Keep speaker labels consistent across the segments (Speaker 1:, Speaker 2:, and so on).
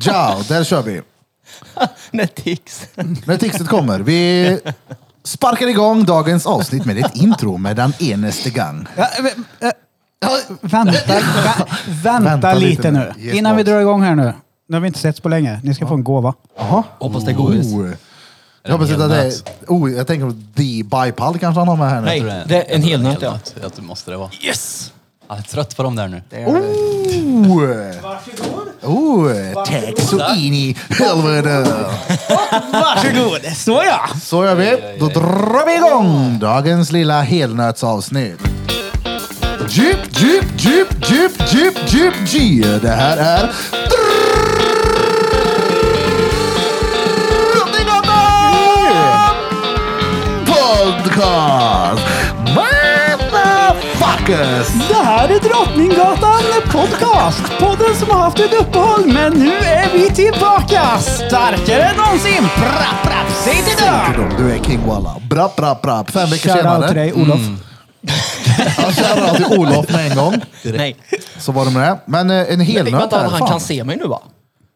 Speaker 1: Ciao, där kör vi.
Speaker 2: När tics.
Speaker 1: När tixet kommer. Vi sparkar igång dagens avsnitt med ett intro med den eneste gang.
Speaker 3: Ja, vä- eh, ja, Vänta, vä, vänta,
Speaker 1: Vänta lite
Speaker 3: lite
Speaker 1: nu.
Speaker 3: nu.
Speaker 1: Ge
Speaker 3: Innan vi
Speaker 1: paus.
Speaker 3: drar igång här nu. Nu har vi inte setts på länge. Ni ska få en gåva.
Speaker 1: Jaha.
Speaker 2: Hoppas det är godis.
Speaker 1: Oh. Jag hoppas inte att det är... Oh, jag tänker på The Bipal kanske han har med här nu.
Speaker 2: Nej,
Speaker 4: tror jag.
Speaker 2: det är en hel
Speaker 4: Jag
Speaker 2: nöt
Speaker 4: tror
Speaker 2: ja.
Speaker 4: det är en hel nöt. Ja, det måste det vara.
Speaker 2: Yes!
Speaker 4: Jag är trött på dem där nu.
Speaker 1: Oh. Oh, tack så in i helvete.
Speaker 2: Varsågod! Så ja!
Speaker 1: Så gör vi. Då drar vi igång dagens lilla helnötsavsnitt. Djup, djup, djup, djup, djup, djup, djup. Det här är Drottninggatan Podcast! Motherfuckers!
Speaker 3: Det här är Drottninggatan Podcast. Podden som har haft ett uppehåll, men nu är vi tillbaka. Starkare än någonsin. Prapp, prapp, säg till
Speaker 1: Till dem, Du är king walla. Brapp, brapp, brapp. Fem veckor
Speaker 3: Shoutout
Speaker 1: senare.
Speaker 3: till dig, Olof.
Speaker 1: Ja, Shoutout till Olof med en gång.
Speaker 2: Nej.
Speaker 1: Så var det med det. Men eh, en
Speaker 2: Jag tänker
Speaker 1: helnöt
Speaker 2: vänta,
Speaker 1: här.
Speaker 2: han
Speaker 1: fan.
Speaker 2: kan se mig nu va?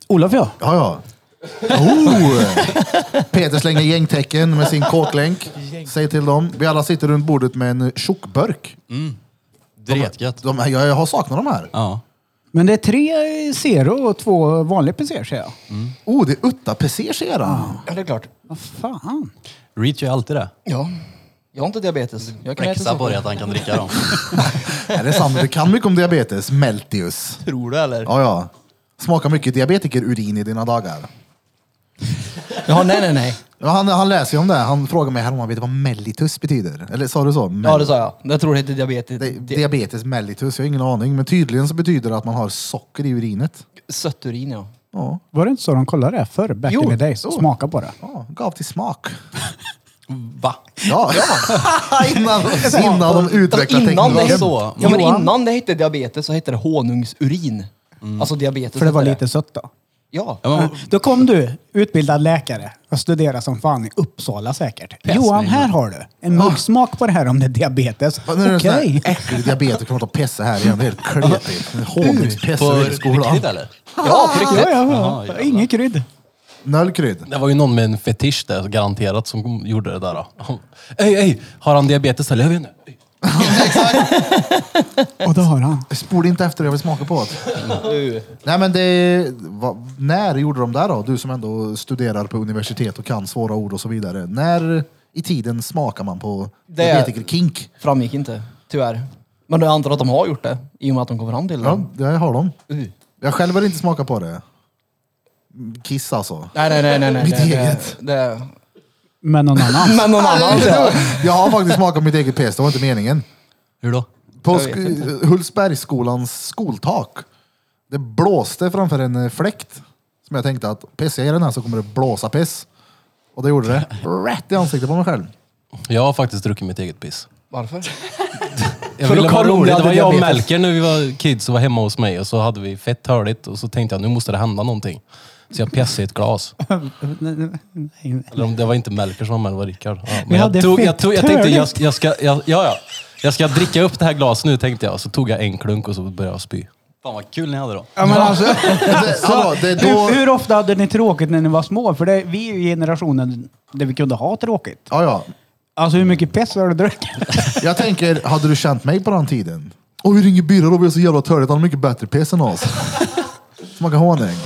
Speaker 3: Olof ja.
Speaker 1: Ja, ja. Oh. Peter slänger gängtecken med sin kåklänk. Säg till dem. Vi alla sitter runt bordet med en tjockburk.
Speaker 4: Dretgött.
Speaker 1: De här, jag jag har saknat de här.
Speaker 4: Ja.
Speaker 3: Men det är tre Zero och två vanliga PC ser jag.
Speaker 1: Oh, det är Utta Pesers era.
Speaker 2: Ja, det är klart.
Speaker 3: Vad fan.
Speaker 4: Reach är alltid det.
Speaker 2: Ja. Jag har inte diabetes. Jag kan äta
Speaker 4: Flexa på
Speaker 2: saker.
Speaker 4: det att han kan dricka dem.
Speaker 1: Är det sant? Du kan mycket om diabetes, Meltius.
Speaker 2: Tror du eller?
Speaker 1: Ja, ja. Smakar mycket diabetikerurin i dina dagar.
Speaker 2: Ja, nej, nej, nej.
Speaker 1: Ja, han, han läser ju om det. Han frågar mig här om han vet vad mellitus betyder. Eller sa du så? Mel-
Speaker 2: Ja, det sa jag. Jag tror det heter diabetes.
Speaker 1: Det-
Speaker 2: Di-
Speaker 1: Diabetes mellitus, jag har ingen aning. Men tydligen så betyder det att man har socker i urinet.
Speaker 2: Sötturin ja.
Speaker 1: Ja,
Speaker 3: Var det inte så de kollade det förr? Back
Speaker 2: Jo,
Speaker 3: in the days.
Speaker 1: jo.
Speaker 3: Smaka på det.
Speaker 1: ja gav till smak.
Speaker 4: Va?
Speaker 1: Ja, innan, innan de utvecklade
Speaker 2: innan det,
Speaker 1: teknologin.
Speaker 4: så.
Speaker 2: ja, men
Speaker 1: Johan.
Speaker 2: innan det hette diabetes så hette det honungsurin. Alltså diabetes.
Speaker 3: För det var
Speaker 2: hette
Speaker 3: lite sött då.
Speaker 2: Ja.
Speaker 4: Ja, men,
Speaker 3: Mm. Då kom du, utbildad läkare, och studerade som fan i Uppsala säkert.
Speaker 4: Pest,
Speaker 3: Johan,
Speaker 4: nej,
Speaker 3: här
Speaker 4: men-
Speaker 3: har du. En muggsmak på det här om det är diabetes.
Speaker 1: Ja, Nu är det
Speaker 3: Okej.
Speaker 1: sån här äcklig diabetes, kommer att pissa här igen. Det är helt kletigt. Honungspess
Speaker 4: på
Speaker 1: över hela
Speaker 4: riktigt
Speaker 1: skolan.
Speaker 4: eller?
Speaker 2: Ja, på
Speaker 3: Ja,
Speaker 2: riktigt.
Speaker 3: ja,
Speaker 4: Jaha,
Speaker 3: ja.
Speaker 4: jävlar.
Speaker 3: Inget krydd.
Speaker 1: Noll krydd.
Speaker 4: Det var ju någon med en fetisch där, garanterat, som gjorde det där. Då. Ey, ej! Har han diabetes eller? Jag vet inte. Ey.
Speaker 3: Och det har han.
Speaker 1: Spola inte efter det, jag vill smaka på det. Nej men det, vad- när gjorde de där då? Du som ändå studerar på universitet och kan svåra ord och så vidare. När i tiden smakar man på
Speaker 2: Det-
Speaker 1: diabetiker-kink?
Speaker 2: Framgick inte, tyvärr. Men jag antar att de har gjort det, i och med att de kom fram till det.
Speaker 1: Ja, det har de.
Speaker 2: Uh.
Speaker 1: Jag själv har inte smakat på det. Kiss alltså.
Speaker 2: Nej, nej, nej. nej, nej
Speaker 1: Mitt
Speaker 2: det,
Speaker 1: eget.
Speaker 2: Det, det,
Speaker 3: Men någon annan.
Speaker 2: men någon annan. ja.
Speaker 1: Jag har faktiskt smakat mitt eget pest, det var inte meningen.
Speaker 4: Hur då?
Speaker 1: På
Speaker 2: Jag vet
Speaker 1: sk- Hultsbergsskolans skoltak. Det blåste framför en eh, fläkt. Som jag tänkte att pissar jag i den här så kommer det blåsa piss. Och det gjorde det. Rätt i ansiktet på mig själv.
Speaker 4: Jag har faktiskt druckit mitt eget piss.
Speaker 2: Varför?
Speaker 4: Jag
Speaker 2: För
Speaker 4: ville
Speaker 2: att
Speaker 4: vara
Speaker 2: kolla om
Speaker 4: rolig.
Speaker 2: du
Speaker 4: Det var
Speaker 2: hade
Speaker 4: jag och
Speaker 2: diabetes.
Speaker 4: Melker när vi var kids och var hemma hos mig och så hade vi fett hörligt och så tänkte jag nu måste det hända någonting. Så jag pjässade i ett glas. Eller om det var inte Melker som var med, det var Rickard. Ja,
Speaker 3: Vi
Speaker 4: men jag,
Speaker 3: hade
Speaker 4: tog, jag,
Speaker 3: fett
Speaker 4: tog, jag tänkte jag,
Speaker 3: törligt.
Speaker 4: jag, ska, jag, ja, ja, jag ska dricka upp det här glaset nu tänkte jag. Så tog jag en klunk och så började jag spy. Fan vad kul ni hade då.
Speaker 3: Ja, men alltså,
Speaker 1: Det, hallå, det är då...
Speaker 3: hur, hur ofta hade ni tråkigt när ni var små? För det, vi är ju generationen där vi kunde ha tråkigt.
Speaker 1: Ja, ja.
Speaker 3: Alltså hur mycket pess har du druckit?
Speaker 1: Jag tänker, hade du känt mig på den tiden? Oj, vi ringer Birra då, vi är så jävla törligt. Han har mycket bättre piss än oss. Smaka honung.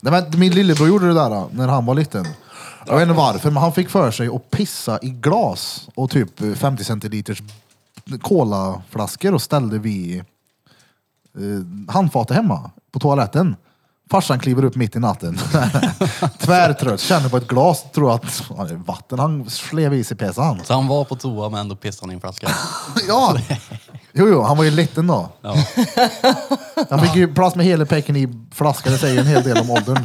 Speaker 1: Nej, men min lillebror gjorde det där eh, när han var liten. Jag vet inte varför, men han fick för sig att pissa i glas och typ 50 centiliters kolaflaskor och ställde vid eh, handfatet hemma på toaletten. Farsan kliver upp mitt i natten. Tvärtrött, känner på ett glas, tror att ja, det är vatten han slev i sig pissen han.
Speaker 4: Så han var på toa men ändå pissade han i en flaska.
Speaker 1: Ja! Jo, jo, han var ju liten då.
Speaker 4: Ja.
Speaker 1: Han fick ju plats med hela pecken i flaskan, det säger ju en hel del om åldern.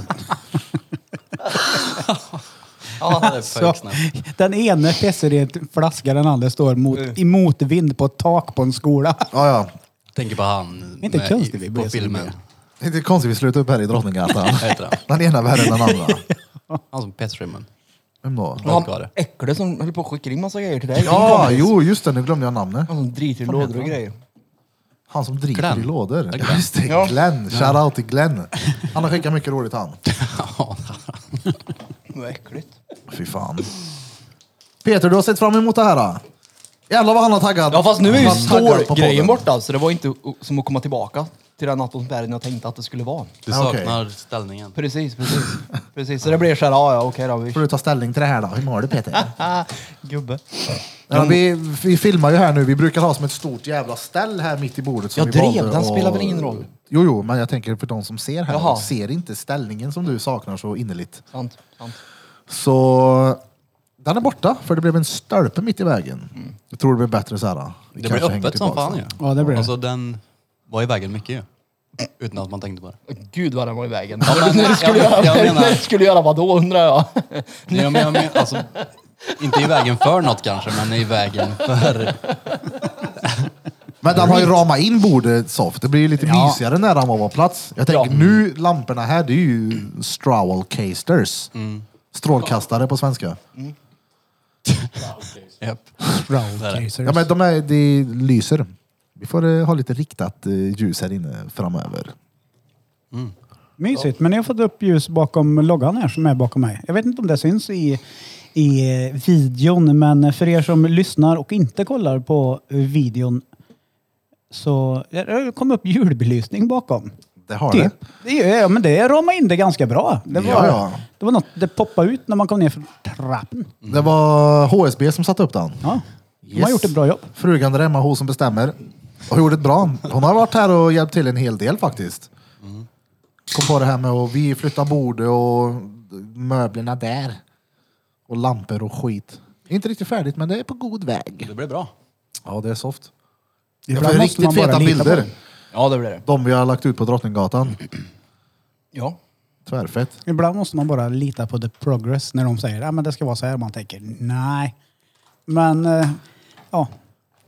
Speaker 4: Ja, det är sjukt snällt.
Speaker 3: den ene pessar i en flaska, den andra står mot, i motvind på ett tak på en skola.
Speaker 1: Ja, ja.
Speaker 4: Tänker på han
Speaker 3: Inte
Speaker 4: med-
Speaker 3: konstigt vi blev
Speaker 4: på
Speaker 3: så
Speaker 4: filmen.
Speaker 3: mycket.
Speaker 1: Det är inte konstigt vi slutar upp här i Drottninggatan.
Speaker 4: Vad heter han?
Speaker 1: Den ena värre än den andra.
Speaker 4: Han som pissade i munnen.
Speaker 1: Vem då?
Speaker 2: Han
Speaker 4: Vad var det?
Speaker 2: äckle som höll på att skicka in massa grejer till dig. Din
Speaker 1: Ja,
Speaker 2: kompis.
Speaker 1: jo, just det, nu glömde jag namnet.
Speaker 2: Han som driter i lådor och grejer.
Speaker 1: Han som driver
Speaker 5: Glenn.
Speaker 1: i lådor.
Speaker 5: Det är
Speaker 1: Ja,
Speaker 5: Glenn.
Speaker 1: Just det,
Speaker 2: Ja.
Speaker 1: Glenn. Shoutout till Glenn. Han har skickat mycket roligt han.
Speaker 2: Vad äckligt.
Speaker 1: Fy fan. Peter, du har sett fram emot det här. Då? Jävlar vad han har taggat.
Speaker 2: Ja fast nu är ju
Speaker 1: Han taggar på
Speaker 2: stålgrejen
Speaker 1: podden.
Speaker 2: borta så det var inte o- som att komma tillbaka till den atmosfären jag tänkte att det skulle vara.
Speaker 5: Du Ah,
Speaker 1: Ja, okej.
Speaker 5: saknar ställningen.
Speaker 2: Precis, precis. precis. Så det blir såhär, ja ja okej då. Vi...
Speaker 1: Får du ta ställning till det här då? Hur mår du Peter?
Speaker 2: Ah, gubbe.
Speaker 1: Ja, vi, vi filmar ju här nu. Vi brukar ha som ett stort jävla ställ här mitt i bordet. Som
Speaker 2: Jag
Speaker 1: vi valde
Speaker 2: drev, den
Speaker 1: att-
Speaker 2: spelar väl ingen roll?
Speaker 1: Jo, jo, men jag tänker för de som ser här.
Speaker 2: Jaha.
Speaker 1: Ser inte ställningen som du saknar så innerligt.
Speaker 2: Sant, sant.
Speaker 1: Så den är borta för det blev en stölpe mitt i vägen.
Speaker 2: Mm.
Speaker 1: Jag tror det blir bättre så här. Vi
Speaker 5: Det
Speaker 1: kanske
Speaker 5: blir
Speaker 1: hänger
Speaker 5: öppet som
Speaker 1: tillbaka
Speaker 5: fan ju.
Speaker 1: sen.
Speaker 3: Ja, det blir det.
Speaker 5: Alltså den var i vägen mycket ju. Utan att man tänkte på det.
Speaker 2: Gud vad den var i vägen.
Speaker 5: men-
Speaker 2: när du skulle,
Speaker 5: jag-
Speaker 2: göra,
Speaker 5: jag menar-
Speaker 2: när du skulle göra vad då undrar jag.
Speaker 5: Nej, jag menar, jag menar, alltså, inte i vägen för något kanske, men i vägen för...
Speaker 1: Men den har ju ramat in bordet soft. Det blir ju lite
Speaker 5: Ja.
Speaker 1: mysigare när han var på plats. Jag tänker
Speaker 2: Ja.
Speaker 1: nu, lamporna här, det är ju strålcasters.
Speaker 5: Mm.
Speaker 1: Strålkastare på svenska.
Speaker 5: Japp.
Speaker 1: Ja, men de, är, de lyser. Vi får eh, ha lite riktat eh, ljus här inne framöver.
Speaker 3: Mysigt, men jag har fått upp ljus bakom loggan här som är bakom mig. Jag vet inte om det syns i, i videon, men för er som lyssnar och inte kollar på videon så det kom upp julbelysning bakom.
Speaker 1: Det har
Speaker 3: Det,
Speaker 1: det.
Speaker 3: det, är- ja, men det ramade in det ganska bra. Det var,
Speaker 1: Ja, ja.
Speaker 3: Det var något, det poppade ut när man kom ner från trappen.
Speaker 1: Det var HSB som satte upp den.
Speaker 3: Ja, de
Speaker 1: Yes.
Speaker 3: har gjort ett bra jobb.
Speaker 1: Frugan där hemma, hon som bestämmer. Och gjorde ett bra. Hon har varit här och hjälpt till en hel del faktiskt. Mm. Kom på det här med att vi flyttar bordet och möblerna där. Och lampor och skit. Inte riktigt färdigt men det är på god väg.
Speaker 5: Det blev bra.
Speaker 1: Ja det är soft. Jag
Speaker 3: Ibland
Speaker 1: får
Speaker 3: måste
Speaker 1: riktigt
Speaker 3: man bara
Speaker 1: feta
Speaker 3: lita på
Speaker 1: bilder.
Speaker 3: det.
Speaker 2: Ja det blir det.
Speaker 1: De vi har lagt ut på Drottninggatan.
Speaker 2: Ja.
Speaker 1: Tvärfett.
Speaker 3: Ibland måste man bara lita på the progress när de säger att men det ska vara så här. Man tänker nej. Men eh, ja,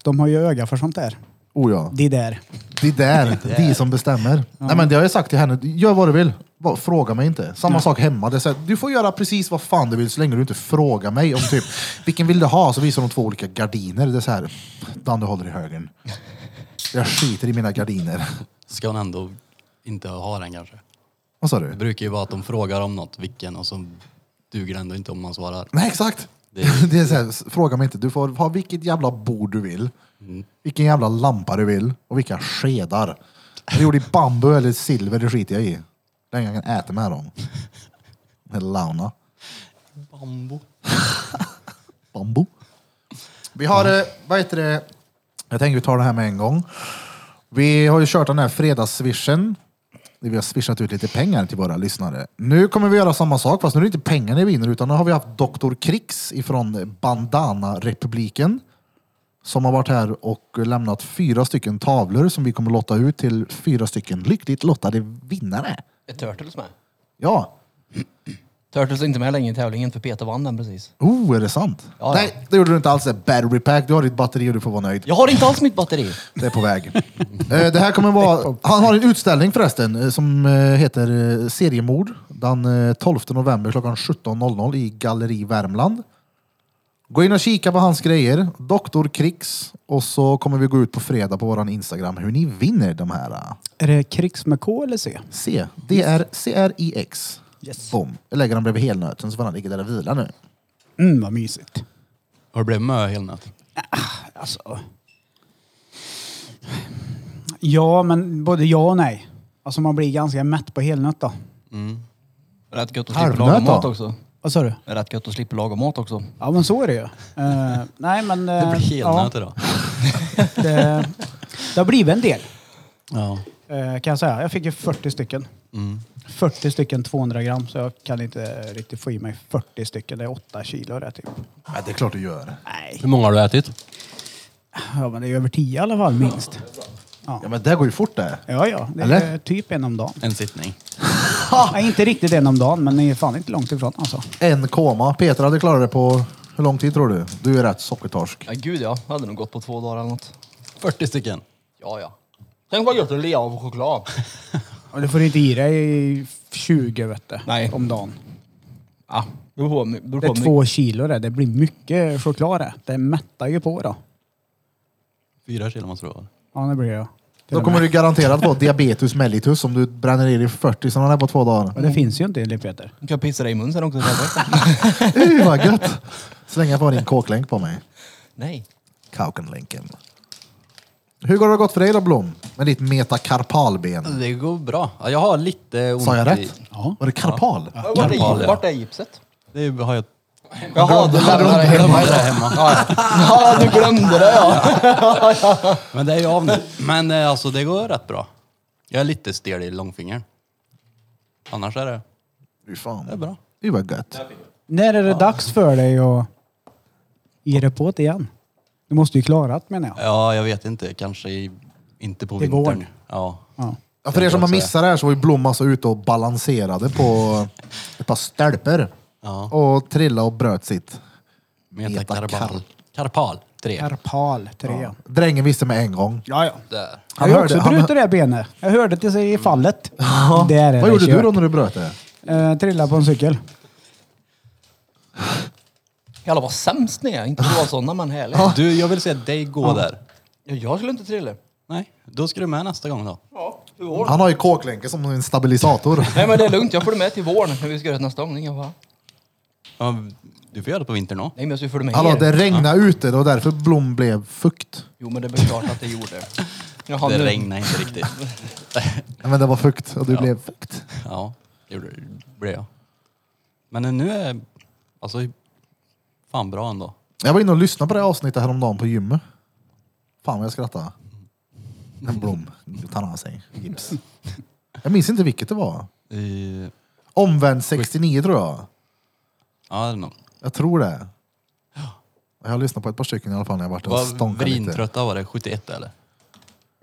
Speaker 3: de har ju öga för sånt där.
Speaker 1: Oh ja.
Speaker 3: Det där.
Speaker 1: Det är där, de som bestämmer. Nej, men det har jag sagt till henne, gör vad du vill. Bara Fråga mig inte. Samma sak hemma. Det är så här, du får göra precis vad fan du vill så länge du inte frågar mig om typ, vilken vill du ha? Så visar de två olika gardiner. Det är så här, Dan du håller i högen. Jag skiter i mina gardiner.
Speaker 5: Ska hon ändå inte ha den kanske?
Speaker 1: Vad sa
Speaker 5: Det
Speaker 1: du?
Speaker 5: brukar ju vara att de frågar om något, vilken, och så duger det ändå inte om man svarar.
Speaker 1: Nej, exakt. Det
Speaker 5: Det
Speaker 1: är,
Speaker 5: är-
Speaker 1: så här, fråga mig inte. Du får ha vilket jävla bord du vill, vilken jävla lampa du vill och vilka skedar. Jag gjorde i bambu eller silver, det skiter jag i. Den jag kan äta med dem. Eller launa.
Speaker 5: Bambo.
Speaker 1: Bambo. Vi har, eh, vad heter det, jag tänker vi tar det här med en gång. Vi har ju kört den här fredagsswishen. Där vi har swishat ut lite pengar till våra lyssnare. Nu kommer vi göra samma sak, fast nu är det inte pengarna vi vinner, utan nu har vi haft Dr. Krix ifrån Bandana-republiken. Som har varit här och lämnat fyra stycken tavlor som vi kommer lotta ut till fyra stycken lyckligt lottade vinnare.
Speaker 2: Är Turtles med?
Speaker 1: Ja,
Speaker 2: Turtles är inte med längre i tävlingen för Peter vann den precis.
Speaker 1: oh är det sant?
Speaker 2: Ja, ja.
Speaker 1: Nej, det gjorde du inte alls. Det är Battery pack, du har ditt batteri och du får vara nöjd.
Speaker 2: Jag har inte alls mitt batteri.
Speaker 1: Det är på väg. Eh, det här kommer vara... Han har en utställning förresten eh, som eh, heter eh, Seriemord den eh, 12 november klockan 17.00 i Galleri Värmland. Gå in och kika på hans grejer, Doktor Krix och så kommer vi gå ut på fredag på våran Instagram hur ni vinner de här. eh,
Speaker 3: Är det krigs med K eller C?
Speaker 1: C. Det är C-R-I-X.
Speaker 3: Yes.
Speaker 1: Boom. Jag lägger den bredvid helnöten så får den ligga där och vila nu.
Speaker 3: Mm, vad mysigt.
Speaker 5: Har det blivit mö
Speaker 1: Eh,
Speaker 5: helnöt?
Speaker 3: Alltså. Ja, men både ja och nej. Alltså man blir ganska mätt på helnöt då.
Speaker 2: Rätt gött att slippa
Speaker 1: Halvnöt
Speaker 2: laga
Speaker 1: då?
Speaker 2: mat också.
Speaker 3: Vad sa du?
Speaker 2: Rätt gött att slippa laga mat också.
Speaker 3: Ja, men så är det ju. Eh, nej, men... eh,
Speaker 5: Det blir helnöt idag.
Speaker 3: Ja, det, det har blivit en del.
Speaker 5: Ja.
Speaker 3: Eh, kan jag säga. Jag fick ju 40 stycken. 40 stycken 200 gram, så jag kan inte riktigt få i mig 40 stycken. Det är 8 kilo det typ.
Speaker 1: Ja, det är klart du gör.
Speaker 3: Nej,
Speaker 4: Hur många har du ätit?
Speaker 3: ja, men det är över 10 i alla fall minst.
Speaker 1: Ja men det går ju fort det.
Speaker 3: Ja, ja. Det är
Speaker 1: Eller?
Speaker 3: typ en om dagen.
Speaker 5: En sittning.
Speaker 3: Nej, inte riktigt en om dagen, men det är fan inte långt ifrån alltså.
Speaker 1: En koma. Peter hade klarat det på... Hur lång tid tror du? Du är rätt sockertorsk.
Speaker 2: Ja gud ja, jag hade nog gått på två dagar eller något.
Speaker 5: 40 stycken.
Speaker 2: Ja ja. Tänk vad gött att leva på choklad.
Speaker 3: Och du får inte i dig 20 vet du,
Speaker 2: Nej.
Speaker 3: om dagen.
Speaker 2: Ja, beror på. Beror
Speaker 3: Det
Speaker 2: på
Speaker 3: är två kilo det. Det blir mycket choklad det. Det mättar ju på då.
Speaker 5: Fyra kilo måste det vara.
Speaker 3: Ja, det blir det.
Speaker 1: Då kommer du garanterat få diabetes mellitus om du bränner i dig 40 sådana där på två dagar.
Speaker 3: Men det finns ju inte enligt Peter.
Speaker 2: Du kan pissa dig i munnen sen också.
Speaker 1: Uh, vad gött! Slänga på din kåklänk på mig.
Speaker 2: Nej.
Speaker 1: Kaukenlänken. Hur har det gått för dig då Blom? Med ditt metakarpalben.
Speaker 5: Det går bra. Ja, Jag har lite ont
Speaker 1: Sa jag
Speaker 5: i...
Speaker 1: rätt?
Speaker 3: Ja.
Speaker 1: Var det karpal?
Speaker 2: Vart
Speaker 5: Karpal,
Speaker 2: är,
Speaker 5: ja.
Speaker 2: vart är gipset?
Speaker 4: Det har jag...
Speaker 2: Jaha, du lämnade det hemma. Ja, ja. ja, du glömde det ja.
Speaker 5: Men det är ju av nu. Men eh, alltså det går rätt bra. Jag är lite stel i långfingern. Annars är det,
Speaker 1: Fy fan.
Speaker 5: det är bra.
Speaker 1: Det var gött.
Speaker 3: När är det dags för dig att ge dig på det igen? Du måste ju klara det menar jag.
Speaker 5: Ja, jag vet inte. Kanske i, inte på
Speaker 3: Till våren.
Speaker 5: vintern. Ja.
Speaker 3: Ja.
Speaker 1: Ja, för er som har missat det här så var ju Blom alltså ute och balanserade på ett par stölper.
Speaker 5: Ja.
Speaker 1: Och trillade och bröt sitt.
Speaker 5: Metakarpal. Karpal 3.
Speaker 3: Karpal 3.
Speaker 1: Drängen visste med en gång.
Speaker 3: Ja, ja.
Speaker 5: Där.
Speaker 1: Han
Speaker 3: jag har
Speaker 1: hörde-
Speaker 3: också
Speaker 1: han-
Speaker 3: brutit det här benet. Jag hörde till sig i fallet. Det är det
Speaker 1: Vad gjorde
Speaker 3: kört.
Speaker 1: du då när du bröt det?
Speaker 3: Eh, trillade på en cykel.
Speaker 2: Jävlar vad sämst ni är. Inte för att vara sådana men härligt.
Speaker 5: Du, jag vill se dig gå där.
Speaker 2: Ja, jag skulle inte trilla.
Speaker 5: Nej, då ska du med nästa gång då.
Speaker 2: Ja, du år.
Speaker 1: Han har ju kåklänken som en stabilisator.
Speaker 2: Nej men det är långt, jag följer med till våren när vi ska göra det nästa gång. Jag bara,
Speaker 5: Ja, du får göra det på vintern då.
Speaker 2: nej men jag ska ju följa med
Speaker 1: Hallå,
Speaker 2: er.
Speaker 1: det regnade ute, det var därför Blom blev fukt.
Speaker 2: Jo men det är väl klart att det gjorde. Jaha,
Speaker 5: det
Speaker 2: nu-
Speaker 5: regnar inte riktigt.
Speaker 1: Nej, Men det var fukt och du blev fukt.
Speaker 5: Ja, det gjorde det. blev jag. Men nu är alltså fan bra ändå.
Speaker 1: Jag var inne och lyssnade på det här avsnittet häromdagen på gymmet. Fan vad jag skrattade. En Blom tar han sig gips. Jag minns inte vilket det var.
Speaker 5: I,
Speaker 1: Omvänd 69 tror jag.
Speaker 5: ja, det är nog-
Speaker 1: Jag tror det. Jag har lyssnat på ett par stycken i alla fall när jag varit och
Speaker 5: Vad
Speaker 1: stånkat lite.
Speaker 5: vrintrötta var det? 71 eller?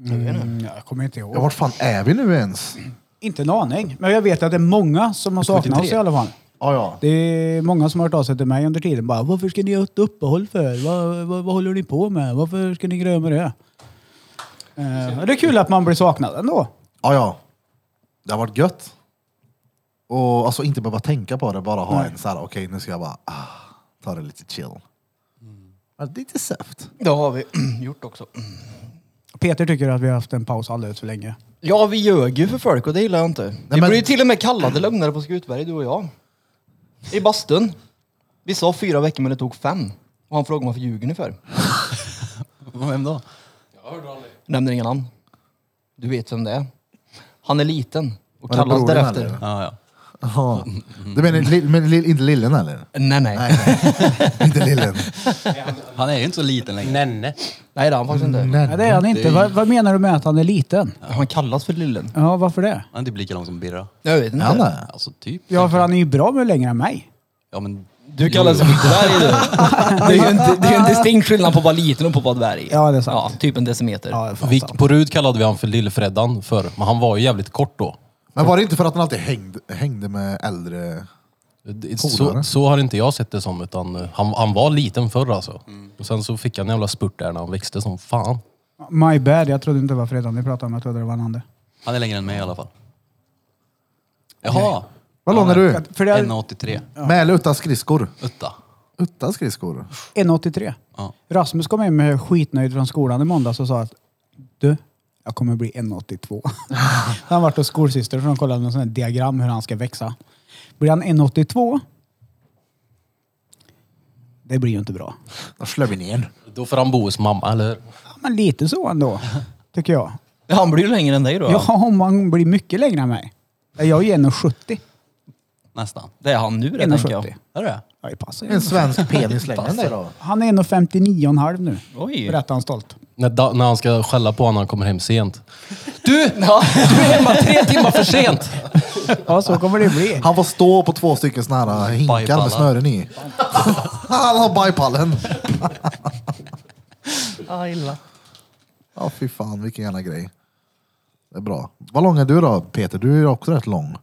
Speaker 3: Mm, jag kommer inte ihåg.
Speaker 1: Ja, vart fan är vi nu ens?
Speaker 3: Inte en aning. Men jag vet att det är många som har saknat oss i alla fall.
Speaker 1: Ja, ja.
Speaker 3: Det är många som har hört av sig till mig under tiden. Bara, Varför ska ni ha ett uppehåll för? Vad, vad, vad håller ni på med? Varför ska ni gröna med det? Eh, det är kul att man blir saknad ändå.
Speaker 1: Ja, ja. Det har varit gött. Och alltså inte behöva tänka på det, bara ha en så här, okej nu ska jag bara ah, ta det lite chill. Ja, lite söft.
Speaker 2: Det har vi gjort också.
Speaker 3: Peter tycker att vi har haft en paus alldeles för länge.
Speaker 2: Ja, vi ljög ju för folk och det gillar jag inte. vi
Speaker 1: men-
Speaker 2: blev ju till och med kallade lögnare på Skutberg, du och jag. I bastun. Vi sa fyra veckor men det tog fem. Och han frågade varför ljuger ni för?
Speaker 5: Vem då?
Speaker 2: Nämner inga namn. Du vet vem det är. Han är liten och
Speaker 1: Var det
Speaker 2: kallas
Speaker 1: brodern
Speaker 2: därefter.
Speaker 1: eller?
Speaker 5: Ja, ja.
Speaker 1: Jaha. Du menar li- men, li- inte lillen eller?
Speaker 2: Nej, nej. Nej,
Speaker 1: Nej, nej. inte lillen.
Speaker 5: Han är ju inte så liten längre.
Speaker 4: Nenne.
Speaker 2: det är han faktiskt inte.
Speaker 1: Nej.
Speaker 3: Nej, det är han inte. Vad, vad menar du med att han är liten?
Speaker 2: Han kallas för Lillen.
Speaker 3: Ja, varför det?
Speaker 5: Han är typ lika lång som Birra.
Speaker 2: Jag vet inte.
Speaker 1: Ja, nej.
Speaker 5: Alltså typ.
Speaker 3: Ja, för han är ju bra mycket längre än mig.
Speaker 5: Ja, men,
Speaker 2: Du kallas för dvärg du. Det är ju en, det är ju en distinkt skillnad på att vara liten och på att vara dvärg.
Speaker 3: Ja, det är sant.
Speaker 2: Ja, typ en decimeter.
Speaker 3: Ja, det är fan
Speaker 4: Vi,
Speaker 3: sant.
Speaker 4: på Rud kallade vi han för Lillfreddan förr, men han var ju jävligt kort då.
Speaker 1: Men var det inte för att han alltid hängde, hängde med äldre?
Speaker 4: Det-
Speaker 1: Polare.
Speaker 4: Så, så har inte jag sett det som, utan eh, han, han var liten förr alltså.
Speaker 5: Mm.
Speaker 4: Och sen så fick han en jävla spurt där när han växte som fan.
Speaker 3: My bad, jag trodde inte det var Fredan vi pratade om. Jag trodde det var en annan.
Speaker 5: han är längre än mig i alla fall. Jaha!
Speaker 1: Vad lång är du?
Speaker 3: För det är
Speaker 5: 1,83.
Speaker 1: Med eller utan skridskor?
Speaker 5: Utta.
Speaker 1: Utan skridskor?
Speaker 3: 1,83.
Speaker 5: Ja.
Speaker 3: Rasmus kom hem med skitnöjd från skolan i måndags och sa att du, jag kommer bli 1,82. han vart hos skolsyster för de kollade någon sån här diagram hur han ska växa. Blir han 1,82? Det blir ju inte bra.
Speaker 1: Då slår vi ner.
Speaker 4: Då får han bo hos mamma, eller hur?
Speaker 3: Ja, men lite så ändå, tycker jag.
Speaker 2: Ja, Han blir ju längre än dig då.
Speaker 3: Ja, om man blir mycket längre än mig. Jag är ju 1,70.
Speaker 5: Nästan.
Speaker 2: Det är han nu det tänker jag.
Speaker 3: 1,70.
Speaker 5: Är du det?
Speaker 3: Ja, det passar ju.
Speaker 1: En svensk penis längre än dig då?
Speaker 3: Han är 1,59,5 nu.
Speaker 2: Oj.
Speaker 3: Berättar han stolt.
Speaker 4: När, da, när han ska skälla på honom när han kommer hem sent.
Speaker 2: Du! Ja.
Speaker 4: Du är hemma tre timmar för sent!
Speaker 3: Ja, så kommer det bli.
Speaker 1: Han får stå på två stycken såna här hinkar
Speaker 5: Bajpallar.
Speaker 1: med snören i. Han har bajpallen. Ja, fy fan vilken jävla grej. Det är bra. Vad lång är du då Peter? Du är ju också rätt lång.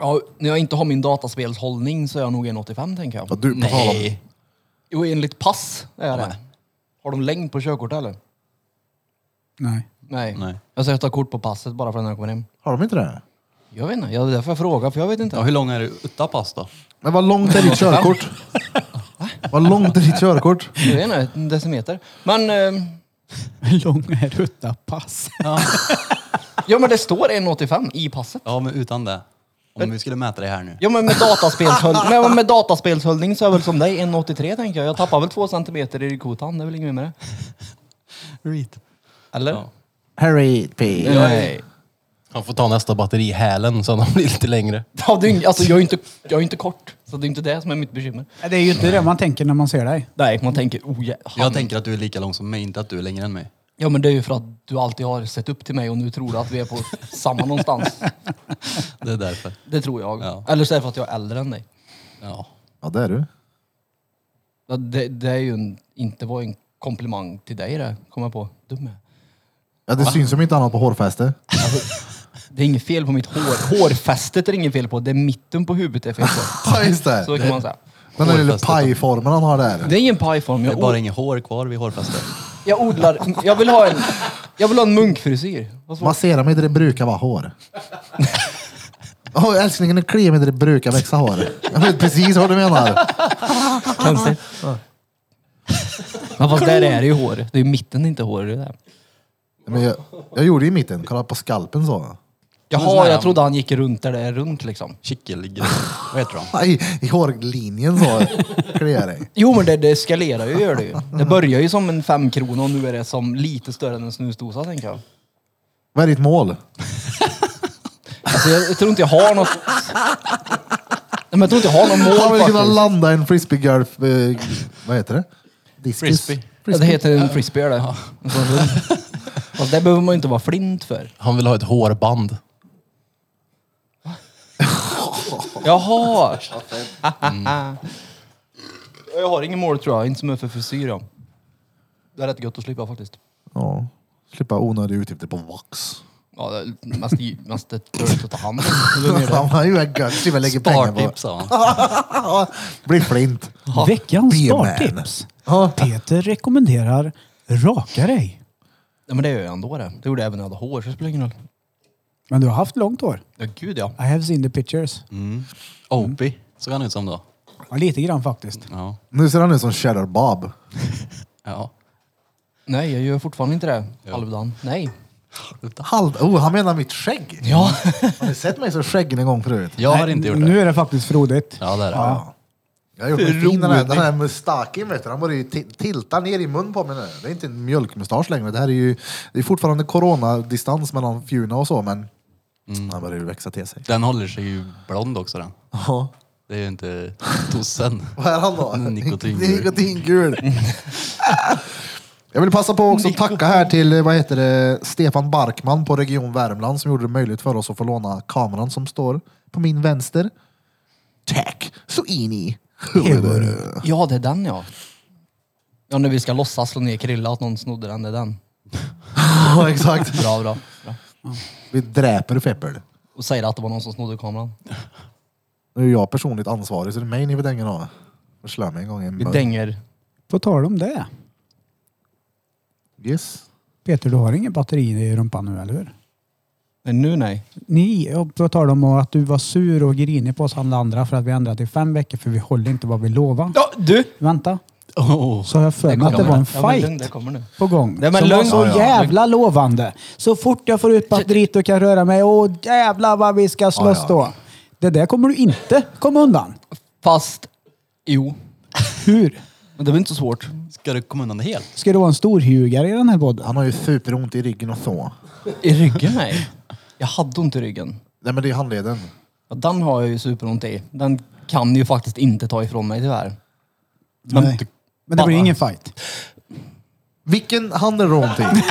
Speaker 2: Ja, när jag inte har min dataspelshållning så är jag nog 1,85 tänker
Speaker 1: Ja,
Speaker 2: jag.
Speaker 1: Du, på tal om,
Speaker 5: Nej.
Speaker 2: Jo, enligt pass är jag det. Har de längd på körkortet eller?
Speaker 3: Nej.
Speaker 2: Nej.
Speaker 5: Nej.
Speaker 2: Jag ska ta kort på passet bara för när jag kommer hem.
Speaker 1: har de inte det?
Speaker 2: Jag vet inte, jag, det är därför jag frågar för jag vet inte.
Speaker 5: Ja, hur lång är du utta pass då?
Speaker 1: Men vad långt är ditt körkort? Vad långt är ditt körkort?
Speaker 2: Jag vet inte, en decimeter. Men eh,
Speaker 3: Långrutta-pass.
Speaker 2: Ja men det står 1,85 i passet.
Speaker 5: Ja, men utan det. Om vi skulle mäta det här nu.
Speaker 2: Ja men med, dataspelshöll... Nej, men med dataspelshöllning så är jag väl som dig, 1,83 tänker jag. Jag tappar väl två centimeter i kotan, det är väl inget mer med det.
Speaker 5: Reet.
Speaker 2: Eller?
Speaker 5: Ja.
Speaker 6: Harry P.
Speaker 2: Nej.
Speaker 4: Han får ta nästa batteri i hälen så han blir lite längre.
Speaker 2: Ja, det är, ing- alltså, jag är ju inte, jag är inte kort, så det är inte det som är mitt bekymmer.
Speaker 3: Det är ju inte det man tänker när man ser dig.
Speaker 2: Nej, man tänker oh ja, han-
Speaker 5: Jag tänker att du är lika lång som mig, inte att du är längre än mig.
Speaker 2: Ja men det är ju för att du alltid har sett upp till mig och nu tror du att vi är på samma någonstans.
Speaker 5: Det är därför.
Speaker 2: Det tror jag.
Speaker 5: Ja.
Speaker 2: Eller så är det för att jag är äldre än dig.
Speaker 5: Ja.
Speaker 1: Ja, det är du.
Speaker 2: Ja, Det, det är ju en, inte var en komplimang till dig det, kom jag på. Dum jag är.
Speaker 1: Ja, det syns ju inte annat på hårfäste.
Speaker 2: Det är inget fel på mitt hår. Hårfästet är det inget fel på. Det är mitten på huvudet det är fel på.
Speaker 1: Ja, just
Speaker 2: Så
Speaker 1: det.
Speaker 2: kan man säga.
Speaker 1: Den där lilla
Speaker 5: Hårfästet.
Speaker 1: pajformen han har där.
Speaker 2: Det är ingen pajform.
Speaker 5: Det
Speaker 2: Jag,
Speaker 5: är bara
Speaker 2: o-
Speaker 5: inget hår kvar vid hårfästet.
Speaker 2: jag odlar. Jag vill ha en, jag vill ha en munkfrisyr. Vad svårt.
Speaker 1: Massera mig där det brukar vara hår. Åh älsklingen, nu kliar mig där det brukar växa hår. Jag vet precis vad du menar.
Speaker 2: Konstigt. Men fast där är det ju hår. Det är ju mitten inte hår. Det är det.
Speaker 1: Men jag, jag gjorde ju i mitten, kolla på skalpen så.
Speaker 5: sån
Speaker 2: Jaha,
Speaker 5: här-
Speaker 2: jag trodde han gick runt där det är runt liksom.
Speaker 5: Kittelgrej. Vad heter de?
Speaker 1: Aj, I hårlinjen så. Kliar dig.
Speaker 2: Jo men det, det eskalerar ju, gör det ju. Det börjar ju som en femkrona och nu är det som lite större än en snusdosa tänker jag.
Speaker 1: Vad är ditt mål?
Speaker 2: Alltså, jag, jag tror inte jag har något... Nej, men jag tror inte jag har något mål
Speaker 1: Han vill kunna
Speaker 2: faktiskt.
Speaker 1: landa en frisbeegolf... Eh, vad heter det? Diskus.
Speaker 5: Frisbee.
Speaker 2: Ja, det heter en frisbee det. En sån rund. Fast det behöver man ju inte vara flint för.
Speaker 4: Han vill ha ett hårband.
Speaker 2: Jaha! Mm. Jag har ingen mål tror jag, inte som är för frisyr. ja. Det är rätt gött att slippa faktiskt.
Speaker 1: Ja. Slippa onödiga utgifter på vax.
Speaker 2: Ja, det är mest, mest dåligt att ta hand om.
Speaker 1: Fan, vad ju är gött. Slippa lägga pengar på.
Speaker 5: Spartips sa han.
Speaker 1: Bli flint.
Speaker 3: Veckans
Speaker 1: B-man.
Speaker 3: spartips.
Speaker 1: Ja.
Speaker 3: Peter rekommenderar raka dig.
Speaker 2: Ja, men det gör jag ändå det. Det gjorde jag även när jag hade hår, så det spelar ingen roll.
Speaker 3: Men du har haft långt hår.
Speaker 2: Ja, gud ja.
Speaker 3: I have seen the pictures.
Speaker 5: Mm. Opie såg han ut som då.
Speaker 3: Ja, lite grann faktiskt.
Speaker 5: Ja.
Speaker 1: Nu ser han ut som Cheddar Bob.
Speaker 5: Ja.
Speaker 2: Nej, jag gör fortfarande inte det. Halvdan. Nej.
Speaker 1: Halv... Oh, han menar mitt skägg.
Speaker 2: Ja.
Speaker 1: Har ni sett mig så skäggig en gång förut?
Speaker 5: Jag har inte gjort
Speaker 3: Nu
Speaker 5: det.
Speaker 3: är det faktiskt frodigt.
Speaker 5: Ja, det är det.
Speaker 1: Ja. Jag har gjort mig fin den här, den här mustaken vet du. Han börjar ju ti- tilta ner i mun på mig nu. Det är inte en mjölkmustasch längre. Det här är ju... Det är fortfarande coronadistans mellan fjuna och så men... Han börjar ju växa till sig.
Speaker 5: Den håller sig ju blond också den.
Speaker 1: Ja.
Speaker 5: Det är ju inte tossen.
Speaker 1: Vad är han då?
Speaker 5: Nikotingul.
Speaker 1: Nikotingul. Jag vill passa på också att tacka här till eh, vad heter det, Stefan Barkman på Region Värmland som gjorde det möjligt för oss att få låna kameran som står på min vänster. Tack så in i huvudet.
Speaker 2: ja, det är den ja. Ja, när vi ska låtsas slå ner Krilla att någon snodde den, det är den.
Speaker 1: Ja, exakt.
Speaker 2: Bra, bra. bra.
Speaker 1: Vi dräper Feppel.
Speaker 2: Och säger att det var någon som snodde kameran.
Speaker 1: Nu är jag personligt ansvarig så det är mig ni vill dänga av. Jag slår mig en gång i en
Speaker 2: Vi
Speaker 1: mun.
Speaker 2: dänger.
Speaker 3: På tal om det.
Speaker 1: Yes.
Speaker 3: Peter, du har ingen batteri i rumpan nu, eller hur?
Speaker 2: Nej, nu nej.
Speaker 3: Ni, jag på tal om att du var sur och grinig på oss alla andra för att vi ändrade i fem veckor för vi håller inte vad vi lovade.
Speaker 2: Ja, du!
Speaker 3: Vänta,
Speaker 5: Oh.
Speaker 3: så har jag för mig att det var en
Speaker 2: Ja, men lugn,
Speaker 3: fight
Speaker 2: det kommer nu.
Speaker 3: på gång.
Speaker 2: Nej, men
Speaker 3: som var
Speaker 2: lugn.
Speaker 3: så
Speaker 2: Ja, ja.
Speaker 3: jävla lovande. Så fort jag får ut batteriet och kan röra mig, åh jävlar vad vi ska slåss
Speaker 1: Ja, ja.
Speaker 3: då. Det där kommer du inte komma undan.
Speaker 2: Fast, jo.
Speaker 3: Hur?
Speaker 2: Men det var inte så svårt.
Speaker 5: Ska du komma undan det helt?
Speaker 3: Ska du vara en storhugare i den här podden?
Speaker 1: Han har ju superont i ryggen och så.
Speaker 2: I ryggen nej. Jag hade ont i ryggen.
Speaker 1: Nej men det är handleden.
Speaker 2: Ja, den har jag ju superont i. Den kan ju faktiskt inte ta ifrån mig tyvärr. Men
Speaker 3: Nej. Men det blir ingen fight.
Speaker 1: Vilken hand är det ont i?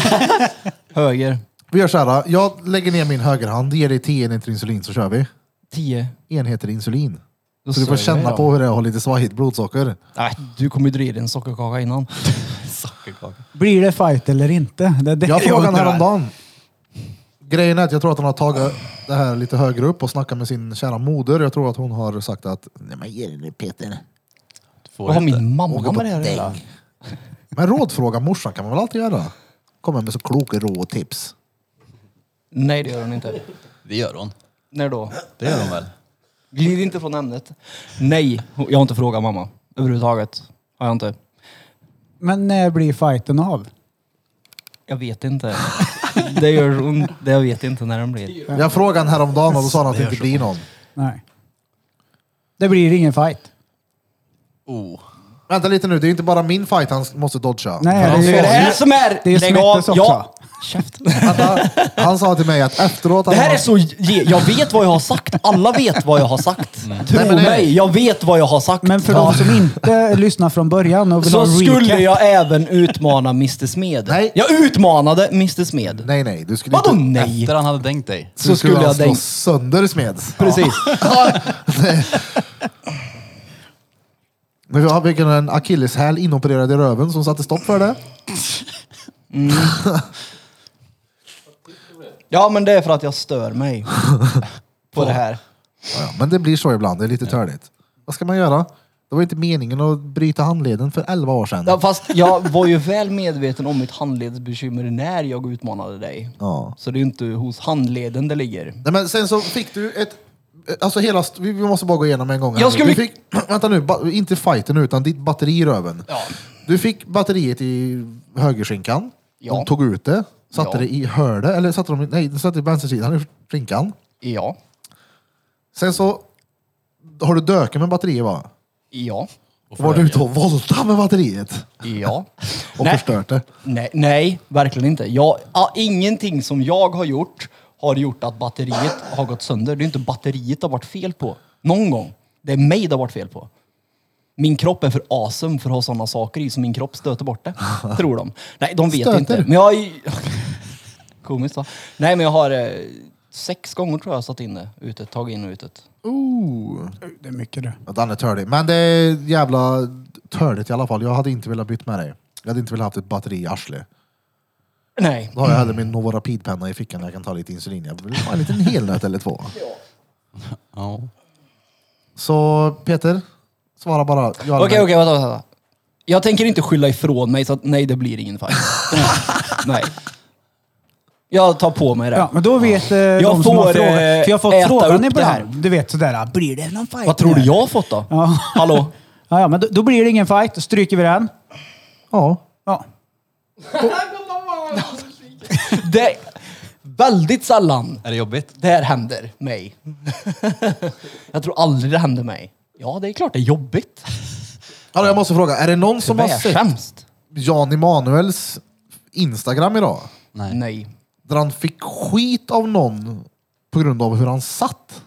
Speaker 2: höger,
Speaker 1: Vi gör så här. Jag lägger ner min högerhand, ger dig 10 enheter insulin så kör vi.
Speaker 2: 10.
Speaker 1: Enheter insulin.
Speaker 2: Då
Speaker 1: Så du får
Speaker 2: sörjer
Speaker 1: känna
Speaker 2: jag.
Speaker 1: på hur det är att ha lite svajigt blodsocker.
Speaker 2: Nej, du kommer ju dra i dig en sockerkaka innan.
Speaker 5: Sockerkaka.
Speaker 3: Blir det fight eller inte? Det är det
Speaker 1: Jag frågade
Speaker 3: undrar.
Speaker 1: häromdagen. Grejen är att jag tror att han har tagit det här lite högre upp och snackat med sin kära moder. Jag tror att hon har sagt att Nej, men ge dig nu Peter.
Speaker 5: Du
Speaker 2: Vad
Speaker 5: får
Speaker 2: har
Speaker 5: inte.
Speaker 2: min mamma
Speaker 1: Åka på
Speaker 2: med det här att göra?
Speaker 1: däng. Men rådfråga morsan kan man väl alltid göra? Kommer med så kloka råd och tips.
Speaker 2: Nej, det gör hon inte.
Speaker 5: Det gör hon.
Speaker 2: När då?
Speaker 5: Det gör hon väl?
Speaker 2: Glid inte från ämnet. Nej, jag har inte frågat mamma. Överhuvudtaget. Har jag inte.
Speaker 3: Men när blir fighten av?
Speaker 2: Jag vet inte. Det gör så ont. Det jag vet inte när den blir.
Speaker 1: Jag frågade han häromdagen och då sa han att det inte blir någon.
Speaker 3: Nej. Det blir ingen fight.
Speaker 5: Oh.
Speaker 1: Vänta lite nu, det är inte bara min fight han måste dodga.
Speaker 3: Nej,
Speaker 1: han,
Speaker 3: det
Speaker 2: Det
Speaker 1: sa,
Speaker 2: är det här som är...
Speaker 3: Det är
Speaker 2: Lägg av!
Speaker 3: Smettes också.
Speaker 2: Ja! Käften.
Speaker 1: vänta, han sa till mig att efteråt...
Speaker 2: Det
Speaker 1: han
Speaker 2: här
Speaker 1: var-
Speaker 2: är så... ge- Jag vet vad jag har sagt. Alla vet vad jag har sagt. Tro
Speaker 1: Nej, men det-
Speaker 2: mig, jag vet vad jag har sagt.
Speaker 3: Men för
Speaker 2: Ja.
Speaker 3: de som inte lyssnar från början och vill ha
Speaker 2: Så
Speaker 3: en
Speaker 2: skulle
Speaker 3: recap-
Speaker 2: jag även utmana Mr Smed.
Speaker 1: Nej.
Speaker 2: Jag utmanade Mr Smed.
Speaker 1: Nej, nej. Du skulle
Speaker 2: Vadå
Speaker 1: inte...
Speaker 2: nej?
Speaker 5: Efter han hade tänkt dig.
Speaker 1: Du
Speaker 2: Så skulle jag
Speaker 1: slå
Speaker 2: dig...
Speaker 1: sönder Smeds.
Speaker 2: Precis.
Speaker 1: Men jag fick en akilleshäl inopererad i röven som satte stopp för det.
Speaker 2: Ja, men det är för att jag stör mig. På det här.
Speaker 1: Ja, ja, men det blir så ibland. Det är lite törligt. Vad ska man göra? Det var inte meningen att bryta handleden för 11 år sedan.
Speaker 2: Ja, fast jag var ju väl medveten om mitt handledsbekymmer när jag utmanade dig.
Speaker 1: Ja.
Speaker 2: Så det är ju inte hos handleden det ligger.
Speaker 1: Nej, men sen så fick du ett... Alltså hela... st- Vi vi måste bara gå igenom en gång. här
Speaker 2: Jag
Speaker 1: nu.
Speaker 2: skulle-
Speaker 1: Du fick... Vänta nu, ba- inte fighten utan ditt batteri i röven.
Speaker 2: Ja.
Speaker 1: Du fick batteriet i högerskinkan.
Speaker 2: Ja.
Speaker 1: De tog ut det, satte
Speaker 2: Ja.
Speaker 1: det i hörde, eller satte de, i- nej, de satte det i vänstersidan i skinkan.
Speaker 2: Ja.
Speaker 1: Sen så har du dökat med batteriet va?
Speaker 2: Ja.
Speaker 1: Var du ute och voltade med batteriet?
Speaker 2: Ja.
Speaker 1: Och
Speaker 2: Nej.
Speaker 1: förstört det?
Speaker 2: Nej, nej, verkligen inte. Jag, ja, ingenting som jag har gjort har gjort att batteriet har gått sönder. Det är inte batteriet det har varit fel på. Någon gång. Det är mig det har varit fel på. Min kropp är för awesome för att ha sådana saker i så min kropp stöter bort det. Tror de. Nej, de vet
Speaker 1: Stöter?
Speaker 2: inte. Men jag har ju... Komiskt va? Nej, men jag har eh, sex gånger tror jag jag satt inne utet, tagit in och utet.
Speaker 1: Ooh.
Speaker 3: Det är mycket det.
Speaker 1: Att han är tördig. Men det är jävla tördigt i alla fall. Jag hade inte velat byta med dig. Jag hade inte velat haft ett batteri i arslet.
Speaker 2: Nej.
Speaker 1: Då har jag hellre min Novorapid-penna i fickan där jag kan ta lite insulin. Jag vill ha en liten helnöt eller två.
Speaker 5: Ja.
Speaker 1: Så Peter, svara bara. ja eller
Speaker 2: Okej,
Speaker 1: nej.
Speaker 2: okej, vänta, vänta. vänta. Jag tänker inte skylla ifrån mig så att nej, det blir ingen fight. nej. Jag tar på mig det.
Speaker 3: Ja, men då vet eh, de som
Speaker 2: får,
Speaker 3: har frågat.
Speaker 2: eh,
Speaker 3: För jag har fått
Speaker 2: äta
Speaker 3: frågan
Speaker 2: upp
Speaker 3: på
Speaker 2: det
Speaker 3: det här.
Speaker 2: här.
Speaker 3: Du vet sådär, ah, blir det någon fight?
Speaker 2: Vad tror du
Speaker 3: nu?
Speaker 2: jag har fått då?
Speaker 3: Ja.
Speaker 2: Hallå?
Speaker 3: Ja, ja, men då, då blir det ingen fight. Stryker vi den.
Speaker 1: Ja.
Speaker 3: Ja.
Speaker 2: Det är väldigt sällan
Speaker 5: Är det jobbigt?
Speaker 2: det här händer mig. jag tror aldrig det händer mig. Ja, det är klart det är jobbigt.
Speaker 1: Alltså, jag måste fråga, är det någon som
Speaker 2: Det
Speaker 1: har
Speaker 2: är
Speaker 1: sett
Speaker 2: sämst.
Speaker 1: Jan Emanuels Instagram idag?
Speaker 5: Nej.
Speaker 2: Nej.
Speaker 1: Där han fick skit av någon på grund av hur han satt.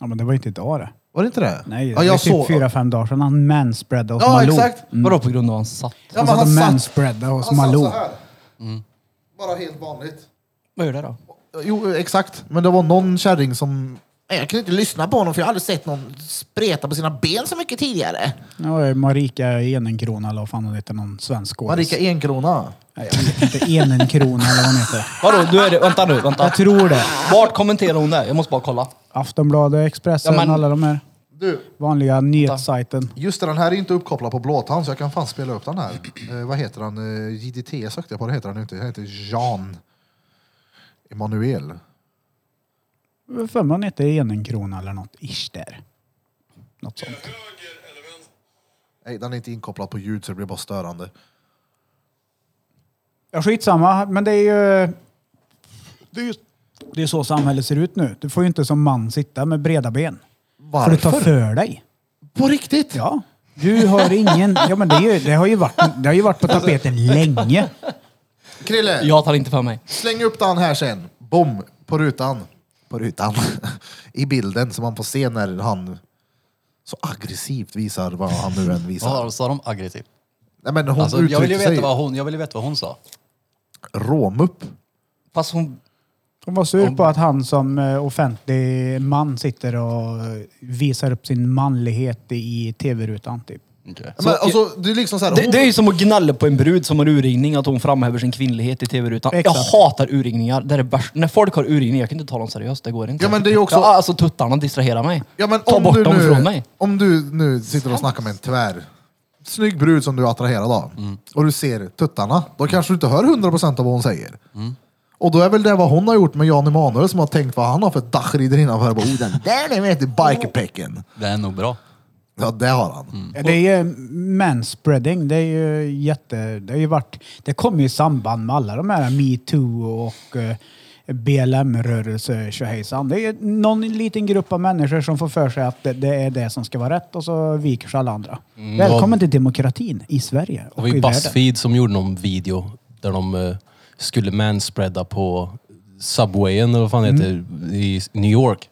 Speaker 3: ja, men det var ju inte idag det.
Speaker 1: Var det inte det?
Speaker 3: Nej, det
Speaker 1: ja,
Speaker 3: var
Speaker 1: jag
Speaker 3: typ
Speaker 1: såg.
Speaker 3: fyra, fem dagar sedan han manspreadade hos
Speaker 1: Ja,
Speaker 3: Malou.
Speaker 1: exakt.
Speaker 2: Vadå på grund av han satt?
Speaker 1: Ja, men
Speaker 3: Han satt och
Speaker 1: han satt-
Speaker 3: manspreadade hos
Speaker 1: Han satt
Speaker 3: Malou.
Speaker 1: så här.
Speaker 3: Mm.
Speaker 1: Bara helt vanligt.
Speaker 2: Vad gör det då?
Speaker 1: Jo, exakt. Men det var någon kärring som... Nej, Jag kunde inte lyssna på honom för jag hade aldrig sett någon spreta på sina ben så mycket tidigare.
Speaker 3: Det var ju Marika Enenkrona eller vad fan hon heter, någon svensk skådis.
Speaker 1: Marika E- Enkrona.
Speaker 3: Nej, Jag vet inte, Enenkrona eller vad hon heter.
Speaker 2: Vadå, du är det. Vänta nu, vänta.
Speaker 3: Jag tror det.
Speaker 2: Vart kommenterar hon det? Jag måste bara kolla.
Speaker 3: Aftonbladet, Expressen,
Speaker 2: Ja, men-
Speaker 3: alla de här
Speaker 1: Du,
Speaker 3: vanliga nyhetssajten.
Speaker 1: just det, den här är inte uppkopplad på blåtand så jag kan fan spela upp den här. Eh, vad heter han? Eh, JDT sökte jag på, det heter han ju inte. Han heter Jan Emanuel.
Speaker 3: Jag för mig hon heter Enenkrona eller något. Ish där. Något sånt.
Speaker 1: Nej, den är inte inkopplad på ljud så det blir bara störande.
Speaker 3: Ja, skitsamma, men det är ju... Det är, ju- det är så samhället ser ut nu. Du får ju inte som man sitta med breda ben. För du tar
Speaker 1: Varför?
Speaker 3: för dig.
Speaker 1: På riktigt?
Speaker 3: Ja. Du har ingen... Ja, men det, är ju, det, har ju varit, det har ju varit på tapeten länge.
Speaker 1: Krille,
Speaker 2: Jag tar inte för mig.
Speaker 1: släng upp den här sen. Bom, på rutan. På rutan. I bilden som man får se när han så aggressivt visar vad han nu än visar.
Speaker 5: Vad sa de aggressivt?
Speaker 1: Nej, men hon
Speaker 5: Alltså, jag vill ju
Speaker 1: uttryckte sig
Speaker 5: veta vad hon, jag vill ju veta vad hon sa.
Speaker 1: råmupp.
Speaker 2: Fast hon...
Speaker 3: Hon var sur på att han som eh, offentlig man sitter och eh, visar upp sin manlighet i tv-rutan typ.
Speaker 1: Men, alltså, det är liksom så här,
Speaker 2: Det,
Speaker 1: hon,
Speaker 2: det är ju som att gnälla på en brud som har urringning, att hon framhäver sin kvinnlighet i tv-rutan. Jag
Speaker 3: Exakt.
Speaker 2: hatar urringningar. Det är det värsta. När folk har urringningar, jag kan inte ta dem seriöst. Det går inte.
Speaker 1: Ja, men det är ju också-
Speaker 2: Ja, alltså tuttarna distraherar mig.
Speaker 1: ja, men
Speaker 2: ta
Speaker 1: om
Speaker 2: bort
Speaker 1: du
Speaker 2: dem
Speaker 1: nu,
Speaker 2: från mig.
Speaker 1: Om du nu sitter och snackar med en tvär snygg brud som du är attraherad av
Speaker 2: Mm.
Speaker 1: och du ser tuttarna, då kanske du inte hör 100% av vad hon säger.
Speaker 2: Mm.
Speaker 1: Och då är väl det vad hon har gjort med Jan Emanuel som har tänkt vad han har för dachrider innanför. Bara, oh, den där är med i bikerpecken.
Speaker 5: Det är nog bra.
Speaker 1: Ja, det har han.
Speaker 2: Mm.
Speaker 3: Det är ju manspreading. Det är ju jätte... Det har ju varit... Det kommer ju i samband med alla de här metoo och eh, BLM-rörelse tjohejsan. Det är ju någon liten grupp av människor som får för sig att det, det är det som ska vara rätt och så viker sig alla andra. Välkommen till demokratin i Sverige
Speaker 4: Det
Speaker 3: och
Speaker 4: var
Speaker 3: i
Speaker 4: ju
Speaker 3: världen.
Speaker 4: Buzzfeed som gjorde någon video där de eh, skulle manspreada på Subwayen, eller vad fan det
Speaker 3: Mm.
Speaker 4: heter, i New York.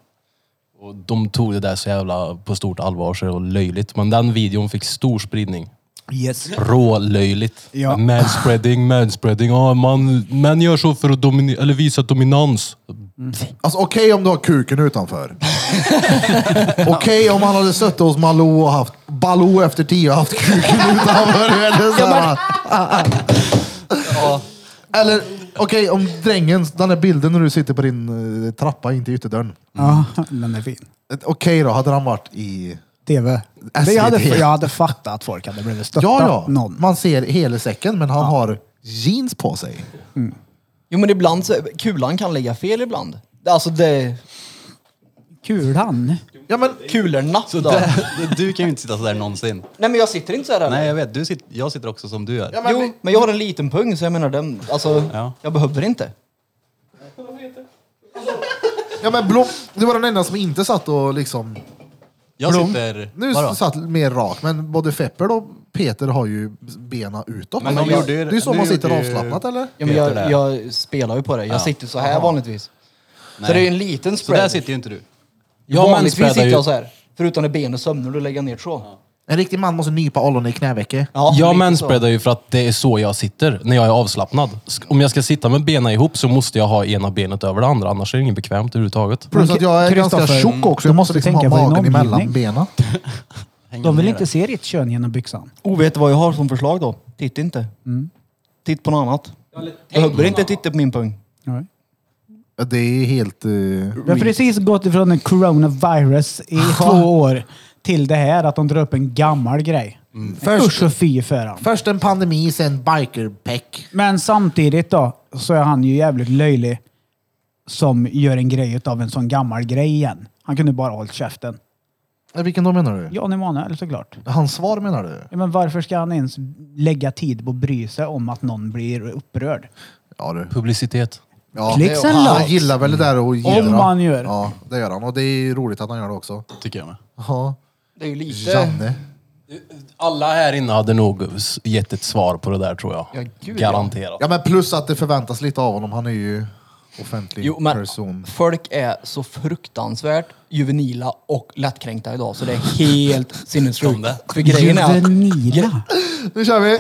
Speaker 4: Och de tog det där så jävla på stort allvar så det var löjligt. Men den videon fick stor spridning. Mm.
Speaker 3: Yes.
Speaker 4: Rålöjligt.
Speaker 3: Ja.
Speaker 4: Manspreading, manspreading. Ah, man, män gör så för att domini- eller visa dominans.
Speaker 1: Alltså okej om du har kuken utanför. okej om han hade suttit hos Malou och haft Baloo efter tio och haft kuken utanför. Eller, så här. eller okej om drängen, den där bilden när du sitter på din eh, trappa in till ytterdörren.
Speaker 3: Ja, den är fin.
Speaker 1: Okej då, hade han varit i...
Speaker 3: TV.
Speaker 1: SVT.
Speaker 3: Det jag, hade, jag hade fattat att folk hade blivit stötta
Speaker 1: Ja, ja.
Speaker 3: någon.
Speaker 1: Man ser hela säcken men han har jeans på sig.
Speaker 2: Jo men ibland så, kulan kan lägga fel ibland. Alltså det,
Speaker 3: Kulan.
Speaker 1: Ja, men,
Speaker 2: kulorna
Speaker 5: Så
Speaker 2: då.
Speaker 5: där- du kan ju inte sitta sådär någonsin.
Speaker 2: Nej men jag sitter inte så här.
Speaker 5: Nej, jag vet. Du sitter, jag sitter också som du gör.
Speaker 1: ja, men,
Speaker 2: jo, men jag har en liten pung så jag menar den, alltså
Speaker 5: Ja.
Speaker 2: jag behöver inte.
Speaker 1: ja, men Blom, du var den enda som inte satt och liksom...
Speaker 5: Jag
Speaker 1: Blom.
Speaker 5: sitter...
Speaker 1: Mm. Nu
Speaker 5: vadå?
Speaker 1: satt mer rak, men både Feppel och Peter har ju bena utåt.
Speaker 5: Men de gjorde ju-
Speaker 1: det är ju så
Speaker 5: nu
Speaker 1: man sitter
Speaker 5: gjorde ju-
Speaker 1: avslappnat eller?
Speaker 2: Ja, men
Speaker 5: Peter
Speaker 2: jag, jag spelar ju på det. Jag sitter så här vanligtvis.
Speaker 5: Nej.
Speaker 2: Så det är ju en liten
Speaker 5: Så där
Speaker 2: spread.
Speaker 5: sitter ju inte du.
Speaker 4: Jag
Speaker 2: vanligtvis
Speaker 4: manspreadar
Speaker 2: sitter
Speaker 4: ju-
Speaker 2: jag så här. Förutom när benet sömnar du lägger ner så.
Speaker 1: En riktig man måste nypa ollonet i knävecket.
Speaker 2: Ja,
Speaker 4: jag
Speaker 2: lite så.
Speaker 4: manspreadar ju för att det är så jag sitter när jag är avslappnad. Sk- Om jag ska sitta med benen ihop så måste jag ha ena benet över det andra, annars är det inget bekvämt överhuvudtaget.
Speaker 1: Plus att jag är ganska
Speaker 3: Kristoffer,
Speaker 1: tjock också.
Speaker 3: du
Speaker 1: Jag måste
Speaker 3: måste
Speaker 1: liksom ha
Speaker 3: tänka på din
Speaker 1: magen emellan
Speaker 3: omgivning.
Speaker 1: benen.
Speaker 5: Hänger
Speaker 3: De vill
Speaker 5: med
Speaker 3: inte
Speaker 5: där.
Speaker 3: se ditt kön genom byxan.
Speaker 2: Oh, vet du vad jag har som förslag då? Titta inte. Titt på något annat. Behöver inte titta på min pung.
Speaker 3: Nej.
Speaker 1: Ja, Det är helt... eh,
Speaker 3: Vi har precis gått ifrån en coronavirus i två år till det här att de drar upp en gammal grej.
Speaker 2: Mm.
Speaker 1: Först-
Speaker 3: Usch och fy för han.
Speaker 1: Först en pandemi, sen bikerpeck.
Speaker 3: Men samtidigt då så är han ju jävligt löjlig som gör en grej av en sån gammal grej igen. Han kunde bara ha hållit käften.
Speaker 1: Eh, Vilken då menar du?
Speaker 3: Jan Emanuel såklart.
Speaker 1: Hans svar menar du?
Speaker 3: Ja, men varför ska han ens lägga tid på att bry sig om att någon blir upprörd?
Speaker 1: Ja du.
Speaker 4: Publicitet.
Speaker 1: Ja,
Speaker 3: Clicks and
Speaker 1: han
Speaker 3: likes.
Speaker 1: gillar väl det där och gillar.
Speaker 3: han gör.
Speaker 1: Ja, det gör han. Och det är roligt att han gör det också.
Speaker 5: Tycker jag med.
Speaker 1: Ja.
Speaker 2: Det är ju lite...
Speaker 1: Janne.
Speaker 4: Alla här inne hade nog s- gett ett svar på det där tror jag.
Speaker 2: Ja, gud, ja.
Speaker 4: Garanterat.
Speaker 1: Ja men plus att det förväntas lite av honom. Han är ju offentlig
Speaker 2: Jo, men
Speaker 1: person.
Speaker 2: folk är så fruktansvärt juvenila och lättkränkta idag så det är helt sinnessjukt. För grejen är att,
Speaker 3: Juvenila.
Speaker 1: Nu kör vi!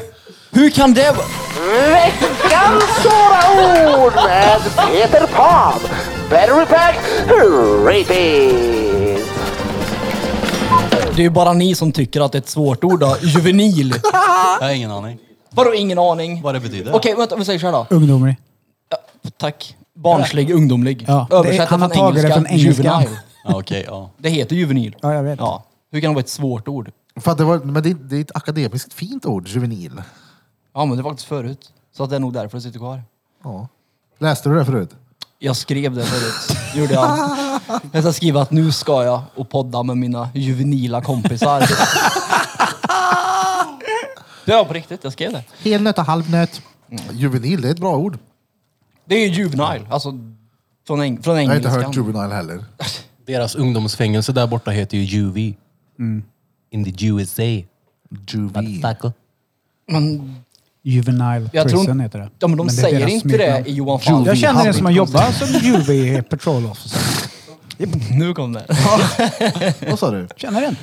Speaker 2: hur kan det vara?
Speaker 6: Veckans svåra ord med Peter Pan. Battery Pack Rating.
Speaker 2: Det är ju bara ni som tycker att det är ett svårt ord då. Juvenil.
Speaker 5: Jag har ingen aning.
Speaker 2: Vadå ingen aning?
Speaker 5: Vad det betyder.
Speaker 2: Okej, vänta, vi säger så här då.
Speaker 3: Ungdomlig.
Speaker 2: Tack. Barnslig, ungdomlig.
Speaker 3: Ja. Det är-
Speaker 2: Översätt
Speaker 3: han har
Speaker 2: från
Speaker 3: tagit det
Speaker 2: engelska.
Speaker 3: från engelskan.
Speaker 2: Juvenile.
Speaker 5: Ja, okej, ja.
Speaker 2: Det heter juvenil.
Speaker 3: Ja, jag vet.
Speaker 2: Ja. Hur kan det vara ett svårt ord?
Speaker 1: För att det, var, men det, det är ett akademiskt fint ord, juvenil.
Speaker 2: Ja, men det var faktiskt förut. Så att det är nog därför det sitter kvar.
Speaker 1: Ja. Läste du det förut?
Speaker 2: Jag skrev det förut. Gjorde jag. Jag ska skriva att nu ska jag och podda med mina juvenila kompisar. Det var på riktigt, jag skrev det.
Speaker 1: Helnöt och halvnöt. Mm. Juvenil, det är ett bra ord.
Speaker 2: Det är ju juvenile, alltså från, eng- från
Speaker 1: Jag har inte
Speaker 2: engelskan.
Speaker 1: hört juvenile heller.
Speaker 4: Deras ungdomsfängelse där borta heter ju UV.
Speaker 2: Mm.
Speaker 4: In the USA.
Speaker 1: Juvi.
Speaker 4: Taco.
Speaker 2: Men,
Speaker 3: Juvenile
Speaker 2: jag tror,
Speaker 3: prison
Speaker 2: inte-
Speaker 3: heter det.
Speaker 2: Ja, men de
Speaker 3: det är
Speaker 2: säger
Speaker 3: deras
Speaker 2: inte
Speaker 3: smeknamn.
Speaker 2: det i Johan Falk.
Speaker 3: Jag känner en
Speaker 1: Hamlet.
Speaker 3: som har jobbat som Juve Patrol Officer.
Speaker 2: Nu kom det.
Speaker 1: Vad sa du?
Speaker 3: Känner en.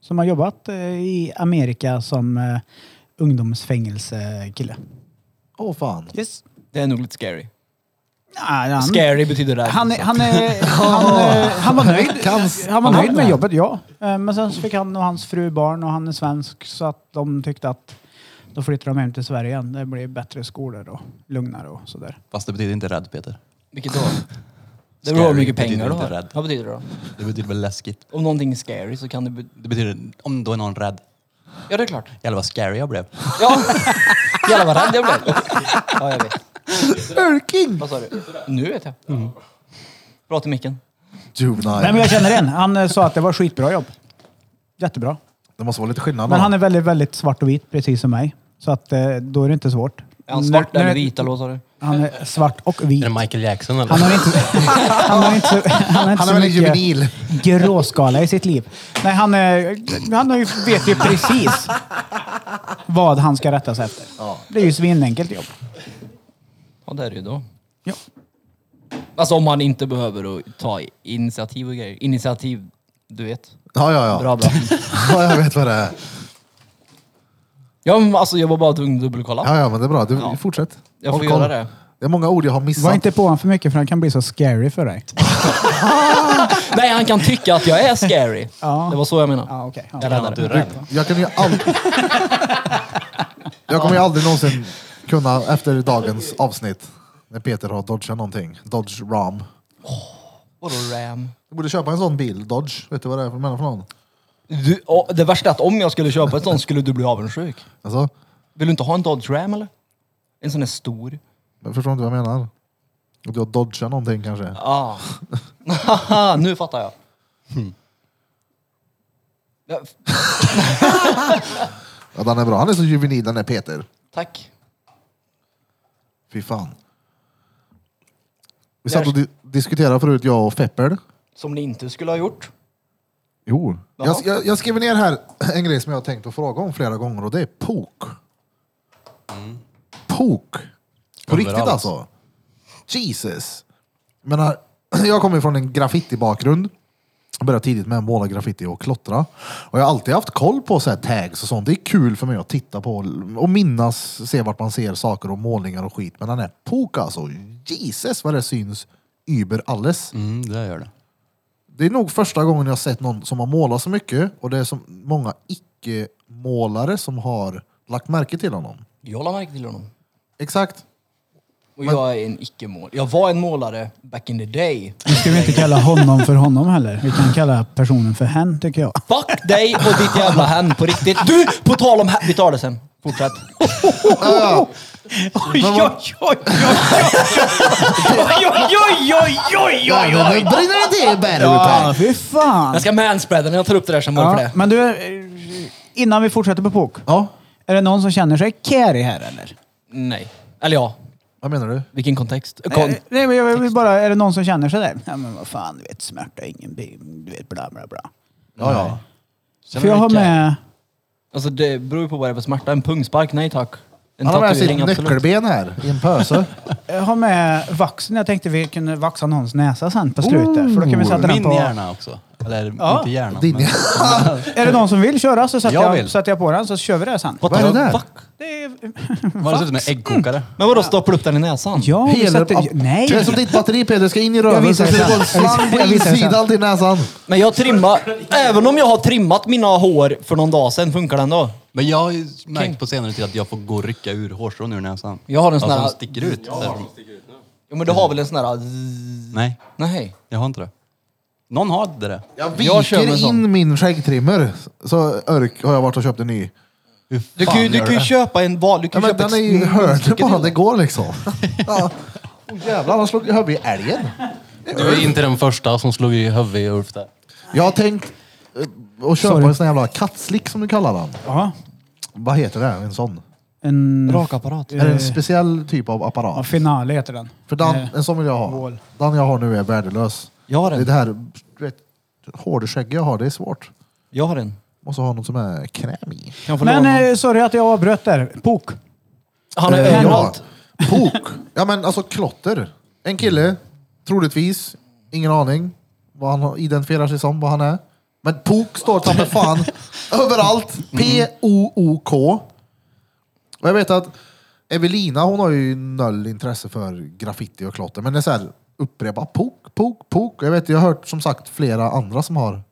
Speaker 3: Som har jobbat eh, i Amerika som eh, ungdomsfängelsekille.
Speaker 1: Åh fan.
Speaker 3: Yes.
Speaker 2: Det är nog lite scary.
Speaker 3: Nej, han,
Speaker 2: Scary betyder det.
Speaker 3: han, är- han, är- han, eh, han var nöjd. Han var nöjd med jobbet, ja. Eh, Men sen så fick han och hans fru barn och han är svensk så att de tyckte att då flyttar de hem till Sverige igen. Det blir bättre skolor och lugnare och sådär.
Speaker 5: Fast det betyder inte rädd, Peter.
Speaker 2: Vilket då? Det beror på hur mycket
Speaker 5: Scary
Speaker 2: pengar
Speaker 5: betyder
Speaker 2: du
Speaker 5: inte
Speaker 2: har.
Speaker 5: rädd.
Speaker 2: Vad betyder det då?
Speaker 5: Det betyder väl läskigt.
Speaker 2: Om någonting är scary så kan det... Be-
Speaker 5: Det betyder om då är någon rädd.
Speaker 2: ja, det är klart.
Speaker 5: Jävlar vad scary jag blev.
Speaker 2: Ja. Jävlar vad rädd jag blev. Ja, jag vet.
Speaker 1: Örking!
Speaker 2: Vad sa du? Nu vet jag.
Speaker 3: Mm.
Speaker 2: Prata i micken.
Speaker 1: Juvenile.
Speaker 3: Nej men jag känner en. Han eh, sa att det var skitbra jobb. Jättebra.
Speaker 1: Det måste vara lite skillnad.
Speaker 3: Men
Speaker 1: då.
Speaker 3: han är väldigt, väldigt svart och vit, precis som mig. Så att eh, då är det inte svårt.
Speaker 2: Är han svart
Speaker 3: När-
Speaker 2: eller
Speaker 3: när-
Speaker 2: vit eller vad sa du?
Speaker 3: Han är svart och vit.
Speaker 4: Är det Michael Jackson eller?
Speaker 3: Han har inte, han har inte, så- han har inte
Speaker 1: Han
Speaker 3: så
Speaker 1: är väldigt
Speaker 3: mycket
Speaker 1: juvenil.
Speaker 3: gråskala i sitt liv. Nej, han, är, han har ju, vet ju precis vad han ska rätta sig efter. Det är ju svinenkelt jobb.
Speaker 2: Ja, det är det ju då.
Speaker 3: Ja.
Speaker 2: Alltså om han inte behöver att ta initiativ och grejer. Initiativ, du vet.
Speaker 1: Ja, ja, ja.
Speaker 2: Bra, bra.
Speaker 1: ja, jag vet vad det är.
Speaker 2: Ja, men alltså jag var bara tvungen att dubbelkolla.
Speaker 1: Ja, ja, men det är bra. Du, Fortsätt.
Speaker 2: Jag får
Speaker 1: Håll koll.
Speaker 2: göra det.
Speaker 1: Det är många ord jag har
Speaker 3: Var
Speaker 1: missat.
Speaker 3: inte på honom för mycket för han kan bli så scary för dig.
Speaker 2: Nej, han kan tycka att jag är scary.
Speaker 3: Ja.
Speaker 2: Det var så jag menade.
Speaker 3: Ja, Ah, okej.
Speaker 2: Jag
Speaker 3: ja.
Speaker 2: räddade
Speaker 5: du är
Speaker 2: det.
Speaker 5: rädd.
Speaker 1: Jag kan ju aldrig... jag kommer ju aldrig någonsin kunna, efter dagens avsnitt, när Peter har dodgat någonting, Dodge Ram.
Speaker 2: Vadå ram?
Speaker 1: Du borde köpa en sån bil, Dodge. Vet du vad det är för menar för någon?
Speaker 2: Du, och det värsta är att om jag skulle köpa ett sånt skulle du bli avundsjuk.
Speaker 1: Alltså,
Speaker 2: Vill du inte ha en Dodge Ram eller? En sån här stor.
Speaker 1: jag förstår inte vad jag menar. Att jag dodgar någonting kanske.
Speaker 2: Ja. Ah. nu fattar jag.
Speaker 3: Hmm.
Speaker 2: Ja, f-
Speaker 1: Att han är bra. Han är så juvenil den där Peter.
Speaker 2: tack.
Speaker 1: Fy fan. Vi satt och di- diskuterade förut, jag och Feppel.
Speaker 2: Som ni inte skulle ha gjort.
Speaker 1: Jo. Jag,
Speaker 2: Jaha.
Speaker 1: jag, jag skriver ner här en grej som jag har tänkt att fråga om flera gånger och det är pok. Pok? På
Speaker 4: Överallt.
Speaker 1: riktigt alltså? Jesus. Men här, jag kommer från en graffiti-bakgrund. Jag började tidigt med att måla graffiti och klottra. Och jag har alltid haft koll på så här tags och sånt. Det är kul för mig att titta på och minnas, se vart man ser saker och målningar och skit. Men den här pok alltså, Jesus vad det syns über alles.
Speaker 5: Mm, det gör det.
Speaker 1: Det är nog första gången jag sett någon som har målat så mycket och det är så många icke-målare som har lagt märke till honom.
Speaker 2: Jag la märke till honom.
Speaker 1: Exakt.
Speaker 2: Och jag är en icke-målare. Jag var en målare back in the day.
Speaker 3: Nu ska vi inte kalla honom för honom heller. Vi kan kalla personen för hen, tycker jag.
Speaker 2: Fuck dig och ditt jävla hem på riktigt. Du, på tal om hem. Vi tar det sen. Fortsätt.
Speaker 3: Oj, oj, oj, oj, oj, oj, oj,
Speaker 1: Ja, men nu brinner det till Battery
Speaker 3: Ja,
Speaker 1: Pack!
Speaker 3: Ah, fy fan.
Speaker 2: Jag ska manspreada när jag tar upp det där som ja. för
Speaker 3: Ja,
Speaker 2: det.
Speaker 3: men du, eh, innan vi fortsätter på pok.
Speaker 1: Ja,
Speaker 3: Är det någon som känner sig carry här eller?
Speaker 2: Nej. Eller ja,
Speaker 1: vad menar du?
Speaker 2: vilken kontext? Kon-
Speaker 3: Eh, Nej, men jag vill bara, är det någon som känner sig där? Ja, men vad fan, du vet smärta, ingen bim, du vet bla bla bla.
Speaker 1: Ja, ja.
Speaker 5: Känner
Speaker 3: För jag
Speaker 5: du
Speaker 3: har
Speaker 5: Mikael?
Speaker 3: med...
Speaker 2: Alltså det beror ju på vad det är för smärta. En pungspark? Nej tack. En
Speaker 1: Han har med sitt
Speaker 2: tatuering? Absolut.
Speaker 1: nyckelben här i en pöse.
Speaker 3: Jag har med vaxen. Jag tänkte vi kunde vaxa någons näsa sen på slutet. för då kan vi sätta den
Speaker 5: Min
Speaker 3: på...
Speaker 5: hjärna också. Eller
Speaker 3: Ja.
Speaker 5: inte hjärnan.
Speaker 1: Din
Speaker 5: men-
Speaker 3: Är det någon som vill köra så sätter
Speaker 5: Jag
Speaker 3: jag,
Speaker 5: vill.
Speaker 3: sätter jag på den så kör vi det sen.
Speaker 2: Vad
Speaker 1: Vad är det
Speaker 2: tar-
Speaker 1: där?
Speaker 2: fuck?
Speaker 3: Det är...
Speaker 5: Var det sett ut som en äggkokare?
Speaker 2: Men vadå, stoppar upp den i näsan?
Speaker 3: Ja, vi
Speaker 1: Hela-
Speaker 3: sätter... Nej!
Speaker 1: Det är som ditt batteri Peter, ska in i
Speaker 3: Jag
Speaker 1: röven
Speaker 3: visar
Speaker 1: så ska
Speaker 3: det
Speaker 1: det gå en
Speaker 3: sen.
Speaker 1: slang på
Speaker 3: Jag visar det
Speaker 1: insidan till näsan.
Speaker 2: Men jag trimmar, även om jag har trimmat mina hår för någon dag sedan, funkar den då?
Speaker 5: Men jag har ju märkt på senare tid att jag får gå och rycka ur hårstrån ur näsan.
Speaker 2: Jag har en sån
Speaker 5: Alltså,
Speaker 2: här-
Speaker 5: de sticker ut. därifrån.
Speaker 2: Jo men du har väl en sån här... zzz-
Speaker 5: Nej,
Speaker 2: Nej.
Speaker 5: jag har inte det. Någon har det där.
Speaker 1: Jag
Speaker 2: Jag kör med
Speaker 1: viker in
Speaker 2: sån.
Speaker 1: min skäggtrimmer. Så örk har jag varit och köpt en ny.
Speaker 5: Hur
Speaker 2: Du
Speaker 5: fan
Speaker 2: kan ju, du
Speaker 5: gör
Speaker 2: kan ju
Speaker 5: det?
Speaker 2: köpa en val... Du
Speaker 1: Ja,
Speaker 2: kan
Speaker 1: men
Speaker 2: köpa
Speaker 1: den
Speaker 2: ett
Speaker 1: är ju
Speaker 2: sn-
Speaker 1: hörd
Speaker 2: stycke
Speaker 1: på han,
Speaker 2: till.
Speaker 1: det går liksom. Ja. Oh, jävlar, han slog huvudet i älgen.
Speaker 4: Du är inte den första som slog i huvudet i Ulf där.
Speaker 1: Jag har tänkt eh, att köpa
Speaker 3: Sorry.
Speaker 1: en sån jävla kattslick som du kallar den.
Speaker 3: Ja.
Speaker 1: Vad heter det? En sån?
Speaker 3: En...
Speaker 2: Rakapparat.
Speaker 1: Är det en speciell typ av apparat?
Speaker 3: Ja, finale heter den.
Speaker 1: För den,
Speaker 3: Eh,
Speaker 1: en sån vill jag ha.
Speaker 3: Vål.
Speaker 1: Den jag har nu är värdelös.
Speaker 2: Jag har
Speaker 1: Det är
Speaker 2: en.
Speaker 1: det här du vet, hårdskägget jag har, det är svårt.
Speaker 2: Jag har en.
Speaker 1: Måste ha något som är kräm i.
Speaker 2: Kan jag få
Speaker 3: Men
Speaker 2: låna?
Speaker 3: eh, sorry att jag avbröt där. Pok.
Speaker 2: Han är
Speaker 1: Eh,
Speaker 2: överallt.
Speaker 1: ja. Pok. Ja men alltså klotter. En kille, troligtvis, ingen aning vad han identifierar sig som, vad han är. Men pok står ta mig fan överallt. P-O-O-K. Och jag vet att Evelina hon har ju noll intresse för graffiti och klotter. Men det är så här upprepa pok, pok, pok. Jag vet, jag har hört som sagt flera andra som har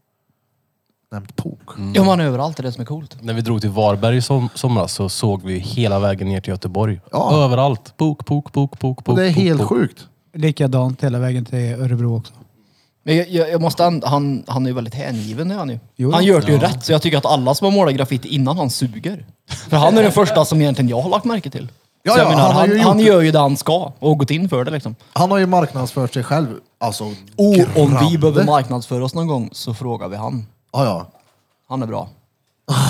Speaker 1: nämnt pok.
Speaker 4: Mm.
Speaker 2: Ja men han är överallt, det är det som är coolt.
Speaker 4: När vi drog till Varberg i som, somras så såg vi hela vägen ner till Göteborg.
Speaker 1: Ja.
Speaker 4: Överallt. Bok, bok, bok, bok, bok.
Speaker 1: Och det är
Speaker 4: bok,
Speaker 1: helt
Speaker 4: bok.
Speaker 1: sjukt.
Speaker 3: Likadant hela vägen till Örebro också.
Speaker 2: Men jag, jag, jag måste an- han, han är ju väldigt hängiven är han ju.
Speaker 3: Jo.
Speaker 2: han gör det ju rätt, så jag tycker att alla som har målat graffiti innan han suger. För han är den första som egentligen jag har lagt märke till.
Speaker 1: Ja,
Speaker 2: så jag
Speaker 1: ja,
Speaker 2: menar,
Speaker 1: han
Speaker 2: han,
Speaker 1: har
Speaker 2: han,
Speaker 1: ju gjort-
Speaker 2: gör ju det han ska och gått in för det liksom.
Speaker 1: Han har ju marknadsfört sig själv. Alltså,
Speaker 4: Oh,
Speaker 2: Och om vi
Speaker 1: grande.
Speaker 2: behöver marknadsföra oss någon gång så frågar vi han.
Speaker 1: Ah, Ja, ja.
Speaker 2: Han är bra.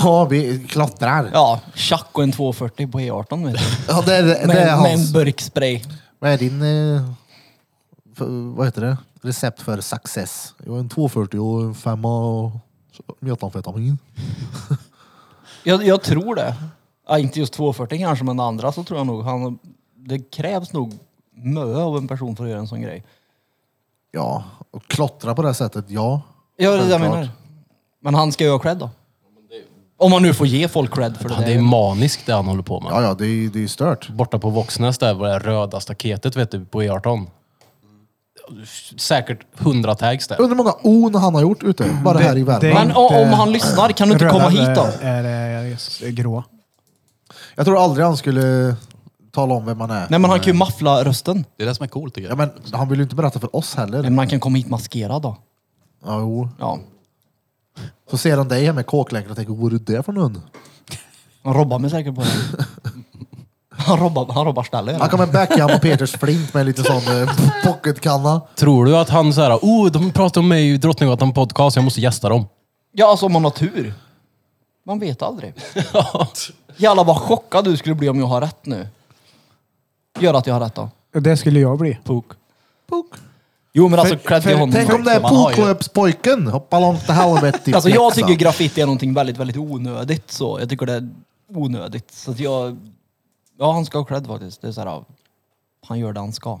Speaker 1: Ja, vi klottrar. Ja,
Speaker 2: Ja, tjack och en 240 på E18 vet du.
Speaker 1: det är, det
Speaker 2: Med,
Speaker 1: är
Speaker 2: med en
Speaker 1: hans.
Speaker 2: burk spray.
Speaker 1: Vad är din... Eh, för, vad heter det? Recept för success? Jo, en 240 och en femma och metamfetamin.
Speaker 2: Jag, jag tror det. Ja, inte just 240 kanske, men det andra så tror jag nog han... Det krävs nog mö av en person för att göra en sån grej.
Speaker 1: Ja, och klottra på det här sättet, ja.
Speaker 2: Ja, det är det jag
Speaker 1: Självklart.
Speaker 2: menar. Men han ska ju ha cred då. Om man nu får ge folk cred för det.
Speaker 4: Ja, det
Speaker 2: där.
Speaker 4: är maniskt det han håller på med.
Speaker 1: Ja, ja, det är ju det är ju stört.
Speaker 4: Borta på Våxnäs där var det röda staketet vet du, på E18. Säkert hundra tags där.
Speaker 1: Undrar hur många on han har gjort ute, bara här i världen.
Speaker 2: Men
Speaker 3: inte-
Speaker 2: o- om han lyssnar, kan du inte
Speaker 3: Röda
Speaker 2: komma hit då?
Speaker 3: Är, eh, är, just grå.
Speaker 1: Jag tror aldrig han skulle tala om vem han är.
Speaker 2: Nej men han kan ju maffla rösten.
Speaker 5: Det är det som är coolt tycker
Speaker 1: Ja,
Speaker 5: jag.
Speaker 1: men han vill ju inte berätta för oss
Speaker 2: Nej,
Speaker 1: heller.
Speaker 2: men han kan komma hit maskerad då.
Speaker 1: Ja, jo.
Speaker 2: Ja.
Speaker 1: Så ser han dig här med kåklänken och tänker, vad är det för någon?
Speaker 2: Han robbar mig säkert på det. Han robbar, han robbar stället.
Speaker 1: Han kommer backhand på Peters flint med en liten sån eh, pocketkanna.
Speaker 4: Tror du att han såhär, oh de pratar om mig i Drottninggatan podcast, jag måste gästa dem.
Speaker 2: Ja alltså om man har tur. Man vet aldrig. Jävlar vad chockad du skulle bli om jag har rätt nu. Gör att jag har rätt då.
Speaker 3: Och Det skulle jag bli.
Speaker 2: Pok. Jo men alltså cred till honom.
Speaker 1: Tänk om det är
Speaker 2: Man har ju-
Speaker 1: poklöpspojken! Hoppa långt till helvete.
Speaker 2: Alltså jag
Speaker 1: flexa.
Speaker 2: tycker graffiti är någonting väldigt, väldigt onödigt så. Jag tycker det är onödigt. Så att jag... Ja, han ska ha cred faktiskt. Det är så här, han gör det han ska.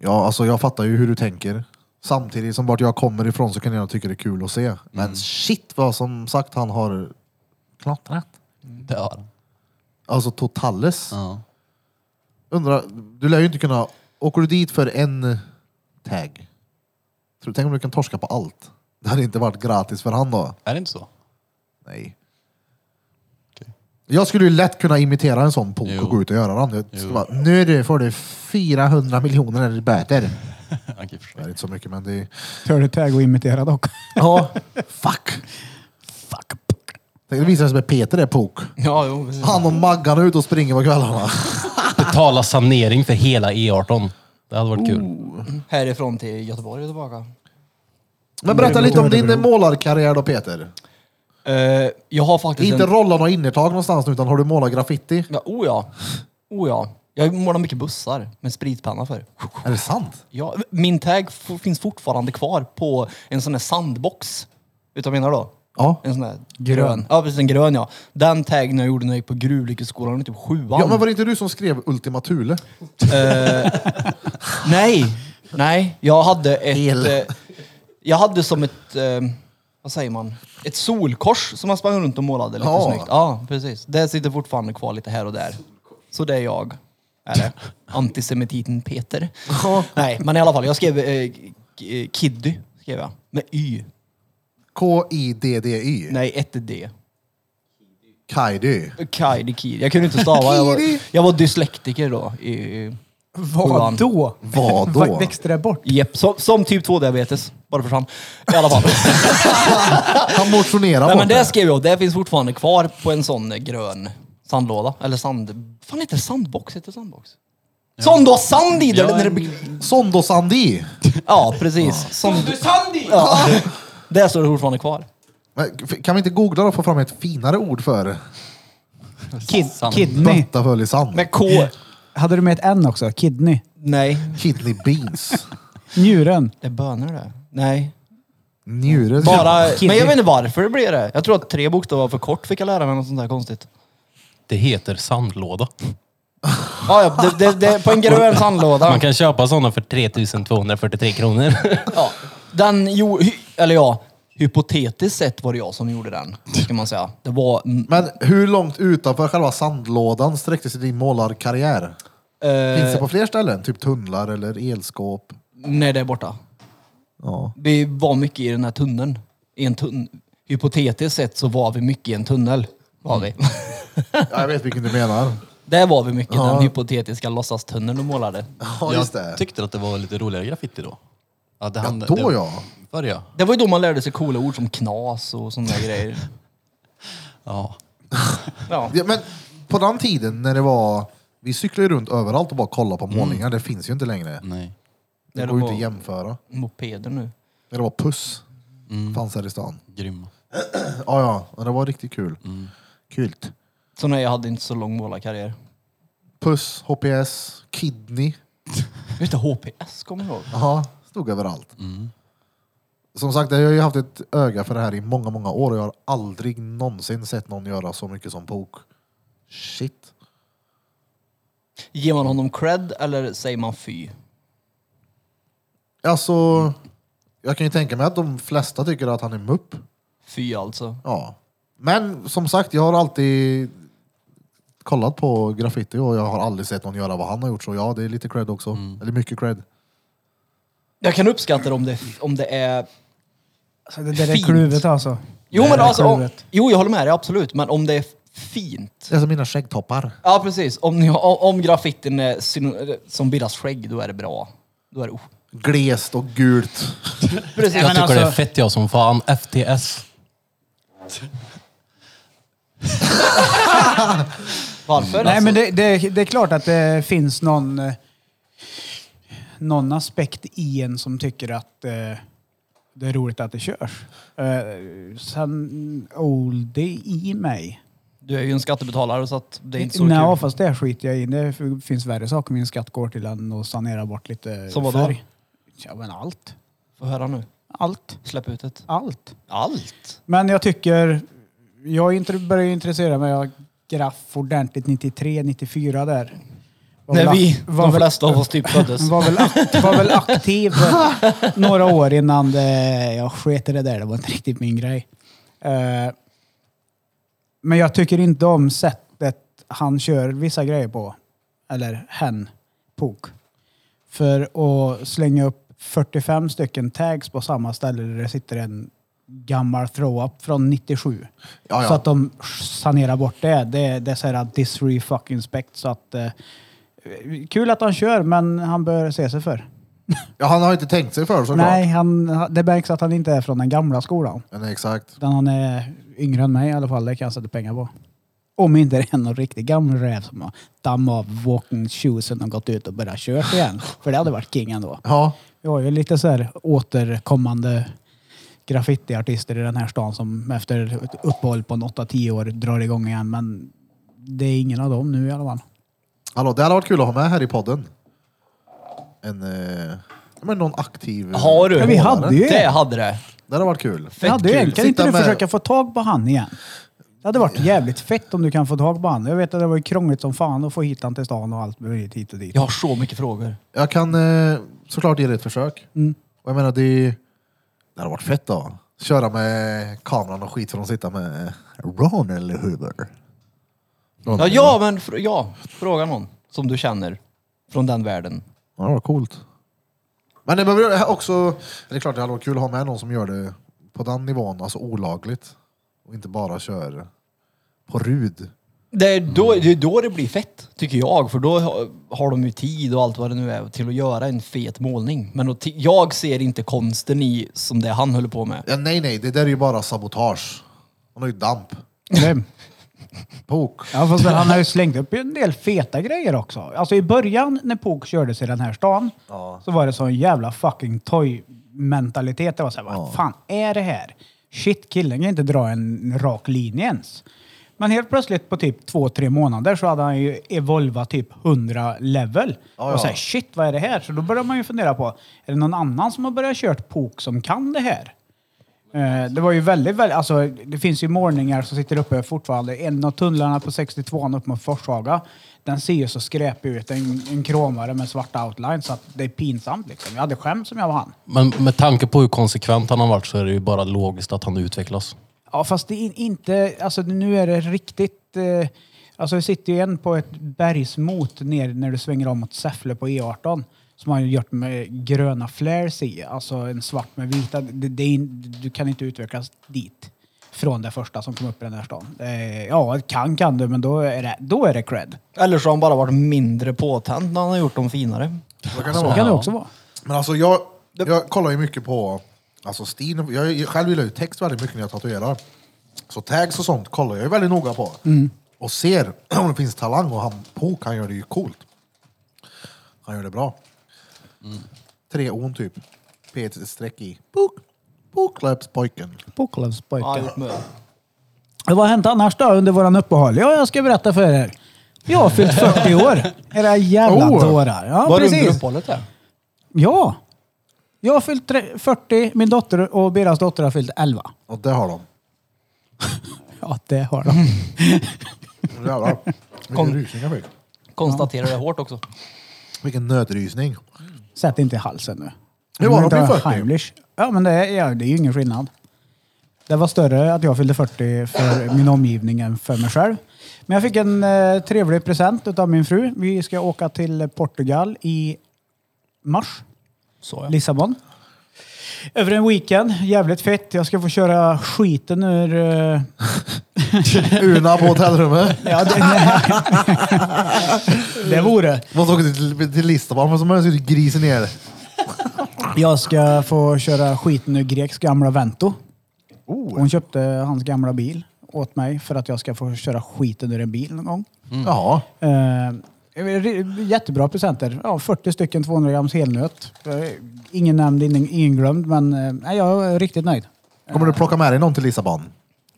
Speaker 1: Ja, alltså jag fattar ju hur du tänker. Samtidigt som vart jag kommer ifrån så kan jag tycka det är kul att
Speaker 2: Mm.
Speaker 1: se. Men shit vad som sagt han har knottrat.
Speaker 5: Det har han.
Speaker 1: Alltså totales.
Speaker 5: Ja.
Speaker 1: Undrar, du lär ju inte kunna... Åker du dit för en tag? Tror, tänk om du kan torska på allt. Det hade inte varit gratis för han då.
Speaker 5: Är det inte så?
Speaker 1: Nej.
Speaker 5: Okej.
Speaker 1: Jag skulle ju lätt kunna imitera en sån pok
Speaker 5: Jo.
Speaker 1: och gå ut och göra den. Jag skulle bara, nu du får du 400 miljoner i böter.
Speaker 5: Okej, förstår.
Speaker 1: Det är inte så mycket men det är...
Speaker 3: Turtle tag och imitera dock.
Speaker 1: Ja, fuck. Fuck. Tänk, Det visar sig med Peter är pok.
Speaker 2: Ja, jo. precis.
Speaker 1: Han och Maggan är ute och springer på kvällarna.
Speaker 4: Betala sanering för hela E18. Det hade varit
Speaker 1: Oh.
Speaker 4: kul.
Speaker 2: Härifrån till Göteborg och tillbaka.
Speaker 1: Men berätta lite om din målarkarriär då Peter.
Speaker 2: Eh, jag har faktiskt
Speaker 1: Inte
Speaker 2: en...
Speaker 1: rolla några innertag någonstans nu, utan har du målat graffiti?
Speaker 2: Ja, oh ja. Oh ja. Jag målar mycket bussar med spritpenna för.
Speaker 1: Är det sant?
Speaker 2: Ja, min tag f- finns fortfarande kvar på en sån här sandbox. Utav menar då?
Speaker 1: Ja.
Speaker 2: En sån här grön. Ja, precis en grön ja. Den taggen jag gjorde när jag gick på gruvlyckoskolan i typ sjuan.
Speaker 1: Ja men var det inte du som skrev Ultima Thule?
Speaker 2: Nej, nej. Jag hade
Speaker 1: El.
Speaker 2: ett... Eh, jag hade som ett... Eh, vad säger man? Ett solkors som man sprang runt och målade lite
Speaker 1: Ja.
Speaker 2: snyggt. Ja, precis. Det sitter fortfarande kvar lite här och där. Så det är jag. Är det. Antisemititen Peter. nej, men i alla fall. Jag skrev eh, k- eh, Kiddy. Skrev jag. Med Y.
Speaker 1: K-I-D-D-Y.
Speaker 2: Nej, ett D.
Speaker 1: Kaidy.
Speaker 2: Kaidi Kid. Jag kunde inte stava. Jag var,
Speaker 1: Kiddy.
Speaker 2: jag var dyslektiker då. I, i, sjuan.
Speaker 3: Vad då?
Speaker 1: Vad då?
Speaker 3: Växte det bort?
Speaker 2: Jepp, som, som typ 2-diabetes. Bara försvann. I alla fall.
Speaker 1: Han motionerar
Speaker 2: Nej
Speaker 1: på
Speaker 2: men det skrev jag, det finns fortfarande kvar på en sån grön sandlåda. Eller sand... Fan heter det sandbox? Heter det sandbox? Sån då sand i där!
Speaker 5: Ja,
Speaker 2: när det
Speaker 5: en-
Speaker 2: blir-
Speaker 1: Sondosandi.
Speaker 2: ja precis. Sån du sand i! Ja. Där står det fortfarande kvar.
Speaker 1: Men Kan vi inte googla och få fram ett finare ord för
Speaker 2: Kid,
Speaker 5: Sand.
Speaker 2: kid.
Speaker 3: Kidney.
Speaker 1: bötta full i sand?
Speaker 2: Med K.
Speaker 3: Hade du med ett N också? Kidney.
Speaker 2: Nej.
Speaker 1: Kidney beans.
Speaker 3: Njuren.
Speaker 2: Det är bönor det. Nej.
Speaker 1: Njure.
Speaker 2: Bara...
Speaker 3: Kidney.
Speaker 2: Men jag vet inte varför det blev det. Jag tror att tre bokstäver var för kort fick jag lära mig något sånt där konstigt.
Speaker 4: Det heter sandlåda.
Speaker 2: Ja, ja det, det, det, på en grön sandlåda.
Speaker 4: Man kan köpa sådana för 3243 kronor.
Speaker 2: Ja, den jo, hy, eller ja, hypotetiskt sett var det jag som gjorde den, kan man säga. Det var, mm,
Speaker 1: Men hur långt utanför själva sandlådan sträckte sig din målarkarriär?
Speaker 2: Eh.
Speaker 1: Finns det på fler ställen? Typ tunnlar eller elskåp?
Speaker 2: nej det är borta.
Speaker 1: Ja.
Speaker 2: Vi var mycket i den här tunneln. I en tunn, hypotetiskt sett så var vi mycket i en tunnel. Var vi.
Speaker 1: Ja, Jag vet vilken du menar.
Speaker 2: Där var vi mycket,
Speaker 1: Mm. Ja.
Speaker 2: den hypotetiska låtsastunneln du målade.
Speaker 1: Ja, just det.
Speaker 5: Jag tyckte att det var lite roligare graffiti då. Att det
Speaker 1: Ja,
Speaker 5: hände-
Speaker 1: då
Speaker 5: det-
Speaker 1: ja.
Speaker 5: Förr ja.
Speaker 2: Det var ju då man lärde sig coola ord som knas och sådana grejer.
Speaker 5: Ja.
Speaker 2: Ja.
Speaker 1: Ja, men på den tiden när det var... Vi cyklade ju runt överallt och bara kollade på målningar. Det finns ju inte längre.
Speaker 5: Nej.
Speaker 1: Det
Speaker 2: det
Speaker 1: går ju
Speaker 2: var-
Speaker 1: inte att jämföra.
Speaker 2: Mopeder nu.
Speaker 1: När det var puss. Fanns här i stan.
Speaker 5: Grym.
Speaker 1: Ja, ja. Och Det var riktigt kul. Kult.
Speaker 2: Så nej, jag hade inte så lång målarkarriär.
Speaker 1: Puss, HPS, Kidney.
Speaker 2: Just det, HPS kommer jag ihåg.
Speaker 1: Ja, stod överallt. Som sagt, jag har ju haft ett öga för det här i många, många år och jag har aldrig någonsin sett någon göra så mycket som Pok. Shit.
Speaker 2: Ger man honom cred eller säger man fy?
Speaker 1: Alltså, jag kan ju tänka mig att de flesta tycker att han är mupp.
Speaker 2: Fy alltså.
Speaker 1: Ja. Men som sagt, jag har alltid kollat på graffiti och jag har aldrig sett någon göra vad han har gjort. Så ja, det är lite cred också. Eller mycket cred.
Speaker 2: Jag kan uppskatta det om det, om det är...
Speaker 3: Alltså, det där är
Speaker 2: Fint.
Speaker 3: kluvet alltså.
Speaker 2: Jo,
Speaker 3: Det
Speaker 2: men
Speaker 3: där är
Speaker 2: alltså, om,
Speaker 3: kluvet.
Speaker 2: jo, jag håller med dig, absolut. Men om det är fint.
Speaker 1: Det är som mina skäggtoppar.
Speaker 2: Ja, precis. Om, ni, har- om graffitin är syno- som bildas skägg, då är det bra. Då är det... Oh.
Speaker 1: Glest och gult.
Speaker 2: Precis.
Speaker 4: Jag
Speaker 3: men
Speaker 4: tycker det är
Speaker 3: alltså-
Speaker 4: fett jag som fan. FTS.
Speaker 2: Varför?
Speaker 3: Nej,
Speaker 2: alltså?
Speaker 3: men det, det, det är klart att det finns någon, eh, någon aspekt i en som tycker att eh, det är roligt att det körs. Eh, sen, oh, det är i mig.
Speaker 2: Du är ju en skattebetalare så att det är inte så
Speaker 3: Nej,
Speaker 2: kul.
Speaker 3: fast det skiter jag i. Det finns värre saker min skatt går till än att sanera bort lite
Speaker 2: Som vadå?
Speaker 3: färg. Ja, men allt.
Speaker 2: Få höra nu.
Speaker 3: Allt.
Speaker 2: Släpp ut det.
Speaker 3: Allt.
Speaker 2: Allt?
Speaker 3: Men jag tycker... Jag är inte- började intressera mig av graff ordentligt 93, 94 där. Var
Speaker 2: När
Speaker 3: väl
Speaker 2: vi,
Speaker 3: ak- var
Speaker 2: de
Speaker 3: väl-
Speaker 2: flesta av oss, typ föddes.
Speaker 3: Var väl, ak- var väl aktiv några år innan det, jag sket i det där. Det var inte riktigt min grej. Eh, men jag tycker inte om sättet han kör vissa grejer på. Eller hen, Pok. För att slänga upp 45 stycken tags på samma ställe där det sitter en gammal throw-up från 97.
Speaker 1: Ja, ja.
Speaker 3: Så att de sanerar bort det. Det, det är så här disre fucking spect. Så att, eh, kul att han kör, men han bör se sig för.
Speaker 1: Ja, han har inte tänkt sig för såklart.
Speaker 3: Nej, han, det märks att han inte är från den gamla skolan.
Speaker 1: Men exakt.
Speaker 3: Utan han är yngre än mig i alla fall, det kan jag sätta pengar på. Om inte det är någon riktig gammal räv som har dammat av walking shoesen och gått ut och börjat köra igen. För det hade varit king ändå.
Speaker 1: Ja,
Speaker 3: Vi har ju lite så här återkommande graffitiartister i den här stan som efter ett uppehåll på en 8-10 år drar igång igen. Men det är ingen av dem nu i alla fall.
Speaker 1: hallå, det hade varit kul att ha med här i podden. En, eh, ja, men någon aktiv... eh,
Speaker 2: Har du?
Speaker 3: Men vi hade ju
Speaker 2: Det
Speaker 3: en.
Speaker 2: hade det.
Speaker 1: Det hade varit kul.
Speaker 3: Vi hade ju en. Kan inte
Speaker 1: Sitta
Speaker 3: du
Speaker 1: med-
Speaker 3: försöka få tag på han igen? Det hade varit jävligt fett om du kan få tag på han. Jag vet att det var ju krångligt som fan att få hit han till stan och allt möjligt hit och dit.
Speaker 2: Jag har så mycket frågor.
Speaker 1: Jag kan eh, såklart ge det ett försök.
Speaker 3: Mm.
Speaker 1: Och jag menar, det, det hade varit fett då. Köra med kameran och skit för att sitta med Ron eller Huber. Ron
Speaker 2: Ja,
Speaker 1: eller-
Speaker 2: ja men fr- ja, fråga någon som du känner från den världen.
Speaker 1: Ja, det var coolt. Men det behöver också... Det är klart det hade varit kul att ha med någon som gör det på den nivån, alltså olagligt. Och inte bara kör på rud.
Speaker 2: Det är, då, det är då det blir fett, tycker jag. För då ha- har de ju tid och allt vad det nu är till att göra en fet målning. Men då, ti- jag ser inte konsten i som det han höll på med.
Speaker 1: Ja, nej, nej, det där är ju bara sabotage. Han har ju damp.
Speaker 3: Vem?
Speaker 1: Pok.
Speaker 3: Ja, fast han har ju slängt upp en del feta grejer också. Alltså i början när Pok kördes i den här stan så var det sån jävla fucking toy-mentalitet. Det var såhär, vad fan är det här? Shit, killen kan inte dra en rak linje ens. Men helt plötsligt på typ två, tre månader så hade han ju Evolva typ 100 level.
Speaker 1: Ja,
Speaker 3: Och
Speaker 1: ja.
Speaker 3: såhär, shit vad är det här? Så då börjar man ju fundera på, är det någon annan som har börjat kört Pok som kan det här? Eh, Det var ju väldigt, väldigt, alltså det finns ju målningar som sitter uppe fortfarande. En av tunnlarna på 62an upp mot Forshaga, den ser ju så skräpig ut. En, en kromare med svarta outlines, så att det är pinsamt liksom. Jag hade skämts om jag var han.
Speaker 4: Men med tanke på hur konsekvent han har varit så är det ju bara logiskt att han utvecklas.
Speaker 3: Ja, fast det är inte, alltså nu är det riktigt, eh, alltså vi sitter ju en på ett bergsmot ner när du svänger om mot Säffle på E18 som har gjort med gröna flares i, alltså en svart med vita. Det, det är, in- du kan inte utvecklas dit från det första som kom upp i den här stan. Eh, ja, kan kan du, men då är det, då är det cred.
Speaker 2: Eller så har han bara varit mindre påtänd när han har gjort dem finare.
Speaker 1: Så kan det
Speaker 3: Så
Speaker 1: vara.
Speaker 3: kan det också vara.
Speaker 1: Men alltså jag, jag kollar ju mycket på alltså Stin. Jag, jag själv gillar ju text väldigt mycket när jag tatuerar. Så tags och sånt kollar jag ju väldigt noga på. Och ser om det finns talang och han på han gör det ju coolt. Han gör det bra. Tre on typ. P ett streck i. Bok. Boklöpspojken.
Speaker 2: Ja, jag har
Speaker 3: Påklavspojken.
Speaker 2: gjort med.
Speaker 3: Vad har hänt annars då under våran uppehåll? Ja, jag ska berätta för er. Jag har fyllt 40 år. Era jävla
Speaker 1: Oh.
Speaker 3: dårar. Ja,
Speaker 2: Var det under
Speaker 3: precis.
Speaker 2: uppehållet där?
Speaker 3: Ja. Jag har fyllt tre- 40, min dotter och Beras dotter har fyllt 11.
Speaker 1: Och det har de.
Speaker 3: Ja, det har de.
Speaker 1: Jävlar. Vilken rysning jag fick.
Speaker 2: Konstaterar det hårt också.
Speaker 1: Vilken nötrysning.
Speaker 3: Sätt inte i halsen nu.
Speaker 1: Hur var
Speaker 3: Men
Speaker 1: de
Speaker 3: inte
Speaker 1: vid 40?
Speaker 3: Heimlich. Ja, men det är, ja, det är ju ingen skillnad. Det var större att jag fyllde 40 för min omgivning än för mig själv. Men jag fick en eh, trevlig present av min fru. Vi ska åka till Portugal i mars.
Speaker 2: Så ja.
Speaker 3: Lissabon. Över en weekend. Jävligt fett. Jag ska få köra skiten ur... eh,
Speaker 1: Urna på hotellrummet.
Speaker 3: ja, det, det vore.
Speaker 1: Måste åka till, till Lissabon för som helst sitter grisen ner.
Speaker 3: Jag ska få köra skiten ur Greks gamla Vento.
Speaker 2: Oh.
Speaker 3: Hon köpte hans gamla bil åt mig för att jag ska få köra skiten ur en bil någon gång.
Speaker 1: Jaha.
Speaker 3: Eh, ri- jättebra presenter. Ja, 40 stycken 200 grams helnöt. Eh, Ingen nämnd, ingen, ingen glömd, men eh, nej, jag är riktigt nöjd.
Speaker 1: Kommer du plocka med dig någon till Lissabon?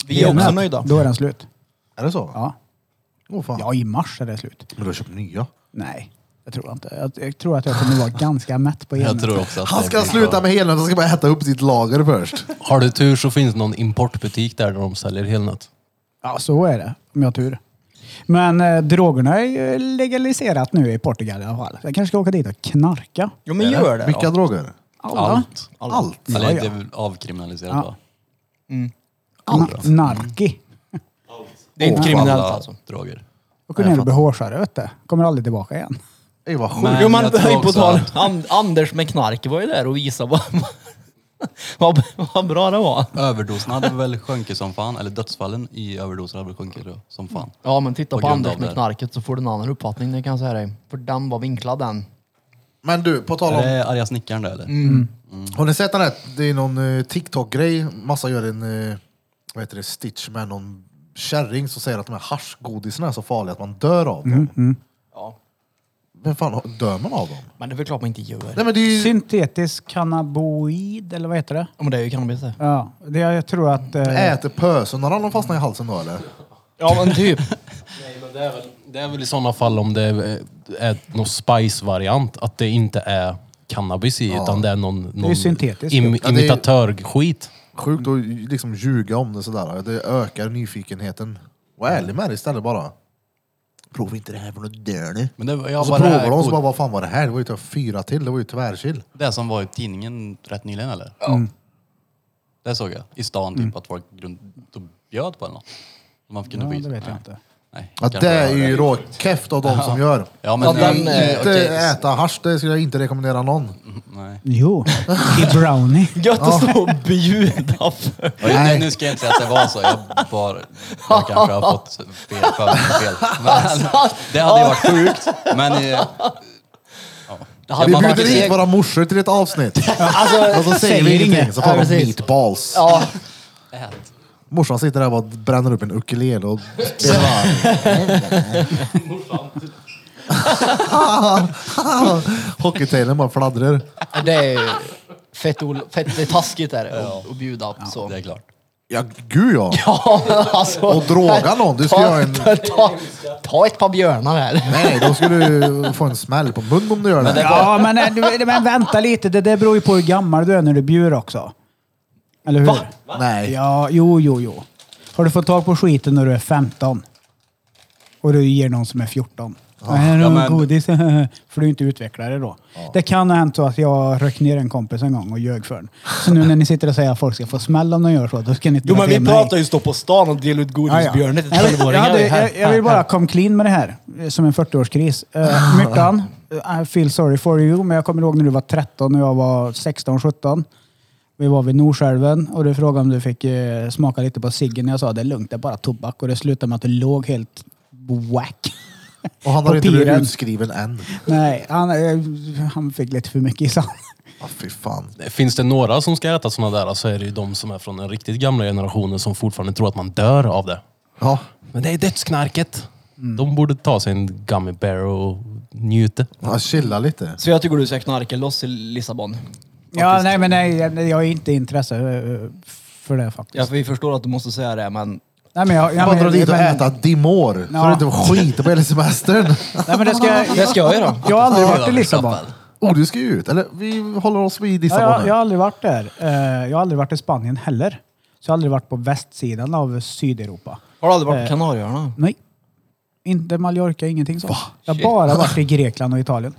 Speaker 2: Vi är också
Speaker 3: Helnöt,
Speaker 2: nöjda. Oh,
Speaker 3: Då är den slut.
Speaker 1: Är det så?
Speaker 3: Ja.
Speaker 1: Åh fan.
Speaker 3: ja, i mars är det slut.
Speaker 1: Men du har köpt nya.
Speaker 3: Nej, det tror jag inte. Jag, jag tror att jag kommer vara ganska mätt på
Speaker 4: Jag
Speaker 3: helnöt.
Speaker 4: tror också att
Speaker 1: Han
Speaker 4: det
Speaker 1: ska
Speaker 4: blir
Speaker 1: sluta
Speaker 4: bra.
Speaker 1: med helnöt, han ska bara äta upp sitt lager först.
Speaker 4: Har du tur så finns det någon importbutik där de säljer helnöt.
Speaker 3: Ja, så är det. Om jag har tur. Men eh, drogerna är ju legaliserat nu i Portugal i alla fall. Jag kanske ska åka dit och knarka.
Speaker 2: Jo men gör det
Speaker 1: Vilka
Speaker 2: då.
Speaker 1: droger?
Speaker 3: Alla.
Speaker 5: Allt.
Speaker 1: Allt.
Speaker 5: Eller
Speaker 3: Ja,
Speaker 5: det är väl avkriminaliserat
Speaker 3: Ja.
Speaker 5: va?
Speaker 3: Allt. Narki.
Speaker 2: Det är inte kriminellt
Speaker 5: Alla
Speaker 2: alltså.
Speaker 5: droger.
Speaker 3: Åker
Speaker 5: Nej,
Speaker 3: ner
Speaker 5: jag
Speaker 3: och blir hårsare, vet du. Kommer aldrig tillbaka igen.
Speaker 1: Ej vad sjukt.
Speaker 5: Men
Speaker 2: Jo, man
Speaker 5: jag tror
Speaker 2: höll på
Speaker 5: också
Speaker 2: tal.
Speaker 5: att-
Speaker 2: An- Anders med knark var ju där och visade vad, vad, vad bra det var.
Speaker 5: Överdosen hade väl sjunkit som fan, eller dödsfallen i överdoser hade väl sjunkit då, som fan.
Speaker 2: Ja, men titta
Speaker 5: På
Speaker 2: på,
Speaker 5: grund
Speaker 2: Anders
Speaker 5: av
Speaker 2: med
Speaker 5: det.
Speaker 2: knarket så får du en annan uppfattning, det kan jag säga dig. För den var vinklad den.
Speaker 1: Men du, på tal
Speaker 5: Är
Speaker 1: om...
Speaker 5: det arga snickaren där eller?
Speaker 1: Mm. Har ni sett den här? Det är någon eh, TikTok-grej. Massa gör en eh, vad heter det, stitch med någon kärring som säger att de här haschgodisarna är så farliga att man dör av dem.
Speaker 2: Ja.
Speaker 1: Vem fan har- dör man av dem?
Speaker 2: Men det är väl klart man inte gör.
Speaker 1: Nej men det är ju...
Speaker 3: Syntetisk cannaboid, eller vad heter det?
Speaker 2: Ja, men det är ju cannabis det.
Speaker 3: Ja, det, jag tror att... Eh,
Speaker 1: Äter pösen, har de fastnat i halsen då eller?
Speaker 2: Ja, men typ.
Speaker 4: Nej, men det, är väl, det är väl i sådana fall om det är, är någon spice-variant, att det inte är cannabis i, utan det är någon, någon
Speaker 3: syntetiskt.
Speaker 4: Im,
Speaker 1: Ja, det är-
Speaker 4: imitatörskit.
Speaker 1: Sjukt att liksom ljuga om det sådär. Det ökar nyfikenheten. Var ärlig med det istället bara. Prova inte det här för då dör ni.
Speaker 5: Men det, var- ja,
Speaker 1: Och så
Speaker 5: var det,
Speaker 1: provar
Speaker 5: här,
Speaker 1: de och så bara,
Speaker 5: god-
Speaker 1: vad fan var det här? Det var ju typ fyra till, det var ju tvärchill.
Speaker 5: det som var i tidningen rätt nyligen eller?
Speaker 3: Mm.
Speaker 5: Det såg jag. I stan typ att folk grund, de bjöd på eller något. Man kunde
Speaker 3: ja,
Speaker 5: få i
Speaker 3: det
Speaker 5: sig.
Speaker 3: vet jag
Speaker 5: Nej.
Speaker 3: inte.
Speaker 5: Nej,
Speaker 1: Ja,
Speaker 5: kanske
Speaker 1: det är
Speaker 5: jag hörde.
Speaker 1: ju råkeft av de som gör.
Speaker 5: Ja men...
Speaker 2: Ja, den,
Speaker 5: nej,
Speaker 2: eh,
Speaker 1: Inte
Speaker 5: okej.
Speaker 1: äta hasch, det skulle jag inte rekommendera någon.
Speaker 5: Nej.
Speaker 3: Jo, i brownie.
Speaker 2: Gött att stå och bjuda för.
Speaker 5: Nej. Nu ska jag inte säga att det var så. Jag, bara, jag kanske har fått fel. fel, fel. Men, det hade ju varit sjukt. Men... eh, Ja.
Speaker 1: Vi
Speaker 5: man
Speaker 1: bjuder
Speaker 5: faktiskt-
Speaker 1: hit våra morsor till ett avsnitt.
Speaker 2: Alltså,
Speaker 1: Och så säger vi ingenting, så får
Speaker 2: Ja,
Speaker 1: de
Speaker 2: precis.
Speaker 1: meatballs.
Speaker 2: Ja,
Speaker 5: Ät.
Speaker 1: Morsan sitter där och bara bränner upp en ukulele och spelar. Morsan. Hockeytailen bara fladdrar.
Speaker 2: det är fett, ol- fett det är taskigt där att att bjuda upp så.
Speaker 5: Det är klart.
Speaker 1: Ja, gud ja.
Speaker 2: Ja, alltså,
Speaker 1: Och droga någon. Du ska
Speaker 2: ta,
Speaker 1: göra en...
Speaker 2: ta, ta, ta ett par björnar här.
Speaker 1: Nej, då ska du få en smäll på munnen om du gör det.
Speaker 3: Ja, men, eh, du- men vänta lite. Det, det beror ju på hur gammal du är när du bjuder också. Eller hur?
Speaker 2: Va?
Speaker 1: Nej.
Speaker 3: Ja, jo, jo, jo. Har du fått tag på skiten när du är 15? Och du ger någon som är 14? Ja, här
Speaker 5: ja,
Speaker 3: har du
Speaker 5: men-
Speaker 3: godis. För du är inte utvecklare då. Det kan ha hänt så att jag röck ner en kompis en gång och ljög för den. Så nu när ni sitter och säger att folk ska få smäll om de gör så, då ska ni inte
Speaker 2: Jo men
Speaker 3: dra till
Speaker 2: vi
Speaker 3: mig.
Speaker 2: pratar ju stå på stan och dela ut godisbjörnar till
Speaker 3: Ja, ja. Jag, vill- jag,
Speaker 2: tolvåringar.
Speaker 3: hade-
Speaker 2: Här,
Speaker 3: jag, jag vill
Speaker 2: här,
Speaker 3: bara
Speaker 2: här.
Speaker 3: come clean med det här, eh, som en 40-årskris. Uh, Myrtan, eh, I feel sorry for you, men jag kommer ihåg när du var 13 och jag var 16-17. Vi var vid Norsälven och du frågade om du fick eh, smaka lite på ciggen. Jag sa det är lugnt, det är bara tobak. Och det slutade med att du låg helt whack.
Speaker 1: Och han har
Speaker 3: På
Speaker 1: inte blivit
Speaker 3: piren.
Speaker 1: utskriven än.
Speaker 3: Nej, han, eh, han fick lite för mycket i sand.
Speaker 1: Ah, fy fan.
Speaker 4: Finns det några som ska äta sådana där så är det ju de som är från den riktigt gamla generationen som fortfarande tror att man dör av det.
Speaker 1: Ja.
Speaker 4: Men det är dödsknarket. De borde ta sig en gummy bear och njuta.
Speaker 1: ja, chilla lite.
Speaker 2: Så jag tycker du ska knarka loss i Lissabon.
Speaker 3: Ja, nej men nej, jag jag är inte intresserad för det faktiskt.
Speaker 2: Ja, för vi förstår att du måste säga det, men
Speaker 3: Nej, men jag, jag,
Speaker 1: Bara
Speaker 3: men-
Speaker 1: dra dit och
Speaker 3: men-
Speaker 1: äta dimor.
Speaker 3: Ja.
Speaker 1: Så du inte skiter på hela semestern.
Speaker 3: Nej, men det ska,
Speaker 2: det ska jag göra.
Speaker 3: jag har aldrig varit i Lissabon.
Speaker 1: Oh, du ska ju ut. Eller vi håller oss vid
Speaker 3: Ja,
Speaker 1: Lissabon
Speaker 3: jag,
Speaker 1: nu.
Speaker 3: jag har aldrig varit där. Eh, Jag har aldrig varit i Spanien heller. Så jag har aldrig varit på västsidan av Sydeuropa.
Speaker 2: Har du aldrig varit
Speaker 3: Eh.
Speaker 2: på Kanarieöarna?
Speaker 3: Nej. Inte Mallorca, ingenting sånt. Jag har bara varit i Grekland och Italien.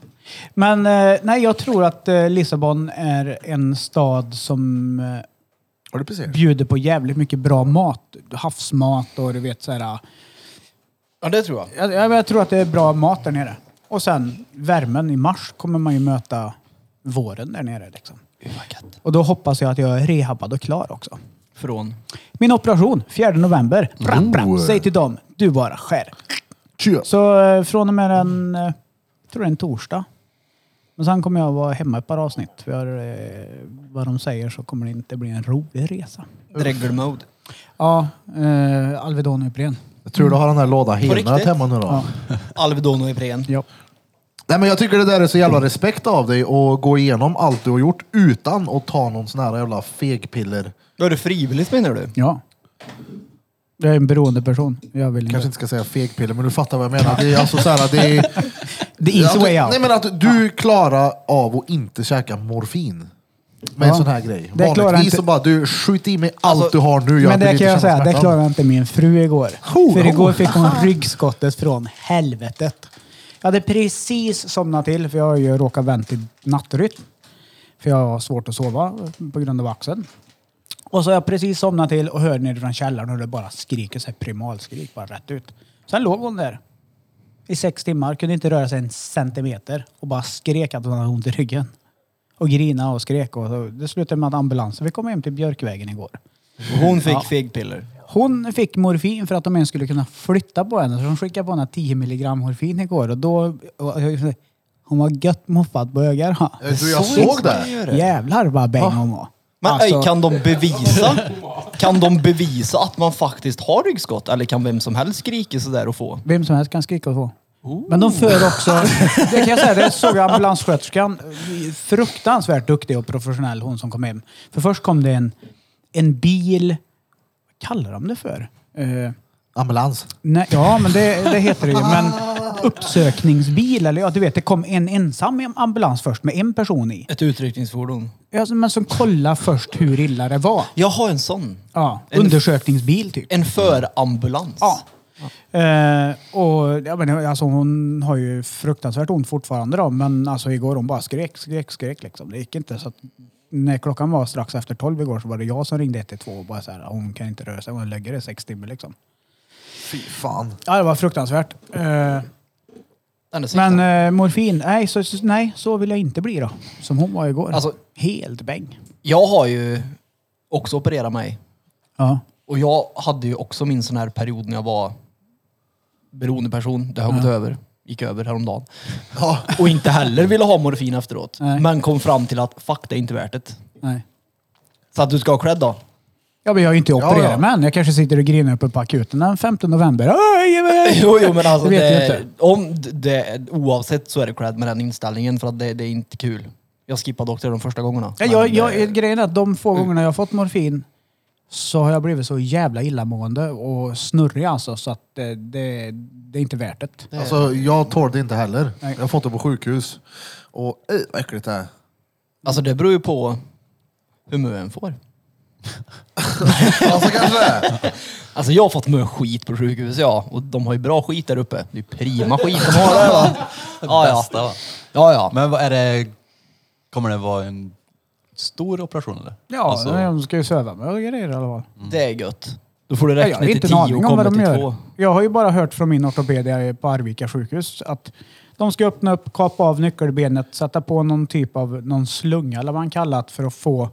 Speaker 3: Men eh, nej, jag tror att eh, Lissabon är en stad som eh,
Speaker 1: Har du precis?
Speaker 3: bjuder på jävligt mycket bra mat. Havsmat och du vet så här. eh,
Speaker 2: Ja, det tror jag.
Speaker 3: Jag, jag, jag tror att det är bra mat där nere. Och sen värmen i mars kommer man ju möta våren där nere. Liksom. Och då hoppas jag att jag är rehabbad och klar också.
Speaker 2: Från?
Speaker 3: Min operation, 4 november. Bra, bra.
Speaker 1: Oh.
Speaker 3: Säg till dem, du bara skär.
Speaker 1: Tjö.
Speaker 3: Så eh, från och med den, eh, jag tror det är en torsdag. Men sen kommer jag vara hemma ett par avsnitt. För eh, vad de säger så kommer det inte bli en rolig resa.
Speaker 2: Dregelmode.
Speaker 3: Ja, eh, Alvedon och Ipren.
Speaker 1: Jag tror du har den här lådan helnöt
Speaker 2: riktigt?
Speaker 1: hemma nu då.
Speaker 2: Alvedon och Ipren.
Speaker 3: Ja.
Speaker 1: Nej men jag tycker det där är så jävla respekt av dig att gå igenom allt du har gjort utan att ta någon sån här jävla fegpiller.
Speaker 2: Då är det frivilligt menar du?
Speaker 3: ja. Jag är en beroende person. Jag vill
Speaker 1: Kanske inte ska säga fegpiller men du fattar vad jag menar. Det är alltså så här, det är...
Speaker 3: The easy
Speaker 1: att,
Speaker 3: way out.
Speaker 1: Nej men att du klarar av att inte käka morfin. Med en
Speaker 3: Ja.
Speaker 1: sån här grej.
Speaker 3: Det klarar
Speaker 1: Vanligtvis
Speaker 3: inte-
Speaker 1: så bara du skjut i mig allt
Speaker 2: Alltså,
Speaker 1: du har nu. Jag
Speaker 3: men det
Speaker 1: vill inte
Speaker 3: kan
Speaker 1: känna
Speaker 3: jag säga, det
Speaker 1: smärtan.
Speaker 3: klarade inte min fru igår.
Speaker 1: Ho,
Speaker 3: För
Speaker 1: ho.
Speaker 3: igår fick hon ryggskottet från helvetet. Jag hade precis somnat till, för jag har ju råkat vänt i nattrytm. För jag har svårt att sova på grund av axeln. Och så har jag precis somnat till och hör nerifrån källaren hur det bara skriker så här primalskrik, bara rätt ut. Sen låg hon där i sex timmar, kunde inte röra sig en centimeter och bara skrek att hon hade ont i ryggen. Och grina och skrek och så- det slutade med att ambulansen fick komma hem till Björkvägen igår.
Speaker 2: Hon fick
Speaker 3: Ja.
Speaker 2: fegpiller.
Speaker 3: Hon fick morfin för att de ens skulle kunna flytta på henne. Så de skickade på henne 10 milligram morfin igår. Och då, och jag- hon var gött moffad på ögat. va?
Speaker 1: Eh, Du, jag
Speaker 2: Så
Speaker 1: såg
Speaker 2: inte
Speaker 1: det.
Speaker 2: man gör
Speaker 3: Jävlar vad bäng hon var.
Speaker 2: Ah. Men
Speaker 3: Alltså,
Speaker 2: ej, kan de bevisa? Kan de bevisa att man faktiskt har ryggskott? Eller kan vem som helst skrika sådär och få?
Speaker 3: Vem som helst kan skrika och så. Men de för också... Det kan jag säga, det såg jag ambulanssköterskan. Fruktansvärt duktig och professionell hon som kom hem. För först kom det en, en bil... Vad kallar de det för? Eh,
Speaker 1: Ambulans.
Speaker 3: Nej, ja, men det, det heter det ju. Men uppsökningsbil, eller ja, du vet, det kom en ensam ambulans först med en person i.
Speaker 2: Ett utryckningsfordon.
Speaker 3: Alltså, men som kollade först hur illa det var.
Speaker 2: Jag har en sån.
Speaker 3: Ja,
Speaker 2: En-
Speaker 3: undersökningsbil typ.
Speaker 2: En förambulans.
Speaker 3: Ja. Eh, och, ja, men, alltså, hon har ju fruktansvärt ont fortfarande då, men alltså, igår hon bara skrek, skrek, skrek. Liksom. Det gick inte. Så att, när klockan var strax efter tolv igår så var det jag som ringde 112 och bara så här, hon kan inte röra sig, hon lägger det sex timmar liksom.
Speaker 1: Fy fan.
Speaker 3: Ja, det var fruktansvärt. Eh,
Speaker 2: Den är
Speaker 3: Men
Speaker 2: Men,
Speaker 3: eh, morfin, nej så, så- nej så vill jag inte bli då. Som hon var igår.
Speaker 2: Alltså-
Speaker 3: Helt bäng.
Speaker 2: jag har ju också opererat mig.
Speaker 3: Ja.
Speaker 2: Och jag hade ju också min sån här period när jag var beroendeperson. Det har gått över. Gick över häromdagen. Och inte heller ville ha morfin efteråt.
Speaker 3: Nej.
Speaker 2: Men kom fram till att fuck, det är inte värt det.
Speaker 3: Nej.
Speaker 2: Så att du ska ha cred då.
Speaker 3: Ja men jag är ju inte opererad
Speaker 1: Ja, ja.
Speaker 3: men jag kanske sitter och grinar uppe på akuten den 15 november. Aj, ge mig det!
Speaker 2: Jo, jo men alltså
Speaker 3: Det
Speaker 2: det
Speaker 3: vet jag inte.
Speaker 2: Om d- det, oavsett så är det cred med den inställningen för att det, det är inte kul. Jag skippade också det de första gångerna.
Speaker 3: Ja, jag,
Speaker 2: Men, eh,
Speaker 3: jag, grejen är att de få gångerna jag har fått morfin så har jag blivit så jävla illamående och snurrig alltså så att eh, det, det är inte värt det.
Speaker 1: Alltså jag tål det inte heller.
Speaker 3: Nej.
Speaker 1: Jag har fått det på sjukhus. Och eh, vad äckligt det är.
Speaker 2: Alltså det beror ju på hur mycket en får.
Speaker 1: Alltså kanske det är.
Speaker 2: Alltså jag har fått mycket skit på sjukhuset ja. Och de har ju bra skit där uppe. Det är ju prima skit de har där va. Ja ja.
Speaker 5: Bästa va?
Speaker 2: ja, ja.
Speaker 5: Men vad är det, kommer det vara en stor operation eller?
Speaker 3: Ja,
Speaker 5: Alltså,
Speaker 3: de ska ju söva mig och grejer i alla fall.
Speaker 2: Det är gött. Mm. Då får du
Speaker 3: Nej, Jag
Speaker 2: räkna
Speaker 3: har
Speaker 2: till
Speaker 3: inte en
Speaker 2: tio och
Speaker 3: aning om
Speaker 2: komma
Speaker 3: vad de
Speaker 2: till
Speaker 3: gör.
Speaker 2: två.
Speaker 3: Jag har ju bara hört från min ortoped där på Arvika sjukhus att de ska öppna upp, kapa av nyckelbenet, sätta på någon typ av någon slunga eller vad man kallar det för att få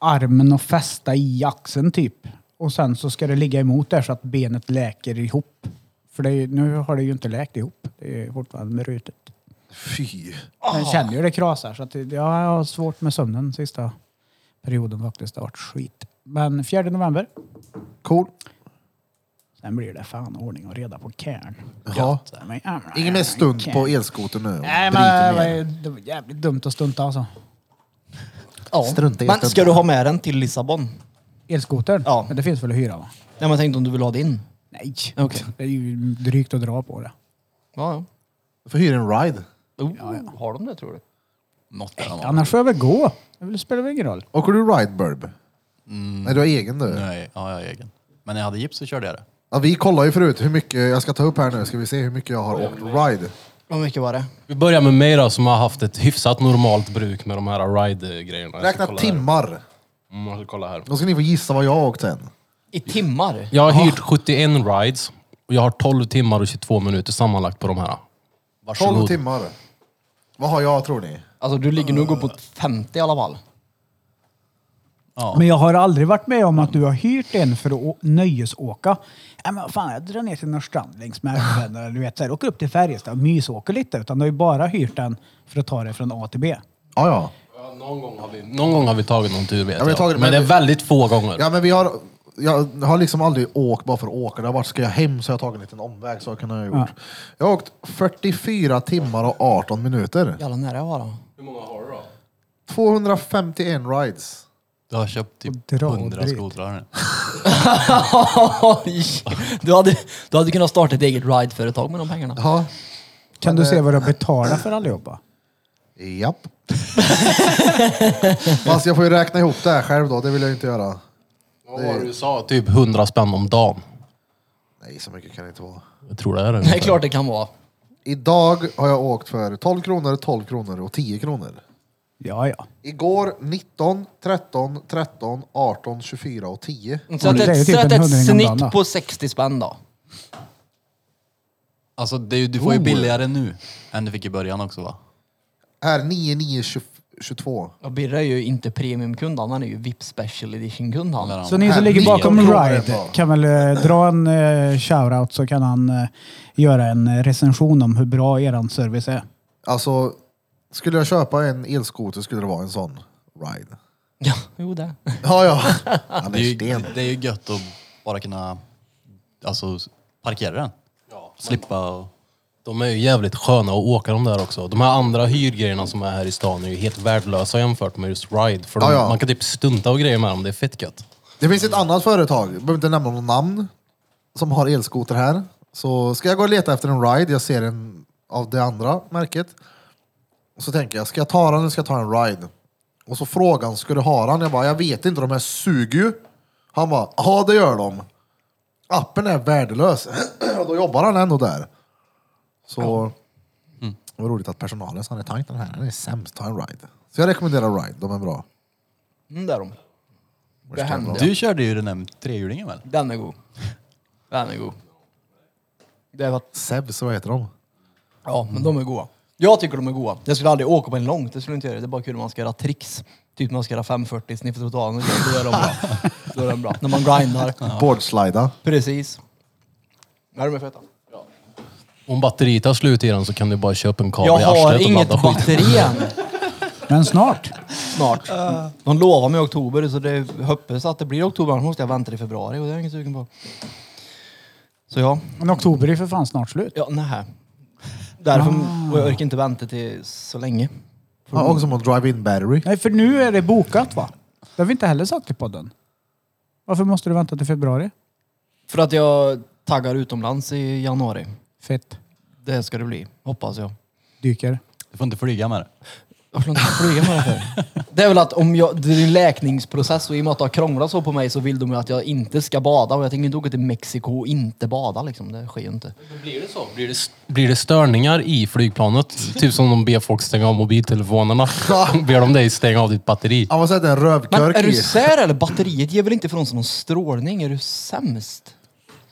Speaker 3: armen att fästa i axeln typ. Och sen så ska det ligga emot där så att benet läker ihop. För det är, ju- nu har det ju inte läkt ihop. Det är fortfarande rutet.
Speaker 1: Fy.
Speaker 3: Jag känner ju det krasar så att det- jag har svårt med sömnen sista perioden faktiskt. Det har varit skit. Men 4 november
Speaker 1: Cool.
Speaker 3: Sen blir det fan ordning och reda på Cairn.
Speaker 1: Ja.
Speaker 3: Men, jävlar,
Speaker 1: Ingen mer stunt
Speaker 3: Cairn.
Speaker 1: på elskoter nu.
Speaker 3: Nej,
Speaker 1: Bryter
Speaker 3: men
Speaker 1: ner.
Speaker 3: det var jävligt dumt att stunta alltså.
Speaker 2: Ja.
Speaker 1: Strunta i
Speaker 2: Men
Speaker 1: att-
Speaker 2: ska du ha med den till Lissabon?
Speaker 3: Elskotern?
Speaker 2: Ja.
Speaker 3: Men det finns väl att hyra va?
Speaker 2: Nej men tänkte om du vill ha din?
Speaker 3: Nej.
Speaker 2: Okej.
Speaker 3: Det är ju drygt att dra på det.
Speaker 2: Ja, ja.
Speaker 1: Du får hyra en ride.
Speaker 2: Oh, Har de det tror du?
Speaker 5: Något där var.
Speaker 3: Annars får jag väl gå. Det väl- spelar väl ingen roll.
Speaker 1: Åker du ride Burb?
Speaker 4: Mm.
Speaker 1: Nej, du har egen du.
Speaker 5: Nej, ja, jag har egen. Men när jag hade gips så körde jag det.
Speaker 1: Ja, vi kollade ju förut hur mycket, jag ska ta upp här nu, ska vi se hur mycket jag har åkt ride.
Speaker 2: Hur mycket var det?
Speaker 4: Vi börjar med mig då som har haft ett hyfsat normalt bruk med de här ride-grejerna. Jag ska
Speaker 1: Räkna
Speaker 4: kolla
Speaker 1: timmar.
Speaker 4: Här. Mm, jag ska kolla här.
Speaker 1: Då ska ni få gissa vad jag har åkt sen.
Speaker 2: I timmar?
Speaker 4: Jag har hyrt 71 rides och jag har 12 timmar och 22 minuter sammanlagt på de här.
Speaker 1: 12
Speaker 4: Varsågod.
Speaker 1: timmar. Vad har jag tror ni?
Speaker 2: Alltså du ligger nog på 50 i alla fall.
Speaker 5: Ja.
Speaker 3: Men jag har aldrig varit med om att du har hyrt en för att å- nöjesåka. Nej men vad fan, jag drar ner till Norrstrand längs med älven eller du vet så här, åker upp till Färjestad och mysåker lite. Utan du har ju bara hyrt den för att ta det från A till B.
Speaker 1: Ja, ja.
Speaker 4: Ja, Någon gång, har vi, någon gång har vi tagit någon tur vet
Speaker 1: vi har
Speaker 4: jag.
Speaker 1: tagit-
Speaker 4: men det är väldigt få gånger.
Speaker 1: Ja, men vi har, jag har liksom aldrig åkt bara för att åka. Det har varit, ska jag hem så har jag tagit en liten omväg. Så har jag kunnat ha gjort. Jag har åkt 44 timmar och 18 minuter.
Speaker 2: Jävlar nära jag var då.
Speaker 4: Hur många har du då?
Speaker 1: 251 rides.
Speaker 5: Du har köpt typ
Speaker 3: Och dra och
Speaker 5: 100
Speaker 3: drygt.
Speaker 5: skotrar nu.
Speaker 2: Oj. du, hade, du hade kunnat starta ett eget ride-företag med de pengarna.
Speaker 1: Ja.
Speaker 3: Kan du se vad du har betalat för allihopa?
Speaker 1: Japp. Fast jag får ju räkna ihop det här själv då. Det vill jag ju inte göra.
Speaker 4: Vad var det du sa? Typ 100 spänn om dagen.
Speaker 1: Nej, så mycket kan det inte vara.
Speaker 4: Jag tror det är det.
Speaker 2: Det är klart det kan vara.
Speaker 1: Idag har jag åkt för 12 kronor, 12 kronor och 10 kronor.
Speaker 3: Ja, ja.
Speaker 1: Igår 19, 13, 13, 18, 24 och 10.
Speaker 2: Så att
Speaker 3: det är ju
Speaker 2: ett,
Speaker 3: typ
Speaker 2: så att
Speaker 3: en
Speaker 2: ett
Speaker 3: hundring om dagen, då.
Speaker 2: snitt på 60 spänn då.
Speaker 5: Alltså det är, ju- du får ju billigare nu än du fick i början också va?
Speaker 1: Här 9, 9, 20, 22.
Speaker 2: Och Birra är ju inte premiumkund, han han är ju VIP special edition-kund han.
Speaker 5: Där
Speaker 3: Så ni som
Speaker 1: Här,
Speaker 3: ligger
Speaker 1: nio
Speaker 3: bakom
Speaker 1: kronor
Speaker 3: Ride
Speaker 1: bara.
Speaker 3: kan väl eh, dra en eh, shoutout så kan han eh, göra en eh, recension om hur bra eran service är.
Speaker 1: Alltså, skulle jag köpa en elskoter skulle det vara en sån ride.
Speaker 2: Ja, jo det.
Speaker 1: Ja, ja. Han
Speaker 5: Det, är
Speaker 1: är
Speaker 5: ju,
Speaker 1: sten.
Speaker 5: det är ju gött att bara kunna alltså, parkera den. Slippa och...
Speaker 4: De är ju jävligt sköna att åka de där också. De här andra hyrgrejerna som är här i stan är ju helt värdelösa jämfört med just ride. För de,
Speaker 1: Ja, ja.
Speaker 4: man kan typ stunta och grejer med dem, det är fett gött.
Speaker 1: Det finns ett annat företag, jag behöver inte nämna något namn, som har elskoter här. Så ska jag gå och leta efter en ride, jag ser en av det andra märket. Och så tänker jag, ska jag ta den eller ska jag ta en ride? Och så frågar han, ska du ha den? Jag bara, jag vet inte, de här suger ju. Han bara, ja det gör de. Appen är värdelös. och då jobbar han ändå där. Så... Det var roligt att personalen sa, han är tajt den här, den är sämst, ta en ride. Så jag rekommenderar ride, de är bra.
Speaker 2: Mm, det är de. Det händer.
Speaker 5: Du körde ju den där trehjulingen väl?
Speaker 2: Den är god. Den är god. Det var,
Speaker 1: Sebs, vad heter de?
Speaker 2: ja, men de är goda. Jag tycker de är goda. Jag skulle aldrig åka på en långt, det skulle jag inte göra. Det är bara kul om man ska göra tricks. Typ man ska göra 540, sniffa totalen och grejer. då är de bra. Då är de bra. När man grindar.
Speaker 1: Boardslida.
Speaker 2: Precis. Ja, de är feta.
Speaker 4: Om batteriet tar slut i den så kan du bara köpa en kabel
Speaker 2: Jag
Speaker 4: i arslet
Speaker 2: har
Speaker 4: och
Speaker 2: inget
Speaker 4: ladda skiten.
Speaker 2: batteri än.
Speaker 3: Men snart.
Speaker 2: snart. De lovar mig oktober så det hoppas att det blir oktober annars måste jag vänta till februari och det är jag inget sugen på. Så ja,
Speaker 3: Men oktober är för fan snart slut.
Speaker 2: ja nej. Därför, och jag orkar inte vänta till så länge.
Speaker 1: Ja, också mot drive-in battery.
Speaker 3: Nej, för nu är det bokat va? Det har vi inte heller sagt i podden. Varför måste du vänta till februari?
Speaker 2: För att jag taggar utomlands i januari.
Speaker 3: Fett.
Speaker 2: Det ska det bli, hoppas jag.
Speaker 3: Dyker.
Speaker 5: Du får inte flyga med den.
Speaker 2: Varför inte flyga med det för? Det är väl att om jag, det är en läkningsprocess och i och med att det har krånglat så på mig så vill de ju att jag inte ska bada och jag tänker inte åka till Mexiko och inte bada liksom. Det sker ju inte.
Speaker 4: Blir det så? Blir det, blir det störningar i flygplanet? typ som de ber folk stänga av mobiltelefonerna. ber de dig stänga av ditt batteri.
Speaker 1: Han var sett en
Speaker 2: Men
Speaker 1: rövkörk
Speaker 2: är du
Speaker 1: i.
Speaker 2: sär eller? Batteriet ger väl inte ifrån sig någon strålning? Är du sämst?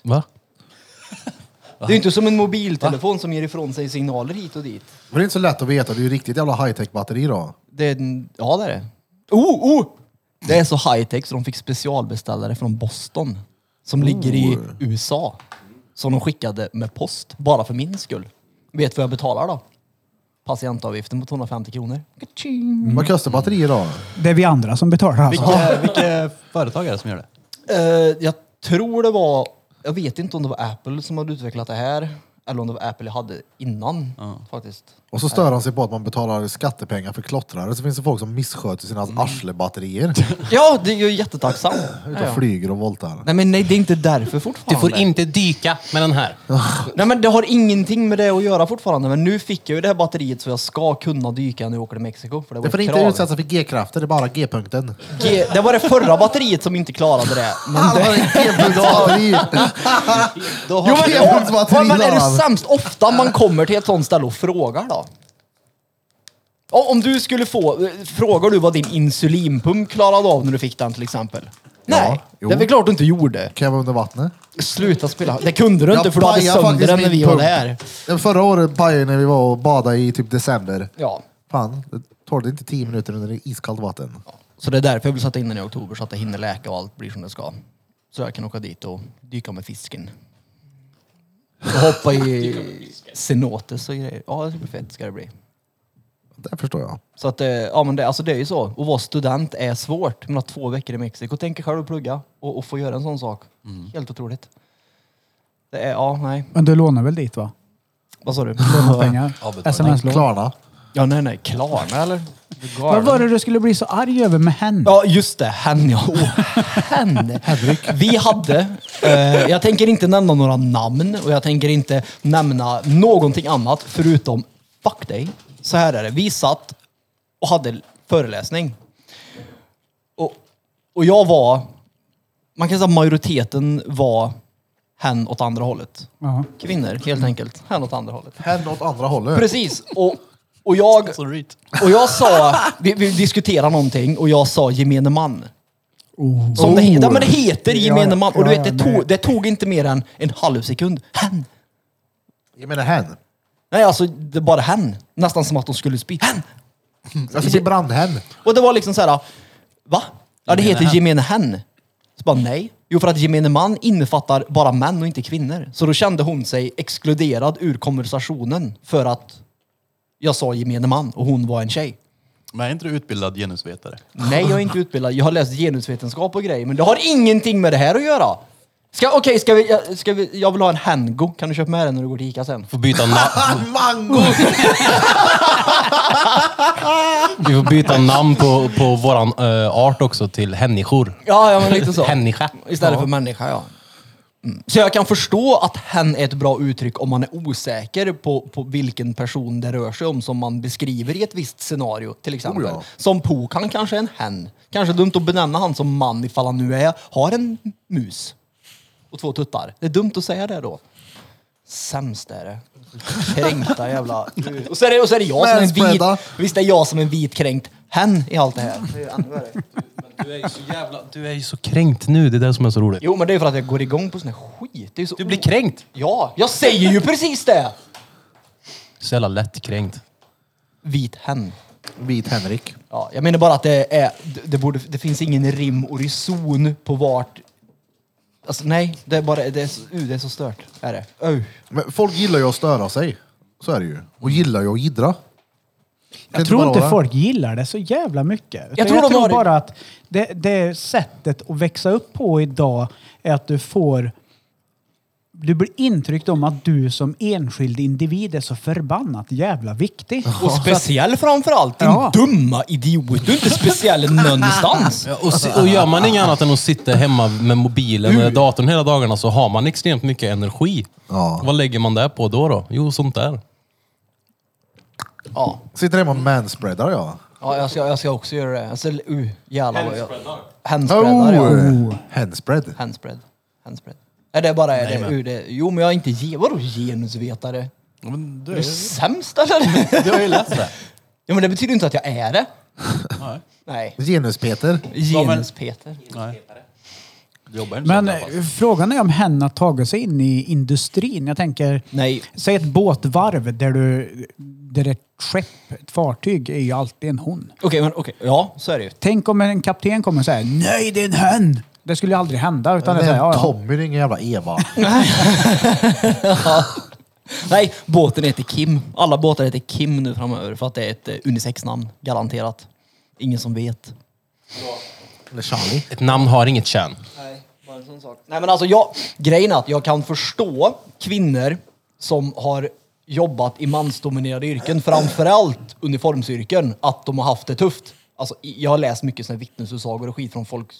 Speaker 4: Va?
Speaker 2: Det är ju inte som en mobiltelefon som ger ifrån sig signaler hit och dit.
Speaker 1: Men det är inte så lätt att veta, det är ju riktigt jävla high-tech batteri då.
Speaker 2: Det är, en- ja, det är det. Oh, oh! Det är så high-tech så de fick specialbeställare från Boston. Som ligger i USA. Som de skickade med post, bara för min skull. Vet vad jag betalar då? Patientavgiften på 250 kronor.
Speaker 1: Vad kostar batteri då?
Speaker 3: Det är vi andra som betalar alltså.
Speaker 5: Vilka, vilka företag är det som gör det?
Speaker 2: Eh, jag tror det var, jag vet inte om det var Apple som hade utvecklat det här. Eller om det var Apple jag hade innan faktiskt.
Speaker 1: Och så stör han sig på att man betalar skattepengar för klottrare. Så finns det folk som missköter sina
Speaker 2: Mm.
Speaker 1: arslebatterier.
Speaker 2: Ja, det är ju jättetacksam.
Speaker 1: Ute
Speaker 2: Ja.
Speaker 1: och flyger och voltar.
Speaker 2: Nej men nej, det är inte därför fortfarande.
Speaker 4: Du får inte dyka med den här.
Speaker 2: Nej men det har ingenting med det att göra fortfarande. Men nu fick jag ju det här batteriet så jag ska kunna dyka när jag åker till Mexiko. För det var,
Speaker 1: Det får
Speaker 2: ett
Speaker 1: inte
Speaker 2: krav.
Speaker 1: utsättas för G-krafter, det är bara G-punkten.
Speaker 2: G- det var det förra batteriet som inte klarade det. Men det...
Speaker 1: G-punktsbatteri!
Speaker 2: Jo, men,
Speaker 1: G-punktsbatteri
Speaker 2: men, men är det
Speaker 1: Laran.
Speaker 2: sämst ofta man kommer till ett sånt ställe och frågar då? Ja, Om du skulle få, eh, frågar du vad din insulinpump klarade av när du fick den till exempel? Nej,
Speaker 1: jo.
Speaker 2: det är väl klart du inte gjorde.
Speaker 1: Kan jag vara under vattnet?
Speaker 2: Sluta spela. Det kunde du inte för du hade
Speaker 1: pajade
Speaker 2: sönder
Speaker 1: faktiskt
Speaker 2: den när
Speaker 1: min
Speaker 2: vi var
Speaker 1: pump.
Speaker 2: där.
Speaker 1: Ja, Förra året pajade jag när vi var och badade i typ december.
Speaker 2: Ja,
Speaker 1: Fan, det tog det inte tio minuter under det iskallt vatten.
Speaker 2: så det är därför jag vill sätta in den i oktober så att det hinner läka och allt blir som det ska. Så jag kan åka dit och dyka med fisken. Och hoppa i cenotes och grejer. Ja, det ska bli fett ska det bli.
Speaker 1: Det förstår jag.
Speaker 2: Så att, eh, ja men det, alltså det är ju så. Att vara student är svårt. Men att två veckor i Mexiko, tänk er själv att plugga och, och få göra en sån sak. Helt otroligt. Det är, ja, nej.
Speaker 3: Men du lånar väl dit va?
Speaker 2: Vad sa du?
Speaker 3: Pengar?
Speaker 5: Avbetalning.
Speaker 3: Sms-lån?
Speaker 1: Klarna.
Speaker 2: ja, nej, nej. Klarna eller? Du är
Speaker 3: Vad
Speaker 2: galen.
Speaker 3: var det du skulle bli så arg över med hen?
Speaker 2: Ja, just det. Hen, ja. Åh, hen. Vi hade, eh, jag tänker inte nämna några namn och jag tänker inte nämna någonting annat förutom fuck dig. Så här är det. Vi satt och hade föreläsning. Och, och jag var, man kan säga att majoriteten var hen åt andra hållet.
Speaker 3: Ja.
Speaker 2: Kvinnor, helt enkelt. Hen åt andra hållet.
Speaker 1: Hände åt andra hållet.
Speaker 2: Precis. Och, och, jag, och jag sa, vi, vi diskuterade någonting och jag sa gemene man. Som det, ja, men det heter
Speaker 3: Oh. Ja,
Speaker 2: gemene
Speaker 3: ja.
Speaker 2: man. Och du
Speaker 3: Ja,
Speaker 2: vet, det
Speaker 3: ja,
Speaker 2: tog,
Speaker 3: nej.
Speaker 2: det tog inte mer än en halv sekund. Hen!
Speaker 1: Jag menar hen.
Speaker 2: Nej, alltså det är bara hen. Nästan som att de skulle spy. Hen!
Speaker 1: Jag
Speaker 3: Alltså,
Speaker 1: ska bli brandhen.
Speaker 2: Och det var liksom så här, va? Ja, det heter gemene hen. Så bara nej. Jo, för att gemene man innefattar bara män och inte kvinnor. Så då kände hon sig exkluderad ur konversationen för att jag sa gemene man och hon var en tjej.
Speaker 5: Men är inte du utbildad genusvetare?
Speaker 2: Nej, jag är inte utbildad. Jag har läst genusvetenskap och grejer, men det har ingenting med det här att göra. Ska, Okej, ska vi, jag- ska vi, jag vill ha en Hango. Kan du köpa med den när du går till Ica sen?
Speaker 4: Du får byta, na-
Speaker 1: Ah, Mango!
Speaker 4: du får byta namn på, på våran eh, art också till hänniskor.
Speaker 2: Ja, ja men lite så.
Speaker 4: Hänniska.
Speaker 2: Istället för människa, ja. Mm. Så jag kan förstå att hen är ett bra uttryck om man är osäker på, på vilken person det rör sig om som man beskriver i ett visst scenario, till exempel.
Speaker 1: Oh ja.
Speaker 2: Som Pokan kanske är en hen. Kanske dumt att benämna han som man ifall han nu är, har en mus och två tuttar. Det är dumt att säga det då. Sämst är det. Kränkta jävla... Och så är det, och så är det jag som är en vit...
Speaker 1: Manspreada.
Speaker 2: Visst är jag som en vit kränkt hen i allt det här. Det är ju ännu värre.
Speaker 4: Du är ju så jävla... Du är ju så kränkt nu, det är det som är så roligt.
Speaker 2: Jo, men det är för att jag går igång på sån här skit. Det är så
Speaker 4: Du blir kränkt!
Speaker 2: Ja, jag säger ju precis det!
Speaker 4: Så jävla lättkränkt.
Speaker 2: Vit hen.
Speaker 1: Vit Henrik.
Speaker 2: Ja, jag menar bara att det är... Det, det, borde, det finns ingen rim och reson på vart... Alltså nej, det är bara... Det är, så- uh, det är så stört. Är det. Uh.
Speaker 1: Men folk gillar ju att störa sig. Så är det ju. Och gillar ju att jiddra.
Speaker 3: Jag tror inte folk gillar det så jävla mycket. Utan Jag
Speaker 2: tror
Speaker 3: tror,
Speaker 2: de har det-
Speaker 3: bara att det, det sättet att växa upp på idag är att du får... Du blir intryckt om att du som enskild individ är så förbannat jävla viktig.
Speaker 2: Och speciell framförallt, din
Speaker 3: Ja.
Speaker 2: dumma idiot. Du är inte speciell någonstans.
Speaker 4: Ja, och, si- och gör man inget annat än att sitta hemma med mobilen eller datorn hela dagarna så har man extremt mycket energi.
Speaker 1: Ja.
Speaker 4: Vad lägger man det på då? då? Jo, sånt där.
Speaker 2: Ja,
Speaker 1: Sitter hemma och manspreadar jag.
Speaker 2: ja jag, ska, jag ska också göra det. Alltså, uh, jävlar vad jag...
Speaker 1: Oh.
Speaker 2: Handspreadar. ja.
Speaker 3: Oh.
Speaker 1: Handspread.
Speaker 2: Handspread. Handspread. Är det bara är det, ur det? Jo, men jag är inte... ge- Vadå genusvetare?
Speaker 5: Ja, men du
Speaker 2: Är du sämst eller?
Speaker 5: Du har ju läst det.
Speaker 2: Ja, men det betyder inte att jag är det.
Speaker 5: Nej.
Speaker 2: Nej.
Speaker 1: Genus-Peter.
Speaker 5: Ja, men-
Speaker 2: Genus-Peter.
Speaker 5: Nej. Du jobbar inte
Speaker 3: Men
Speaker 5: men,
Speaker 3: eh, frågan är om hen har tagit sig in i industrin. Jag tänker,
Speaker 2: Nej.
Speaker 3: säg ett båtvarv där du... Där ett skepp, ett fartyg, är ju alltid en hon.
Speaker 2: Okej, men okej. Ja, så är det ju.
Speaker 3: Tänk om en kapten kommer och säger nej det är en hen. Det skulle ju aldrig hända. Utan det är så här, ja, ja.
Speaker 1: Tommy, det är ingen jävla Eva.
Speaker 2: Nej, båten heter Kim. Alla båtar heter Kim nu framöver för att det är ett eh, unisex-namn. Garanterat. Ingen som vet.
Speaker 1: Eller Charlie.
Speaker 4: Ett namn har inget kön.
Speaker 2: Nej, bara en sån sak. Nej, men alltså jag... Grejen är att jag kan förstå kvinnor som har jobbat i mansdominerade yrken, framförallt uniformsyrken, att de har haft det tufft. Alltså, i- jag har läst mycket såna här vittnesutsagor och skit från folk,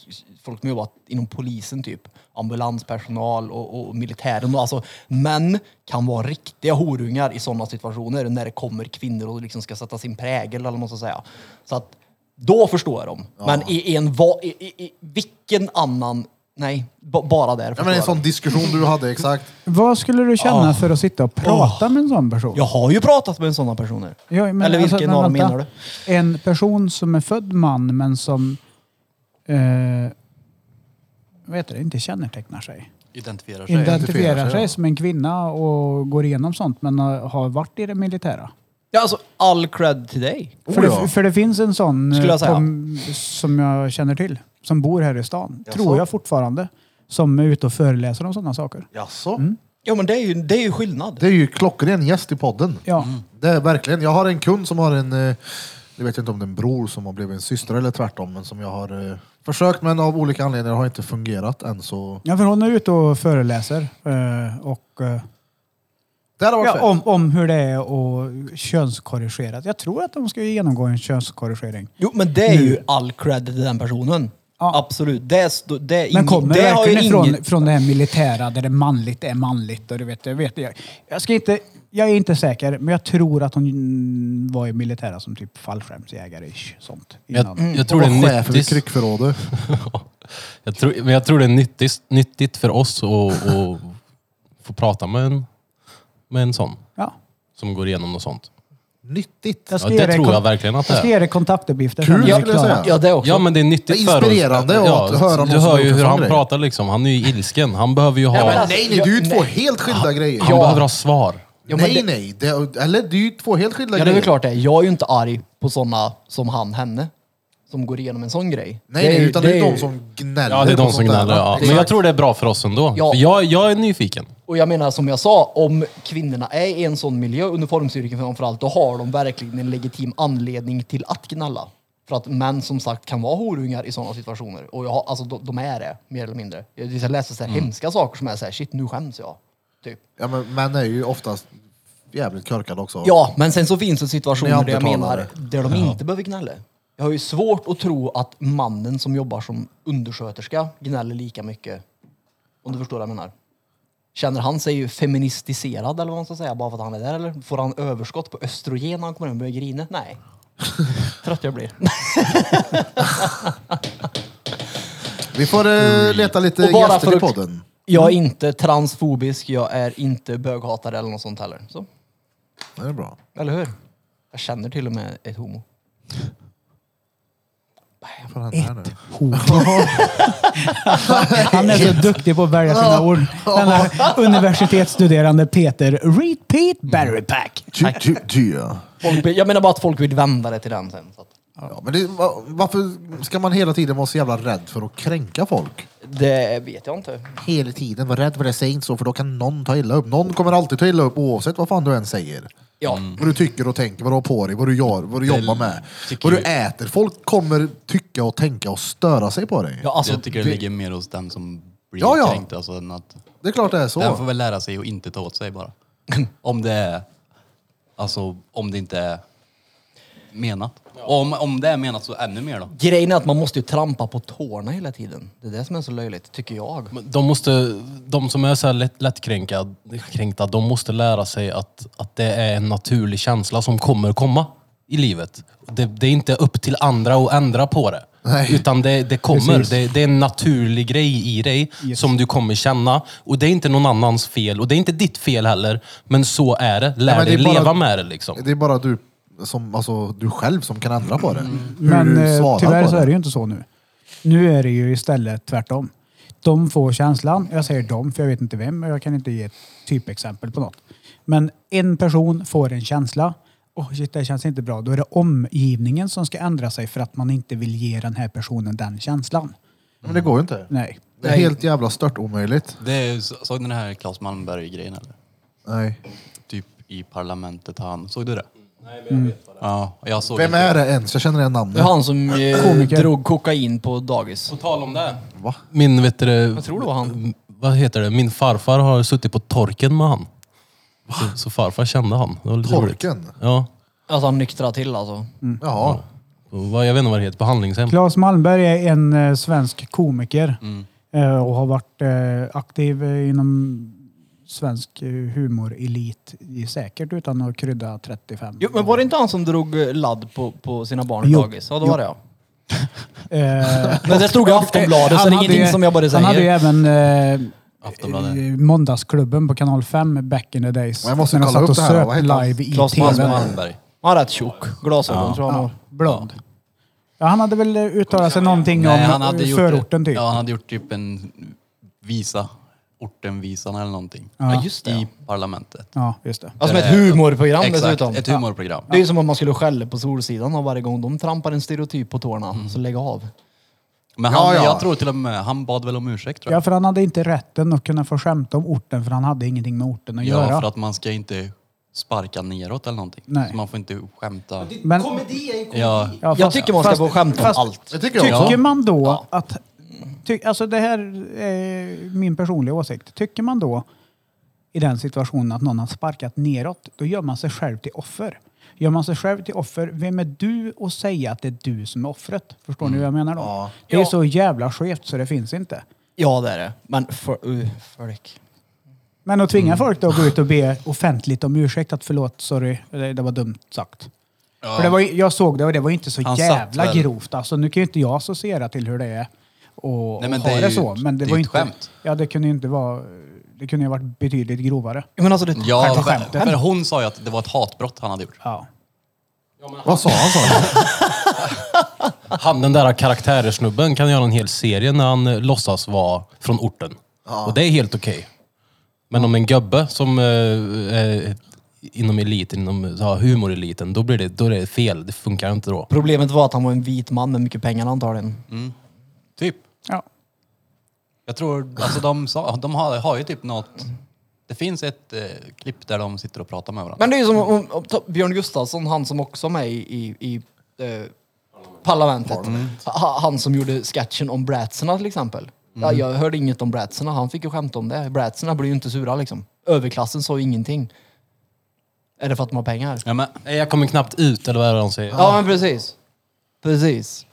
Speaker 2: folk som jobbat inom polisen, typ. Ambulanspersonal och, och militären. Och alltså, män kan vara riktiga horungar i sådana situationer när det kommer kvinnor och liksom ska sätta sin prägel, eller vad man ska säga. Så att, då förstår jag dem. Men i, i en va, i, i, i vilken annan... Nej, b- bara där
Speaker 1: Ja,
Speaker 2: förstår
Speaker 1: men en
Speaker 2: jag
Speaker 1: sån
Speaker 2: dem.
Speaker 1: diskussion du hade, exakt.
Speaker 3: Vad skulle du känna
Speaker 2: Ah.
Speaker 3: för att sitta och prata med en sån person?
Speaker 2: Jag har ju pratat med sådana personer.
Speaker 3: Ja, men
Speaker 2: Ah.
Speaker 3: alltså,
Speaker 2: Eller vilken
Speaker 3: men
Speaker 2: av dem
Speaker 3: vänta.
Speaker 2: menar du?
Speaker 3: En person som är född man men som eh, vet du, inte kännetecknar sig.
Speaker 1: eh,
Speaker 5: Identifierar sig.
Speaker 3: Identifierar
Speaker 1: sig, ja.
Speaker 3: sig som en kvinna och går igenom sånt men har har varit i det militära.
Speaker 2: Ja, alltså, all cred till dig.
Speaker 3: För,
Speaker 1: Oh, ja.
Speaker 3: det, för det finns en sån eh,
Speaker 2: Skulle jag säga.
Speaker 3: Tom, som jag känner till, som bor här i stan, tror jag fortfarande, som är ute och föreläser om sådana saker.
Speaker 1: Jaså?
Speaker 2: Ja, men det är ju, det är ju skillnad.
Speaker 1: Mm. Det är ju klockren gäst i podden. Mm.
Speaker 3: Ja.
Speaker 1: Det är verkligen. Jag har en kund som har en, eh, jag vet inte om det är en bror som har blivit en syster eller tvärtom, men som jag har eh, försökt men av olika anledningar har inte fungerat än så.
Speaker 3: ja, för hon är ute och föreläser eh, och, eh,
Speaker 1: Det hade varit
Speaker 3: ja,
Speaker 1: fett.
Speaker 3: om, om hur det är och könskorrigerat. Jag tror att de ska genomgå en könskorrigering.
Speaker 2: Jo, men det är ju all cred till den personen.
Speaker 3: Ja.
Speaker 2: Absolut. Det, är stå- det, är
Speaker 3: Men
Speaker 2: ing-
Speaker 3: kommer
Speaker 2: det har ju
Speaker 3: verkligen ifrån,
Speaker 2: ingen-
Speaker 3: från det här militära där det manligt är manligt. Och du vet, jag, vet, jag, jag, ska inte, jag är inte säker, men jag tror att hon var i militära som typ fallskärmsjägare. Sånt, innan.
Speaker 4: Jag, Mm. jag tror det
Speaker 1: Hon var
Speaker 4: är
Speaker 1: Mm. chef vid
Speaker 4: nyttigt.
Speaker 1: kryckförrådet.
Speaker 4: Jag tror, men jag tror det är nyttigt, nyttigt för oss att att få prata med en, med en sån
Speaker 3: Ja.
Speaker 4: som går igenom något sånt.
Speaker 1: Nyttigt.
Speaker 3: Jag ska
Speaker 4: Ja,
Speaker 3: ge
Speaker 4: det
Speaker 3: dig
Speaker 4: tror
Speaker 3: kon-
Speaker 4: jag verkligen att det
Speaker 3: Jag ska
Speaker 4: är.
Speaker 3: ge dig kontaktuppgifter.
Speaker 1: Kul
Speaker 3: sen när vi är
Speaker 1: skulle jag
Speaker 3: klara.
Speaker 1: säga.
Speaker 2: Ja, det också.
Speaker 4: Ja men det är
Speaker 1: Det är
Speaker 4: nyttigt för oss.
Speaker 1: inspirerande att höra någon
Speaker 4: Du
Speaker 1: som
Speaker 4: hör
Speaker 1: har
Speaker 4: ju
Speaker 1: gjort
Speaker 4: hur
Speaker 1: en
Speaker 4: han
Speaker 1: sån grej.
Speaker 4: pratar liksom. Han är ju ilsken. Han behöver ju ha...
Speaker 1: Ja, men alltså,
Speaker 2: alltså,
Speaker 1: nej, nej, det är ju två helt skilda grejer.
Speaker 4: han behöver ha svar.
Speaker 2: Ja, men
Speaker 1: nej,
Speaker 2: det-
Speaker 1: nej. Det, eller det är ju två helt skilda
Speaker 2: Ja, det är
Speaker 1: grejer.
Speaker 2: väl klart det. Jag är ju inte arg på sådana som han, henne, som går igenom en sån grej.
Speaker 1: Nej, nej,
Speaker 2: ju-
Speaker 1: utan det är
Speaker 2: ju-
Speaker 1: de som gnäller.
Speaker 4: Ja, det är
Speaker 1: på
Speaker 4: de som
Speaker 1: sånt där,
Speaker 4: gnäller.
Speaker 1: va?
Speaker 4: Ja. Men
Speaker 2: Exakt.
Speaker 4: jag tror det är bra för oss ändå.
Speaker 2: Ja.
Speaker 4: För jag, jag är nyfiken.
Speaker 2: Och jag menar som jag sa, om kvinnorna är i en sån miljö, uniformsyrken framförallt, då har de verkligen en legitim anledning till att gnälla. För att män som sagt kan vara horungar i sådana situationer. Och jag, har- alltså, de, de är det, mer eller mindre. Jag jag läser så här hemska saker som är så här, shit nu skäms jag. Typ.
Speaker 1: Ja, men män är ju oftast jävligt körkade också.
Speaker 2: Ja, men sen så finns det situationer där jag menar,
Speaker 1: Neandertalare.
Speaker 2: där de inte behöver gnälla. Jag har ju svårt att tro att mannen som jobbar som undersköterska gnäller lika mycket. Om du förstår vad jag menar. Känner han sig ju feministiserad eller vad man ska säga bara för att han är där eller? Får han överskott på östrogen när han kommer hem och börjar grina? Nej. Trött jag blir.
Speaker 1: Vi får eh, leta lite
Speaker 2: Och bara
Speaker 1: gäster
Speaker 2: för
Speaker 1: i
Speaker 2: att-
Speaker 1: podden.
Speaker 2: Jag är inte transfobisk, jag är inte böghatare eller något sånt heller. Så,
Speaker 1: Det är bra.
Speaker 2: eller hur? Jag känner till och med ett homo.
Speaker 1: Vad fan händer här nu?
Speaker 3: Han är så duktig på att välja sina ord. Den här universitetsstuderande Peter Repeat Battery Pack.
Speaker 1: Ty, ty, ty, ja.
Speaker 2: Folk, vill- jag menar bara att folk vill vända det till den sen. Så att.
Speaker 1: Ja, men det, va- varför ska man hela tiden vara så jävla rädd för att kränka folk?
Speaker 2: Det vet jag inte.
Speaker 1: Hela tiden vara rädd för det, säg inte så för då kan någon ta illa upp. Någon kommer alltid ta illa upp oavsett vad fan du än säger.
Speaker 2: Ja.
Speaker 5: Mm.
Speaker 1: Vad du tycker och tänker, vad du har på dig, vad du gör, vad du jobbar med. Vad du äter. Folk kommer tycka och tänka och störa sig på dig.
Speaker 2: Ja, alltså,
Speaker 5: jag tycker det ligger mer hos den som blir
Speaker 1: Ja, ja.
Speaker 5: kränkt. Alltså, än att,
Speaker 1: Det är klart det är
Speaker 5: den får
Speaker 1: så.
Speaker 5: väl lära sig att inte ta åt sig bara. om det är... Alltså om det inte är menat. Och om, om det är menat så ännu mer då.
Speaker 2: Grejen är att man måste ju trampa på tårna hela tiden. Det är det som är så löjligt, tycker jag.
Speaker 4: Men De, måste, de som är så här lätt, lättkränkta, kränkta, de måste lära sig att, att det är en naturlig känsla som kommer komma i livet. Det, det är inte upp till andra att ändra på det.
Speaker 1: Nej.
Speaker 4: Utan det, det kommer.
Speaker 3: Precis.
Speaker 4: Det, det är en naturlig grej i dig som du kommer känna. Och det är inte någon annans fel. Och det är inte ditt fel heller. Men så är det. Lär
Speaker 1: men det
Speaker 4: dig
Speaker 1: är bara-
Speaker 4: leva med det liksom.
Speaker 1: Det är bara du, som, alltså, du själv som kan ändra på det. Hur
Speaker 3: Men
Speaker 1: du
Speaker 3: eh,
Speaker 1: svarar
Speaker 3: tyvärr
Speaker 1: på
Speaker 3: så
Speaker 1: det.
Speaker 3: är det ju inte så nu. Nu är det ju istället tvärtom. De får känslan, jag säger de för jag vet inte vem och jag kan inte ge ett typexempel på något. Men en person får en känsla. Åh shit, det känns inte bra. Då är det omgivningen som ska ändra sig för att man inte vill ge den här personen den känslan.
Speaker 1: Men det går ju inte.
Speaker 3: Nej.
Speaker 1: Det är helt jävla stört omöjligt.
Speaker 5: Det är, ju- såg ni den här Claes Malmberg-grejen eller?
Speaker 1: Nej.
Speaker 5: Typ i parlamentet han. Såg du det? Nej men jag vet vad det är. Ja, jag såg
Speaker 1: Vem
Speaker 5: inte.
Speaker 1: är det ens? Jag känner igen
Speaker 2: Det är
Speaker 1: namnet.
Speaker 2: han som eh,
Speaker 3: Komiker.
Speaker 2: drog kokain på dagis.
Speaker 4: På tal om det. Min, vet du,
Speaker 2: Jag tror det var han.
Speaker 4: Vad heter det? Min farfar har suttit på torken med han. Så, så farfar kände han. Det var lite roligt.
Speaker 1: Torken?
Speaker 4: Ja.
Speaker 2: Alltså han nyktrade till
Speaker 5: Mm.
Speaker 2: alltså.
Speaker 3: Mm.
Speaker 1: Jaha.
Speaker 4: Och vad- Jag vet inte vad det heter. Behandlingshem.
Speaker 3: Claes Malmberg är en eh, svensk komiker
Speaker 5: Mm.
Speaker 3: eh, och har varit eh, aktiv eh, inom svensk eh, humorelit i säkert utan att krydda 35.
Speaker 2: Jo, men var det inte han som drog eh, ladd på, på sina barn
Speaker 3: Jo.
Speaker 2: på dagis? Ja, det
Speaker 3: Jo.
Speaker 2: var det ja.
Speaker 3: Eh,
Speaker 2: Men det stod i Aftonbladet, så det är
Speaker 3: hade
Speaker 2: ingenting
Speaker 3: ju-
Speaker 2: som jag bara
Speaker 3: Han hade ju
Speaker 2: säger.
Speaker 3: även eh,
Speaker 5: Aftonbladet.
Speaker 3: eh, Måndagsklubben på kanal 5 back in the days.
Speaker 1: Jag måste
Speaker 3: När de
Speaker 1: kolla upp
Speaker 3: satt och
Speaker 1: det här.
Speaker 3: söp
Speaker 1: Vad heter han?
Speaker 3: live i
Speaker 2: Claes
Speaker 3: TV.
Speaker 5: Malmberg.
Speaker 2: Han är rätt tjock. Glasögon tror jag han
Speaker 3: Ja,
Speaker 2: har.
Speaker 3: blond. Ja, han hade väl eh, uttalat sig någonting
Speaker 5: Nej,
Speaker 3: om
Speaker 5: han hade gjort
Speaker 3: förorten
Speaker 5: det.
Speaker 3: typ.
Speaker 5: Ja, han hade gjort typ en visa. Ortenvisan eller någonting.
Speaker 2: Ja, just det.
Speaker 5: I parlamentet.
Speaker 3: Ja, just det.
Speaker 2: Alltså med ett
Speaker 5: Eh,
Speaker 2: humorprogram
Speaker 5: Exakt,
Speaker 2: dessutom.
Speaker 5: ett humorprogram.
Speaker 2: Det är ju som om man skulle skälla på Solsidan och varje gång de trampar en stereotyp på tårna.
Speaker 5: Mm.
Speaker 2: Så lägg av.
Speaker 5: Men
Speaker 1: Ja,
Speaker 5: han,
Speaker 1: ja.
Speaker 5: jag tror till och med, han bad väl om ursäkt tror
Speaker 3: Ja,
Speaker 5: jag.
Speaker 3: för han hade inte rätten att kunna få skämta om orten för han hade ingenting med orten att
Speaker 5: Ja,
Speaker 3: göra.
Speaker 5: för att man ska inte sparka neråt eller någonting.
Speaker 3: Nej.
Speaker 5: Så man får inte skämta.
Speaker 3: Men-
Speaker 7: Komedi är ju komedi.
Speaker 5: Ja,
Speaker 3: Ja,
Speaker 2: jag
Speaker 3: fast-
Speaker 2: tycker man ska
Speaker 3: fast-
Speaker 2: få skämta
Speaker 3: fast-
Speaker 2: om allt.
Speaker 1: Det tycker jag också.
Speaker 3: Tycker man då
Speaker 2: Ja.
Speaker 3: att... Ty, alltså det här är min personliga åsikt. Tycker man då i den situationen att någon har sparkat neråt, då gör man sig själv till offer. Gör man sig själv till offer, vem är du att säga att det är du som är offret? Förstår ni vad jag menar då? Det är
Speaker 2: Mm. Ja.
Speaker 3: så jävla skevt så det finns inte.
Speaker 2: Ja, det är det. Men för, uh, folk.
Speaker 3: Men att
Speaker 5: Mm.
Speaker 3: tvinga folk då att gå ut och be offentligt om ursäkt, att förlåt, sorry, det, det var dumt sagt. För det var, ju- jag såg det och det var inte så
Speaker 5: Han satt
Speaker 3: jävla
Speaker 5: väl-
Speaker 3: grovt. Alltså, nu kan ju inte jag associera till hur det är och,
Speaker 5: Nej, men
Speaker 3: och ha
Speaker 5: det
Speaker 3: det,
Speaker 5: är ju-
Speaker 3: så. Men det,
Speaker 5: det är
Speaker 3: var
Speaker 5: ett
Speaker 3: inte,
Speaker 5: skämt.
Speaker 3: Ja, det kunde ju inte vara... Det kunde ju ha varit betydligt grovare.
Speaker 2: Men alltså det
Speaker 5: ja
Speaker 3: Själva
Speaker 5: för,
Speaker 3: skämtet.
Speaker 5: för hon sa ju att det var ett hatbrott han hade gjort.
Speaker 3: Ja.
Speaker 1: Vad sa han? Sa han?
Speaker 4: Han, den där karaktärsnubben kan göra en hel serie när han eh, låtsas vara från orten. Och det är helt okej. Men om en gubbe som eh, är inom eliten, inom ja, humoreliten, då blir det, då är det fel. Det funkar inte då.
Speaker 2: Problemet var att han var en vit man med mycket pengar antagligen.
Speaker 5: Typ.
Speaker 3: ja.
Speaker 5: Jag tror, alltså de, sa, de har, har ju typ något... Det finns ett eh, klipp där de sitter och pratar med varandra.
Speaker 2: Men det är ju som om, om, ta- Björn Gustafsson, han som också är med i, i, i eh, parlamentet. Ha- Han som gjorde sketchen om bratserna till exempel. Ja, jag hörde inget om bratserna, han fick ju skämta om det. Bratserna blir ju inte sura liksom. Överklassen sa ju ingenting. Är det för att de har pengar?
Speaker 5: Ja, men,
Speaker 4: Nej, Jag kommer knappt ut eller vad är det de säger?
Speaker 2: Ja, men precis. Precis.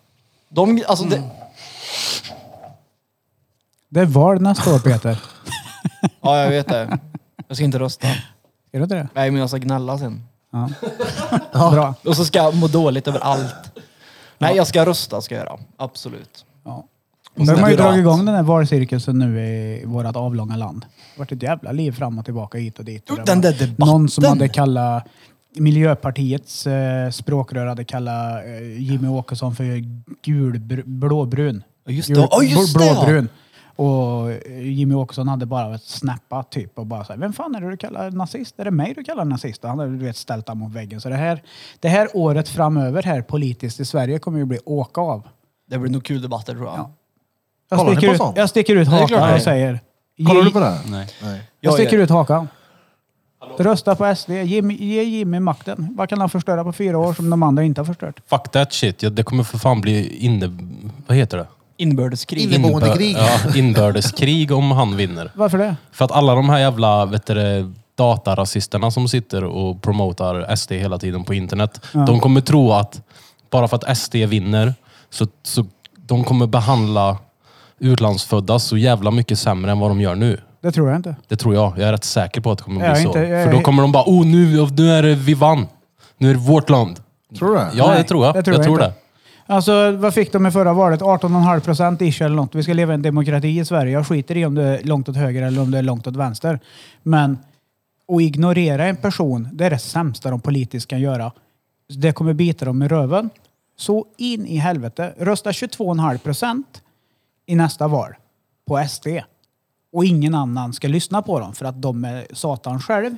Speaker 2: De, alltså, det,
Speaker 3: Det är val nästa år, Peter.
Speaker 2: ja, jag vet det. Jag ska inte rösta.
Speaker 3: Är det inte det?
Speaker 2: Nej, men jag ska gnälla sen.
Speaker 3: Bra.
Speaker 2: Och så ska jag må dåligt över allt. Nej, jag ska rösta ska jag göra. Absolut.
Speaker 3: Ja. Nu har
Speaker 5: sen
Speaker 3: man ju
Speaker 5: Burat.
Speaker 3: dragit igång den här valcirkusen nu i vårt avlånga land. Det vart ett jävla liv fram och tillbaka hit och dit. Och det
Speaker 2: Den
Speaker 3: var
Speaker 2: där debatten.
Speaker 3: Någon som hade kallat Miljöpartiets eh, språkrör hade kallat eh, Jimmy Åkesson för gul, blåbrun.
Speaker 2: Ja, just det.
Speaker 3: Gul,
Speaker 2: Ja, just
Speaker 3: bl-
Speaker 2: det, ja.
Speaker 3: blåbrun. Och eh, Jimmy Åkesson hade bara snappat typ och bara såhär, vem fan är det du kallar nazist? Är det mig du kallar nazist? Och han hade du vet, ställt honom mot väggen. Så det här, det här året framöver här politiskt i Sverige kommer ju bli åka av.
Speaker 2: Det blir nog kul debatter tror jag.
Speaker 3: Jag
Speaker 1: Kollar ni
Speaker 3: sticker,
Speaker 1: på
Speaker 3: ut,
Speaker 1: sånt?
Speaker 3: jag sticker ut
Speaker 2: Nej, det är klart
Speaker 3: hakan och
Speaker 2: jag
Speaker 3: säger...
Speaker 1: Kollar
Speaker 3: ge-
Speaker 1: du på det?
Speaker 5: nej.
Speaker 1: Nej.
Speaker 3: Jag
Speaker 2: Jag
Speaker 3: sticker
Speaker 2: gör-
Speaker 3: ut hakan. Rösta på SD. Jimmy, ge Jimmy makten. Vad kan han förstöra på fyra år som de andra inte har förstört?
Speaker 4: Fuck that shit. Ja, det kommer för fan bli inne... Vad heter det?
Speaker 2: Inbördeskrig.
Speaker 1: Inne- Inneboende krig.
Speaker 4: Ja, inbördeskrig om han vinner.
Speaker 3: Varför det?
Speaker 4: För att alla de här jävla vet du, det, datarasisterna som sitter och promotar SD hela tiden på internet. De kommer tro att bara för att SD vinner så, så de kommer behandla utlandsfödda så jävla mycket sämre än vad de gör nu.
Speaker 3: Det tror jag inte.
Speaker 4: Det tror jag. Jag är rätt säker på att det kommer bli
Speaker 3: Jag är
Speaker 4: så.
Speaker 3: inte- jag
Speaker 4: För
Speaker 3: är-
Speaker 4: då kommer de bara, oh nu, nu är det vi vann. Nu är det vårt land.
Speaker 1: Tror du det?
Speaker 4: Ja,
Speaker 3: Nej,
Speaker 4: det tror jag.
Speaker 3: det
Speaker 4: jag
Speaker 3: tror
Speaker 4: tror,
Speaker 3: jag inte.
Speaker 4: det.
Speaker 3: Alltså, vad fick de i förra valet? 18,5 procent ish eller något. Vi ska leva i en demokrati i Sverige. Jag skiter i om det är långt åt höger eller om det är långt åt vänster. Men att ignorera en person, det är det sämsta de politiskt kan göra. Det kommer bita dem i röven. Så in i helvete. Rösta 22,5 procent i nästa val på SD. Och ingen annan ska lyssna på dem för att de är satan själv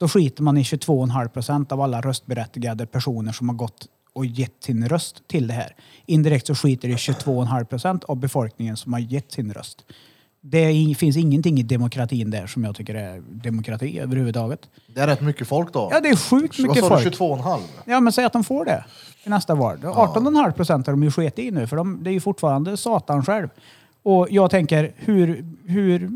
Speaker 3: då skiter man i 22,5 procent av alla röstberättigade personer som har gått och gett sin röst till det här. Indirekt så skiter det i 22,5 procent av befolkningen som har gett sin röst. Det är ing- finns ingenting i demokratin där som jag tycker är demokrati överhuvudtaget.
Speaker 1: Det är rätt mycket folk då.
Speaker 3: Ja, det är sjukt
Speaker 1: Vad
Speaker 3: mycket
Speaker 1: sa du?
Speaker 3: folk.
Speaker 1: 22,5?
Speaker 3: Ja, men säg att de får det i nästa val. 18,5 procent har de ju sket i nu, för de, det är ju fortfarande satan själv. Och jag tänker, hur, hur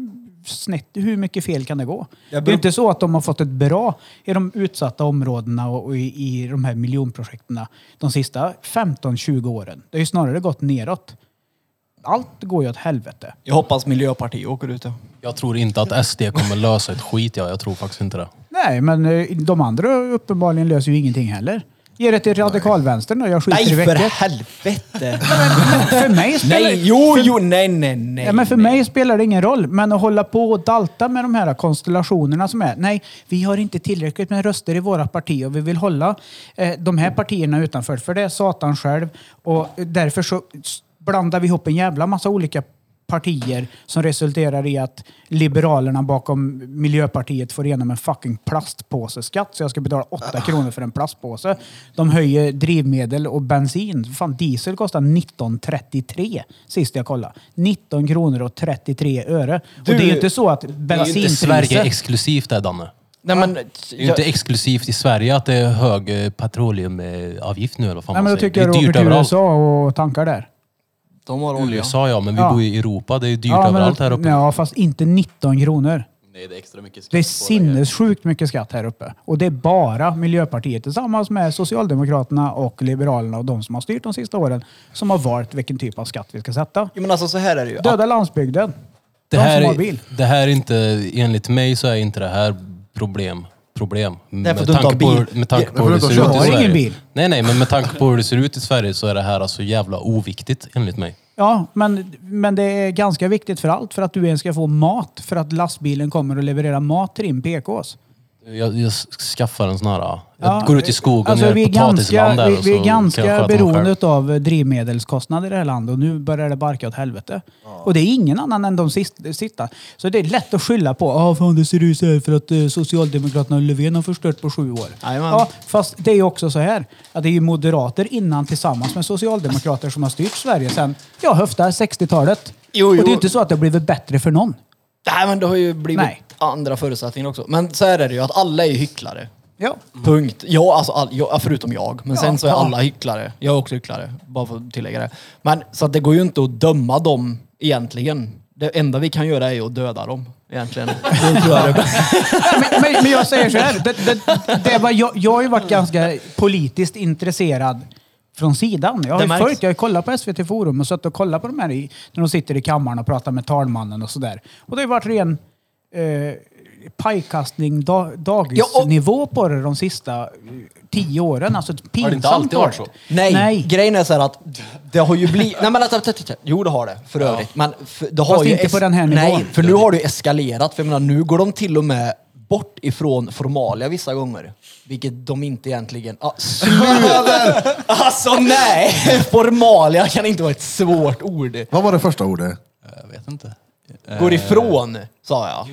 Speaker 3: snett, hur mycket fel kan det gå?
Speaker 2: Jag
Speaker 3: Det
Speaker 2: beror-
Speaker 3: är inte så att de har fått ett bra i de utsatta områdena och, och i, i de här miljonprojekten de sista 15-20 åren. Det har ju snarare gått neråt. Allt går ju åt helvete.
Speaker 2: Jag hoppas Miljöpartiet åker ut. ja.
Speaker 4: Jag tror inte att SD kommer lösa ett skit, ja. jag tror faktiskt inte det.
Speaker 3: Nej, men eh, de andra uppenbarligen löser ju ingenting heller. Ge det till radikalvänstern då, jag skiter i
Speaker 2: Nej, för
Speaker 3: veckor.
Speaker 2: helvete!
Speaker 3: För mig spelar
Speaker 2: nej, jo, jo, nej, nej, nej.
Speaker 3: Ja, men för
Speaker 2: nej.
Speaker 3: mig spelar det ingen roll. Men att hålla på och dalta med de här konstellationerna som är. Nej, vi har inte tillräckligt med röster i våra partier och vi vill hålla eh, de här partierna utanför. För det är Satan själv och därför så s- blandar vi ihop en jävla massa olika partier som resulterar i att Liberalerna bakom Miljöpartiet får igenom en fucking plastpåseskatt så jag ska betala
Speaker 4: Ah.
Speaker 3: 8 kronor för en plastpåse. De höjer drivmedel och bensin. Fan, diesel kostar 19,33 sist jag kollade. 19 kronor och 33 öre. och det är ju inte så att
Speaker 4: Det är ju inte
Speaker 3: bensinpriset...
Speaker 4: Sverige exklusivt det Danne.
Speaker 2: Nej, men,
Speaker 4: Det är ju inte exklusivt i Sverige att det är hög eh, petroleumavgift nu eller vad fan
Speaker 3: Nej, men
Speaker 4: man
Speaker 3: då
Speaker 4: säger.
Speaker 3: tycker jag du
Speaker 4: det är
Speaker 3: åker
Speaker 4: dyrt
Speaker 3: till
Speaker 4: överallt.
Speaker 3: USA och tankar där.
Speaker 2: de har olja.
Speaker 4: USA ja, men vi
Speaker 3: Ja.
Speaker 4: bor ju i Europa. Det är ju dyrt
Speaker 3: men-
Speaker 4: överallt här uppe.
Speaker 3: Ja, fast inte 19 kronor.
Speaker 5: Nej, det är extra mycket skatt
Speaker 3: Det är
Speaker 5: på det här.
Speaker 3: sinnessjukt mycket skatt här uppe. Och det är bara Miljöpartiet tillsammans med Socialdemokraterna och Liberalerna och de som har styrt de sista åren som har valt vilken typ av skatt vi ska sätta.
Speaker 2: Jo, men alltså så här är det ju.
Speaker 3: Döda landsbygden.
Speaker 4: Det
Speaker 3: de
Speaker 4: här,
Speaker 3: som har bil.
Speaker 4: är- det här är inte, enligt mig så är inte det här problem. Problem. Med
Speaker 2: att du inte har
Speaker 4: tanke, på,
Speaker 2: bil.
Speaker 4: hur- med tanke
Speaker 1: Ja,
Speaker 4: på hur
Speaker 1: för
Speaker 4: det
Speaker 1: att du
Speaker 4: ser ut i
Speaker 1: inte har
Speaker 4: Sverige.
Speaker 3: ingen bil.
Speaker 4: Nej, nej, men med tanke på hur det ser ut i Sverige så är det här alltså jävla oviktigt enligt mig.
Speaker 3: Ja, men, men det är ganska viktigt för allt för att du ens ska få mat för att lastbilen kommer och levererar mat till din PKs.
Speaker 4: Jag, jag skaffar en sån här... äh, Jag
Speaker 3: Ja,
Speaker 4: går ut i skogen
Speaker 3: alltså,
Speaker 4: och gör
Speaker 3: vi är
Speaker 4: potatisland
Speaker 3: ganska,
Speaker 4: där
Speaker 3: vi,
Speaker 4: och
Speaker 3: vi
Speaker 4: så
Speaker 3: är
Speaker 4: kan jag
Speaker 3: ganska
Speaker 4: sköta mig själv.
Speaker 3: beroende av drivmedelskostnader i det här landet och nu börjar det barka åt helvete. Och det är ingen annan än de sist, sitta. Så det är lätt att skylla på. Ja, fan det ser ut så här för att eh, Socialdemokraterna och Löfven har förstört på sju år.
Speaker 2: Jajamän.
Speaker 3: Ja, fast det är ju också så här att det är ju moderater innan tillsammans med socialdemokrater som har styrt Sverige sedan, ja, höftar 60-talet.
Speaker 2: Jo,
Speaker 3: Och det
Speaker 2: jo.
Speaker 3: är ju inte så att det har blivit bättre för någon.
Speaker 2: Nej, men det har ju blivit
Speaker 3: Nej.
Speaker 2: andra förutsättningar också. Men så här är det ju, att alla är ju hycklare.
Speaker 3: Ja.
Speaker 2: Punkt. Ja, alltså, all, ja, förutom jag. Men sen så är
Speaker 3: ja.
Speaker 2: alla hycklare. Jag är också hycklare, bara för att tillägga det. Men så att det går ju inte att döma dem egentligen. Det enda vi kan göra är ju att döda dem egentligen. Det tror jag det är.
Speaker 3: men, men, men jag säger så här. Det, det, det var, jag, jag har ju varit ganska politiskt intresserad från sidan. Jag
Speaker 2: Det
Speaker 3: har ju
Speaker 2: märks.
Speaker 3: följt, jag har ju kollat på SVT Forum och suttit och kollat på de här i, när de sitter i kammaren och pratar med talmannen och sådär. Och det har ju varit ren eh, pajkastning, da, dagisnivå på det de sista eh, tio åren. Alltså pinsamt
Speaker 4: Har det inte alltid varit så?
Speaker 2: Nej,
Speaker 3: Nej.
Speaker 2: grejen är så här att det har ju blivit... Nej men att, att, att, att, jo det har det, för övrigt. Men för, det har
Speaker 3: Fast
Speaker 2: ju
Speaker 3: inte
Speaker 2: es-
Speaker 3: på den här nivån.
Speaker 2: Nej, för nu har det ju eskalerat. För jag menar, nu går de till och med bort ifrån formalia vissa gånger. Vilket de inte egentligen... Ah, sluta! alltså nej! Formalia kan inte vara ett svårt ord.
Speaker 1: Vad var det första ordet?
Speaker 5: Jag vet inte.
Speaker 2: Går ifrån, sa jag.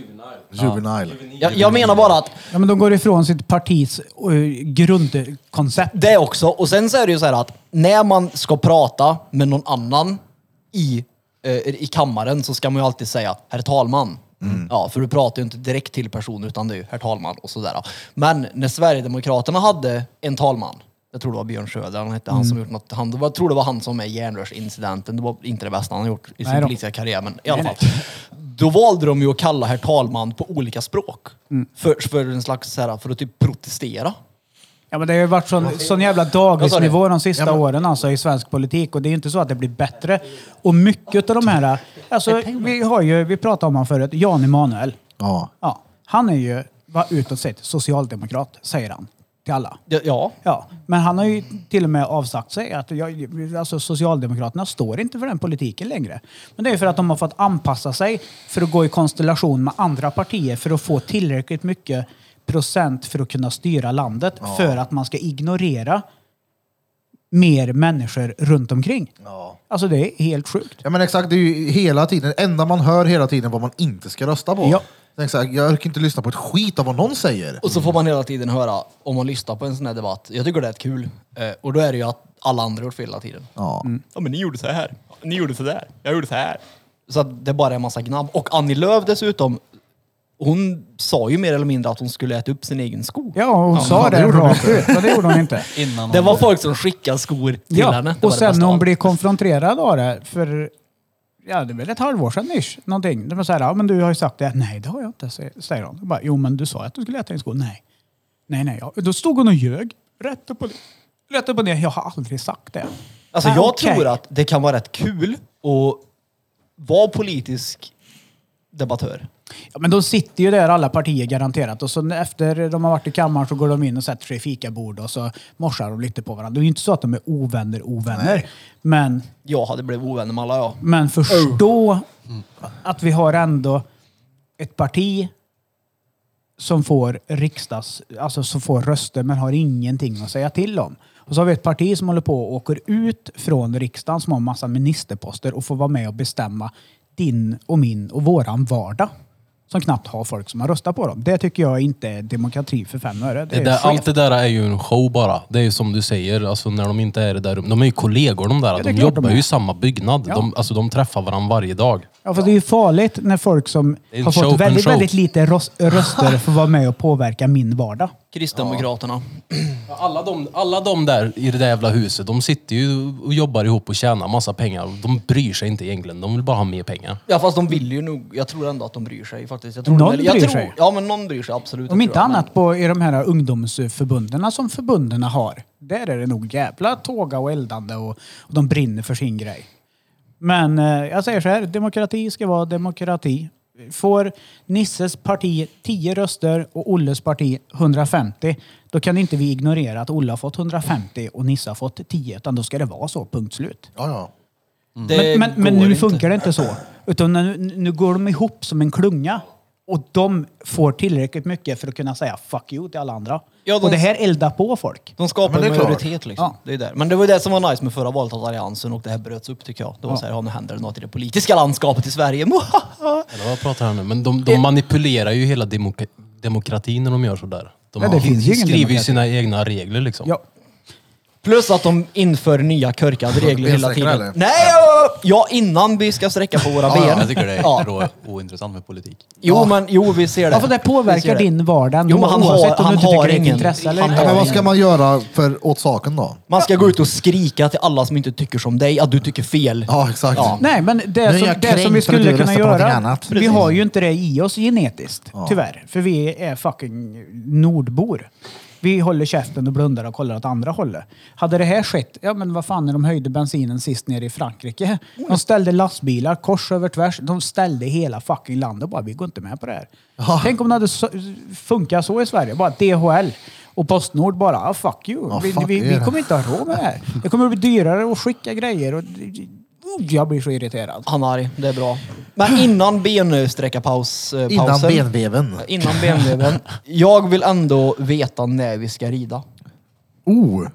Speaker 1: Juvenile.
Speaker 2: Jag, jag menar bara att
Speaker 3: Ja, men de går ifrån sitt partis eh, grundkoncept.
Speaker 2: Det också. Och sen så är det ju så här att när man ska prata med någon annan i, eh, i kammaren så ska man ju alltid säga herr talman.
Speaker 3: Mm.
Speaker 2: Ja, för du pratar ju inte direkt till personen utan det är ju herr talman och sådär. Men när Sverigedemokraterna hade en talman, jag tror det var Björn Söder, han hette han som
Speaker 3: Mm.
Speaker 2: gjort något, han, jag tror det var han som är i järnrörsincidenten, det var inte det bästa han har gjort i sin
Speaker 3: Nej då.
Speaker 2: politiska karriär, men i alla fall. Då valde de ju att kalla herr talman på olika språk.
Speaker 3: Mm.
Speaker 2: För, för en slags, så här, för att typ protestera.
Speaker 3: Ja, men det har ju varit sån, sån jävla
Speaker 2: Vad
Speaker 3: dagisnivå de sista
Speaker 1: Ja, men-
Speaker 3: åren alltså, i svensk politik och det är ju inte så att det blir bättre. Och mycket av de här... Alltså, vi, har ju, vi pratade om honom förut, Jan Emanuel.
Speaker 1: Ja.
Speaker 3: Ja, han är ju vad utåt sett socialdemokrat, säger han till alla.
Speaker 2: Ja, ja.
Speaker 3: Ja, men han har ju till och med avsagt sig att jag, alltså Socialdemokraterna står inte för den politiken längre. Men det är ju för att de har fått anpassa sig för att gå i konstellation med andra partier för att få tillräckligt mycket procent för att kunna styra landet för att man ska ignorera mer människor runt omkring. Alltså det är helt sjukt.
Speaker 1: Ja men exakt, det är ju hela tiden, det enda man hör hela tiden vad man inte ska rösta på.
Speaker 3: Ja.
Speaker 1: Tänk så här, jag orkar inte lyssna på ett skit av vad någon säger.
Speaker 2: Och så får man hela tiden höra, om man lyssnar på en sån här debatt, jag tycker det är kul, eh, och då är det ju att alla andra gjort fel hela tiden.
Speaker 1: Ja.
Speaker 3: Mm.
Speaker 2: Ja men ni gjorde så här, ni gjorde så där, jag gjorde så här. Så att det bara är en massa gnabb. Och Annie Lööf dessutom, hon sa ju mer eller mindre att hon skulle äta upp sin egen sko.
Speaker 3: Ja, och hon sa det rakt ut, men det gjorde hon inte.
Speaker 5: Innan
Speaker 2: Det
Speaker 5: hon-
Speaker 2: var folk som skickade skor till
Speaker 3: Ja,
Speaker 2: henne. Det var
Speaker 3: och
Speaker 2: det
Speaker 3: sen
Speaker 2: bästa
Speaker 3: när hon
Speaker 2: av.
Speaker 3: blir konfronterad av det, för ja, det är väl ett halvår sedan ish, någonting. De var så här, ja men du har ju sagt det. Nej, det har jag inte, sä- säger hon. Jag bara, jo men du sa ju att du skulle äta din sko. Nej. Nej, nej. Ja. Då stod hon och ljög. Rätt upp och, rätt upp och ner. Jag har aldrig sagt det.
Speaker 2: Alltså
Speaker 3: Ah,
Speaker 2: jag
Speaker 3: okej.
Speaker 2: tror att det kan vara rätt kul att vara politisk debattör.
Speaker 3: Ja, men de sitter ju där alla partier garanterat och så efter de har varit i kammaren så går de in och sätter sig i fikabord och så morsar de lite på varandra. Det är ju inte så att de är ovänner, ovänner. Men,
Speaker 2: Jag hade blivit ovän med alla jag.
Speaker 3: men förstå att vi har ändå ett parti som får riksdags, alltså som får röster men har ingenting att säga till om. Och så har vi ett parti som håller på och åker ut från riksdagen som har massa ministerposter och får vara med och bestämma din och min och våran vardag. Som knappt har folk som har röstat på dem. Det tycker jag inte är demokrati för fem öre. Det
Speaker 4: Det
Speaker 3: är
Speaker 4: där,
Speaker 3: skevt.
Speaker 4: allt det där är ju en show bara. Det är ju som du säger, alltså när de inte är i det där rummet. De är ju kollegor de där.
Speaker 3: det är
Speaker 4: de
Speaker 3: klart de
Speaker 4: jobbar
Speaker 3: är.
Speaker 4: ju i samma byggnad.
Speaker 3: Ja.
Speaker 4: De, alltså, de träffar varandra varje dag.
Speaker 3: Ja, för det är ju farligt när folk som
Speaker 4: Det är en
Speaker 3: har
Speaker 4: show på en
Speaker 3: fått väldigt,
Speaker 4: show.
Speaker 3: väldigt lite ros- röster får vara med och påverka min vardag.
Speaker 2: Kristdemokraterna.
Speaker 4: Alla de, alla de där i det där jävla huset, de sitter ju och jobbar ihop och tjänar massa pengar. De bryr sig inte egentligen. De vill bara ha mer pengar.
Speaker 2: Ja fast de vill ju nog, jag tror ändå att de bryr sig faktiskt. Jag tror
Speaker 3: Någon
Speaker 2: de, eller jag
Speaker 3: bryr
Speaker 2: tror,
Speaker 3: sig.
Speaker 2: Ja men någon bryr sig absolut.
Speaker 3: Om
Speaker 2: det
Speaker 3: inte
Speaker 2: tror jag. Men-
Speaker 3: annat på i de här ungdomsförbunderna som förbunderna har. Där är det nog jävla tåga och eldande och, och de brinner för sin grej. Men eh, jag säger så här, demokrati ska vara demokrati. Får Nisses parti 10 röster och Olles parti 150, då kan inte vi ignorera att Olle har fått 150 och Nisse har fått 10, utan då ska det vara så, punkt slut.
Speaker 1: Ja, ja.
Speaker 2: Det
Speaker 3: Men, men, men
Speaker 2: går
Speaker 3: nu
Speaker 2: inte.
Speaker 3: funkar det inte så. Utan nu, nu går de ihop som en klunga. Och de får tillräckligt mycket för att kunna säga fuck you till alla andra.
Speaker 2: Ja, de-
Speaker 3: Och det här eldar på folk.
Speaker 2: De
Speaker 1: Ja,
Speaker 2: skapar
Speaker 1: men det
Speaker 2: en
Speaker 1: är klart.
Speaker 2: majoritet liksom.
Speaker 3: Ja.
Speaker 2: Det är där. Men det var ju det som var nice med förra valet, att alliansen och det här bröts upp tycker jag. Det var så här, ja, nu händer det något i det politiska landskapet i Sverige.
Speaker 4: Eller vad pratar han nu? Men de, de manipulerar ju hela demoka- demokratin när de gör sådär. De
Speaker 3: Ja, det
Speaker 4: har-
Speaker 3: finns ju ingen
Speaker 4: skriver ju
Speaker 3: demokrati.
Speaker 4: sina egna regler liksom.
Speaker 3: Ja.
Speaker 2: Plus att de inför nya körkade regler hela
Speaker 1: Bensträckare,
Speaker 2: tiden.
Speaker 1: eller?
Speaker 2: Nej! ja, Ja, innan vi ska sträcka på våra ben.
Speaker 5: Jag tycker det är
Speaker 2: Ja.
Speaker 5: rå, ointressant med politik.
Speaker 2: Jo, men jo, vi ser det.
Speaker 3: Ja, för det
Speaker 2: Vi ser
Speaker 3: påverkar
Speaker 2: det.
Speaker 3: din vardag ändå,
Speaker 2: Jo, men han har-
Speaker 3: oavsett om
Speaker 2: han
Speaker 3: du inte
Speaker 2: har
Speaker 3: tycker det är ett
Speaker 2: ingen-
Speaker 3: intresse eller
Speaker 2: han
Speaker 1: ja.
Speaker 3: inte.
Speaker 1: Men vad ska man göra för, åt saken då?
Speaker 2: Man ska gå ut och skrika till alla som inte tycker som dig att du tycker fel.
Speaker 1: Ja, exakt.
Speaker 2: Ja.
Speaker 3: Nej, men
Speaker 1: är
Speaker 3: det, som,
Speaker 1: jag
Speaker 3: det som
Speaker 1: kränkt för
Speaker 3: vi
Speaker 1: att
Speaker 3: skulle
Speaker 1: du
Speaker 3: kunna
Speaker 1: röstar på någonting
Speaker 3: göra,
Speaker 1: annat.
Speaker 3: vi
Speaker 1: Precis.
Speaker 3: har ju inte det i oss genetiskt,
Speaker 1: Ja.
Speaker 3: tyvärr. För vi är fucking nordbor. Vi håller käften och blundar och kollar åt andra hållet. Hade det här skett, ja men vad fan när de höjde bensinen sist nere i Frankrike? De ställde lastbilar kors över tvärs. De ställde hela fucking landet och bara, vi går inte med på det här. Tänk om det hade så- funkat så i Sverige. Bara DHL och Postnord bara, ah, fuck you.
Speaker 1: Ja,
Speaker 3: vi,
Speaker 1: fuck
Speaker 3: vi, vi
Speaker 1: er.
Speaker 3: kommer inte ha råd med det här. Det kommer att bli dyrare att skicka grejer och Oh, jag blir så irriterad.
Speaker 2: Han är arg, det är bra. Men innan bensträckarpaus... eh,
Speaker 1: Innan
Speaker 2: pausen-
Speaker 1: benveven.
Speaker 2: Innan benveven. Jag vill ändå veta när vi ska rida.
Speaker 1: Oh!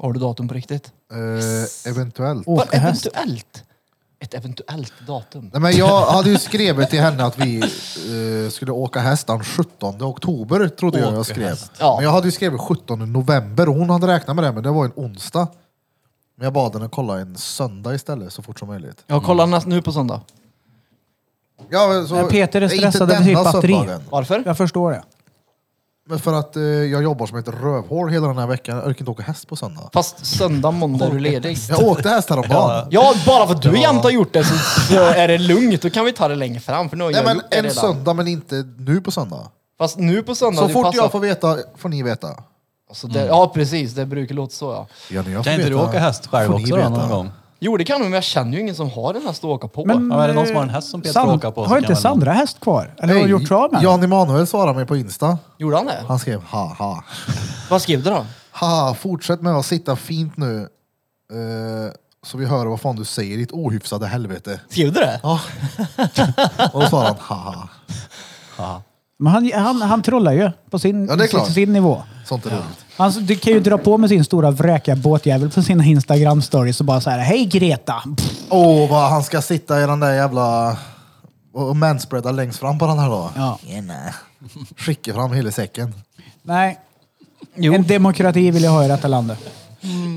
Speaker 2: Har du datum på riktigt?
Speaker 1: Eh, eventuellt.
Speaker 2: Vad
Speaker 3: Åka häst.
Speaker 2: eventuellt? Ett eventuellt datum?
Speaker 1: Nej, men jag hade ju skrivit till henne att vi eh, skulle åka häst den 17 oktober, trodde jag jag skrev.
Speaker 2: Ja.
Speaker 1: Men jag hade ju skrivit 17 november och hon hade räknat med det, men det var en onsdag. Men jag bad henne kolla en söndag istället så fort som möjligt.
Speaker 2: Jag kollar näst, nu på söndag.
Speaker 1: Ja, men så,
Speaker 3: Men Peter är
Speaker 1: Nej,
Speaker 3: stressad
Speaker 1: inte
Speaker 3: över sitt
Speaker 1: denna
Speaker 3: batteri.
Speaker 1: söndagen.
Speaker 2: Varför?
Speaker 3: Jag förstår det.
Speaker 1: Men för att eh, jag jobbar som ett rövhål hela den här veckan. Jag orkar inte åka häst på söndag.
Speaker 2: Fast söndag, måndag är du ledig.
Speaker 1: Jag åkte häst häromdagen.
Speaker 2: Ja, bara för att du jämt har gjort det så, så är det lugnt. Då kan vi ta det längre fram. För nu har
Speaker 1: Nej,
Speaker 2: jag
Speaker 1: men
Speaker 2: gjort det
Speaker 1: en
Speaker 2: redan.
Speaker 1: söndag, men inte nu på söndag.
Speaker 2: Fast nu på söndag...
Speaker 1: Så
Speaker 2: det
Speaker 1: fort
Speaker 2: passar-
Speaker 1: jag får veta får ni veta.
Speaker 2: Alltså det, Ja, precis. Det brukar låta så ja.
Speaker 1: Ja, när jag får
Speaker 5: Kan inte du
Speaker 1: veta
Speaker 5: åka häst själv
Speaker 1: får ni
Speaker 5: också då,
Speaker 1: veta.
Speaker 5: någon gång?
Speaker 2: Jo, det kan du, men jag känner ju ingen som har den här att åka på.
Speaker 3: Men-
Speaker 5: Ja, är det någon som har en häst som Peter
Speaker 3: Sand-
Speaker 5: åker på? så
Speaker 3: har
Speaker 5: kan
Speaker 3: inte
Speaker 5: väl-
Speaker 3: Sandra häst kvar? Eller har
Speaker 1: Nej,
Speaker 3: hon gjort sig av med den?
Speaker 1: Jan Emanuel svarade mig på Insta.
Speaker 2: Gjorde han det?
Speaker 1: Han skrev haha.
Speaker 2: Vad skrev du då?
Speaker 1: Haha, fortsätt med att sitta fint nu. eh, så vi hör vad fan du säger, ditt ohyfsade helvete.
Speaker 2: Skrev du det?
Speaker 1: Ja. Och då svarade han haha.
Speaker 3: Men han, han, han trollar ju på sin,
Speaker 1: Ja, det är
Speaker 3: sin,
Speaker 1: klart.
Speaker 3: sin nivå.
Speaker 1: Sånt är roligt.
Speaker 3: Han du kan ju dra på med sin stora vräka båtjävel på sina Instagram-stories och bara så här Hej Greta! Pff,
Speaker 1: Åh, vad han ska sitta i den där jävla... Och och manspreada längst fram på den här då.
Speaker 3: Ja.
Speaker 1: Tjena. Skicka fram hela säcken.
Speaker 3: Nej. En demokrati vill jag ha i detta landet.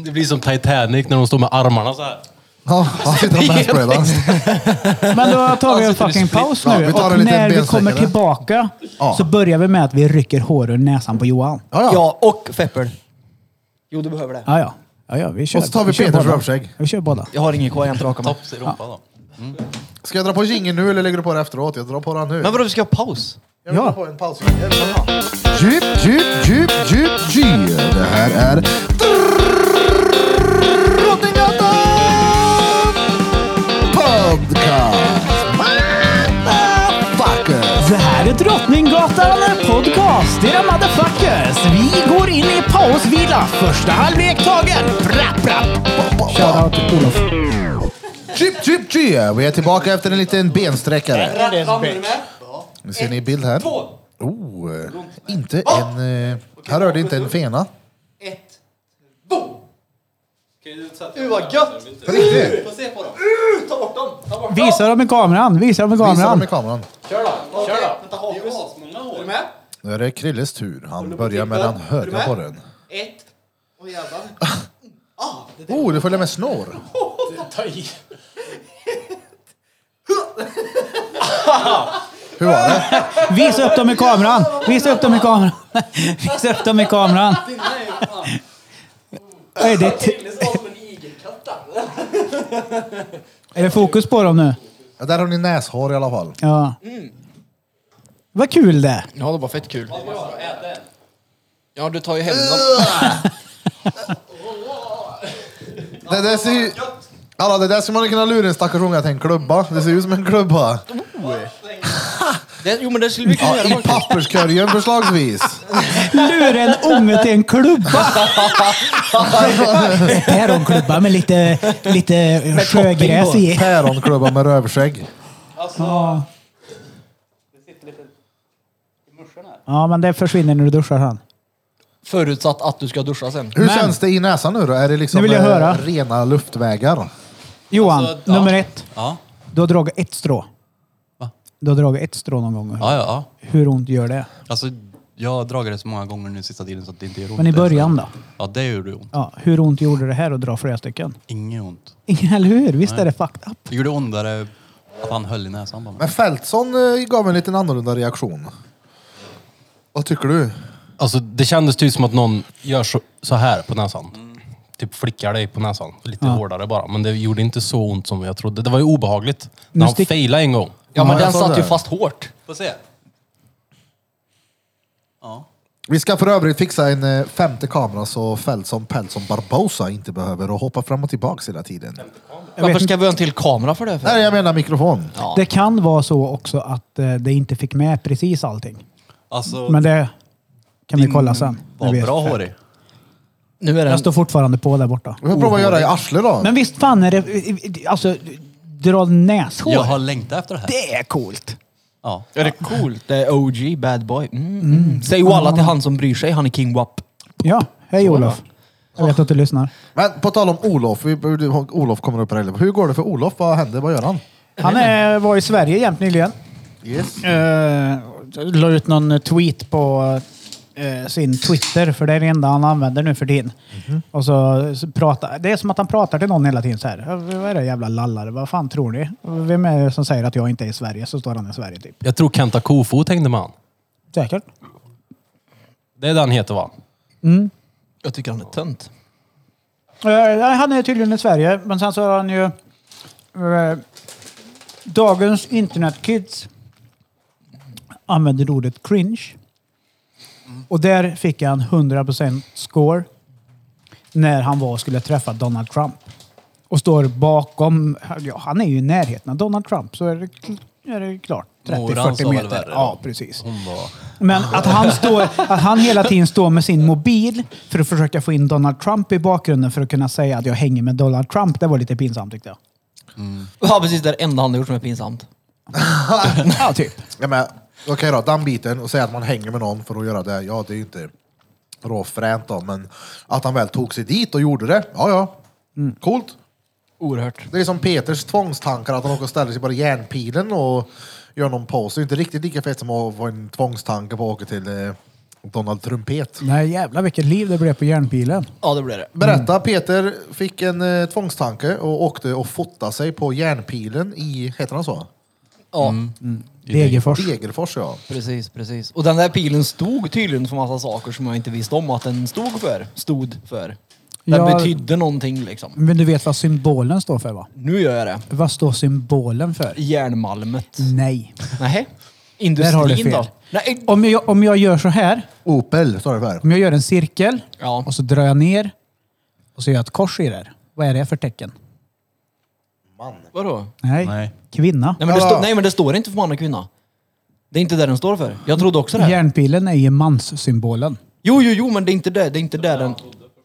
Speaker 4: Det blir som Titanic när de står med armarna så här.
Speaker 1: Ja, han sitter och manspreadar.
Speaker 3: Men då tar vi en
Speaker 5: Alltså, det är
Speaker 3: fucking
Speaker 5: split.
Speaker 3: paus
Speaker 1: Ja,
Speaker 3: nu.
Speaker 1: vi tar en
Speaker 3: Och
Speaker 1: liten
Speaker 3: när vi kommer
Speaker 1: bensträckare.
Speaker 3: tillbaka
Speaker 1: Ja.
Speaker 3: så börjar vi med att vi rycker hår ur näsan på Johan.
Speaker 1: Ja, ja.
Speaker 2: och Feppel. Jo, du behöver det.
Speaker 3: Ja, ja. Ja, ja, vi kör,
Speaker 1: Och så tar vi
Speaker 3: kör
Speaker 1: Peters
Speaker 3: båda.
Speaker 1: rövskägg.
Speaker 3: Vi kör båda.
Speaker 2: Jag har ingen kvar, jag har inte rakat mig.
Speaker 5: Tops i rumpan då.
Speaker 1: Ska jag dra på jingeln nu eller lägger du på det efteråt? Jag drar på den nu.
Speaker 2: Men vadå, vi ska ha paus?
Speaker 1: Jag vill ha på en paus. Djup, djup, djup, djup, djup. Det här är Drottninggatan Podcast. Motherfuckers.
Speaker 3: Det här är Drottninggatan Podcast, era motherfuckers! Vi går in i pausvila, första halvlek tagen! Prapp, prapp! Shoutout till Olof.
Speaker 1: Chip, chip, chip! Vi är tillbaka efter en liten bensträckare. Nu ser ni i bild här. Oh, eh, inte en... eh, Här rörde inte en fena.
Speaker 2: Ett, två! Uh vad gött!
Speaker 1: På riktigt.
Speaker 2: Få se på dem! Ta bort dem! Ta bort
Speaker 3: Visa dem i kameran, visa dem i
Speaker 1: Visa dem i
Speaker 3: kameran.
Speaker 1: kameran.
Speaker 2: dem! Kör då! Vänta, Hakus. Det är asmånga hår. Är du med?
Speaker 1: Nu är det Krilles tur. Han
Speaker 2: på att
Speaker 1: börjar med
Speaker 2: titta.
Speaker 1: den högra
Speaker 2: Är du med?
Speaker 1: borren.
Speaker 2: Ett. Åh jävlar. Ah,
Speaker 1: Oh, du följer med snor. Hur var det?
Speaker 3: Visa upp dem i kameran, visa upp dem i kameran. Visa upp dem i kameran. Oj, det är, t- är det fokus på dem nu?
Speaker 1: Ja, Där har ni näshår i alla fall.
Speaker 3: Ja.
Speaker 1: Mm.
Speaker 3: Vad kul det är.
Speaker 7: Ja, det var fett kul. Ja, du tar ju hem
Speaker 2: Äh.
Speaker 7: dem.
Speaker 1: Det där ser ju... Alla, det där skulle man kunna lura en stackars unge att det är en klubba. Det ser ut som en klubba.
Speaker 7: Det, jo, men det skulle vi kunna
Speaker 1: Ja,
Speaker 7: göra.
Speaker 1: I
Speaker 7: faktiskt.
Speaker 1: papperskorgen förslagsvis.
Speaker 3: Lura en unge till en klubba! Päronklubba med lite, lite sjögräs i.
Speaker 1: Päronklubba med rövskägg.
Speaker 3: Ja, men det försvinner när du duschar han.
Speaker 2: Förutsatt att du ska duscha sen.
Speaker 1: Hur
Speaker 3: Men-
Speaker 1: känns det i näsan nu då? Är det liksom
Speaker 3: Nu vill jag
Speaker 1: eh,
Speaker 3: höra.
Speaker 1: rena luftvägar?
Speaker 3: Johan,
Speaker 5: Alltså, ja.
Speaker 3: nummer ett.
Speaker 5: Ja,
Speaker 3: Du har dragit ett strå.
Speaker 5: Va?
Speaker 3: Du har dragit ett strå någon gång.
Speaker 5: ja, ja.
Speaker 3: Hur ont gör det?
Speaker 5: Alltså, jag har dragit det så många gånger nu sista tiden så att det inte gör ont.
Speaker 3: Men i början då?
Speaker 5: Ja, det gjorde ont.
Speaker 3: Ja, hur ont gjorde det här att dra flera stycken?
Speaker 5: Inget ont.
Speaker 3: Ingen, eller hur? Visst är det fucked up?
Speaker 5: Det gjorde ondare att han höll i näsan på mig.
Speaker 1: Men Fältson eh, gav en liten annorlunda reaktion. Vad tycker du?
Speaker 4: Alltså det kändes typ som att någon gör så, så här på näsan. Typ flickar dig på näsan. Lite hårdare bara. Men det gjorde inte så ont som jag trodde. Det var ju obehagligt.
Speaker 3: Nu
Speaker 4: När han
Speaker 3: stick-
Speaker 4: failade en gång.
Speaker 2: Ja, men
Speaker 1: Ja, jag
Speaker 2: den
Speaker 1: såg
Speaker 2: satt ju
Speaker 1: det.
Speaker 2: fast hårt.
Speaker 5: Får se. Ja.
Speaker 1: Vi ska för övrigt fixa en eh, femte kamera så Fältson Pältson Barbosa inte behöver att hoppa fram och tillbaks hela tiden.
Speaker 2: Varför ska vi ha en till kamera för det? För?
Speaker 1: Nej, jag menar mikrofon.
Speaker 2: Ja.
Speaker 3: Det kan vara så också att eh, det inte fick med precis allting.
Speaker 5: Alltså,
Speaker 3: Men det kan vi
Speaker 2: mm,
Speaker 3: kolla sen. när vi
Speaker 5: var
Speaker 3: är
Speaker 5: Mm, bra
Speaker 3: färdiga.
Speaker 5: hårig.
Speaker 2: Nu är den...
Speaker 3: Jag står fortfarande på där borta.
Speaker 1: Vi får prova att göra i arslet då.
Speaker 3: Men visst fan är det... Alltså, dra näshår.
Speaker 5: Jag har längtat efter det här.
Speaker 3: Det är coolt.
Speaker 5: Ja.
Speaker 2: Är det coolt? Det är OG, bad boy. Mm. Säg walla till han som bryr sig, han är king wap.
Speaker 3: Ja, hej Olof. Jag vet att du lyssnar.
Speaker 1: Men på tal om Olof, vi, Olof kommer upp här. Hur går det för Olof? Vad händer? Vad gör han?
Speaker 3: Han eh, var i Sverige jämt nyligen.
Speaker 1: Yes.
Speaker 3: Eh, la ut någon tweet på eh, sin Twitter, för det är det enda han använder nu för tiden.
Speaker 5: Mhm.
Speaker 3: Och så, så pratar, det är som att han pratar till någon hela tiden så här. "Eh, Vad är det jävla lallare? Vad fan tror ni? Vem är det som säger att jag inte är i Sverige? Så står han i Sverige typ.
Speaker 4: Jag tror Kenta Kofot hängde med han.
Speaker 3: Säkert.
Speaker 4: Det är den han heter va?
Speaker 2: Jag tycker han är tönt.
Speaker 3: Eh, han är tydligen i Sverige, men sen så har han ju... Eh, dagens internetkids använder ordet cringe. Och där fick han 100% score när han var och skulle träffa Donald Trump. Och står bakom... Ja, han är ju i närheten av Donald Trump, så är det, kl- är det klart.
Speaker 5: Moran sa
Speaker 3: 30-40
Speaker 5: väl
Speaker 3: meter.
Speaker 5: värre då?
Speaker 3: Ja, precis.
Speaker 5: Hon var...
Speaker 3: Men att han, står, att han hela tiden står med sin mobil för att försöka få in Donald Trump i bakgrunden för att kunna säga att jag hänger med Donald Trump, det var lite pinsamt tyckte jag.
Speaker 2: Ja precis, det är det enda han har gjort som är pinsamt.
Speaker 3: Ja, typ.
Speaker 1: Ja, men, Okej då, den biten och säga att man hänger med någon för att göra det. Ja, det är ju inte råfränt då, men att han väl tog sig dit och gjorde det. Ja, ja. Coolt.
Speaker 2: Oerhört.
Speaker 1: Det är som Peters tvångstankar, att han åker och ställer sig på järnpilen och gör någon pose. Det är inte riktigt lika fett som att få en tvångstanke på att åka till eh, Donald Trumpet.
Speaker 3: Nej jävlar vilket liv det blev på järnpilen.
Speaker 2: Ja det blir det.
Speaker 1: Berätta, Peter fick en eh, tvångstanke och åkte och fotade sig på järnpilen i, heter han så?
Speaker 2: Ja,
Speaker 3: Degerfors.
Speaker 1: Degerfors ja.
Speaker 2: precis, precis. Och den där pilen stod tydligen för massa saker som jag inte visste om att den stod för. Stod för. Den
Speaker 3: Ja.
Speaker 2: betydde någonting liksom.
Speaker 3: Men du vet vad symbolen står för va?
Speaker 2: Nu gör jag det.
Speaker 3: Vad står symbolen för?
Speaker 2: Järnmalmet.
Speaker 3: Nej.
Speaker 2: Nej.
Speaker 3: Mm. Där har du
Speaker 2: Industrin
Speaker 3: fel.
Speaker 2: då? Nej.
Speaker 3: Om jag, om jag gör så här.
Speaker 1: Opel står det för.
Speaker 3: Om jag gör en cirkel
Speaker 2: Ja.
Speaker 3: och så drar jag ner och så gör jag ett kors i där. Vad är det för tecken?
Speaker 2: Vadå?
Speaker 3: Nej.
Speaker 5: Nej.
Speaker 3: Kvinna.
Speaker 2: Nej men, det stå, nej men det står inte för man och kvinna. Det är inte det den står för. Jag trodde också det. här.
Speaker 3: Järnpilen är ju manssymbolen.
Speaker 2: Jo, jo, jo, men det är inte det. Det är inte det den...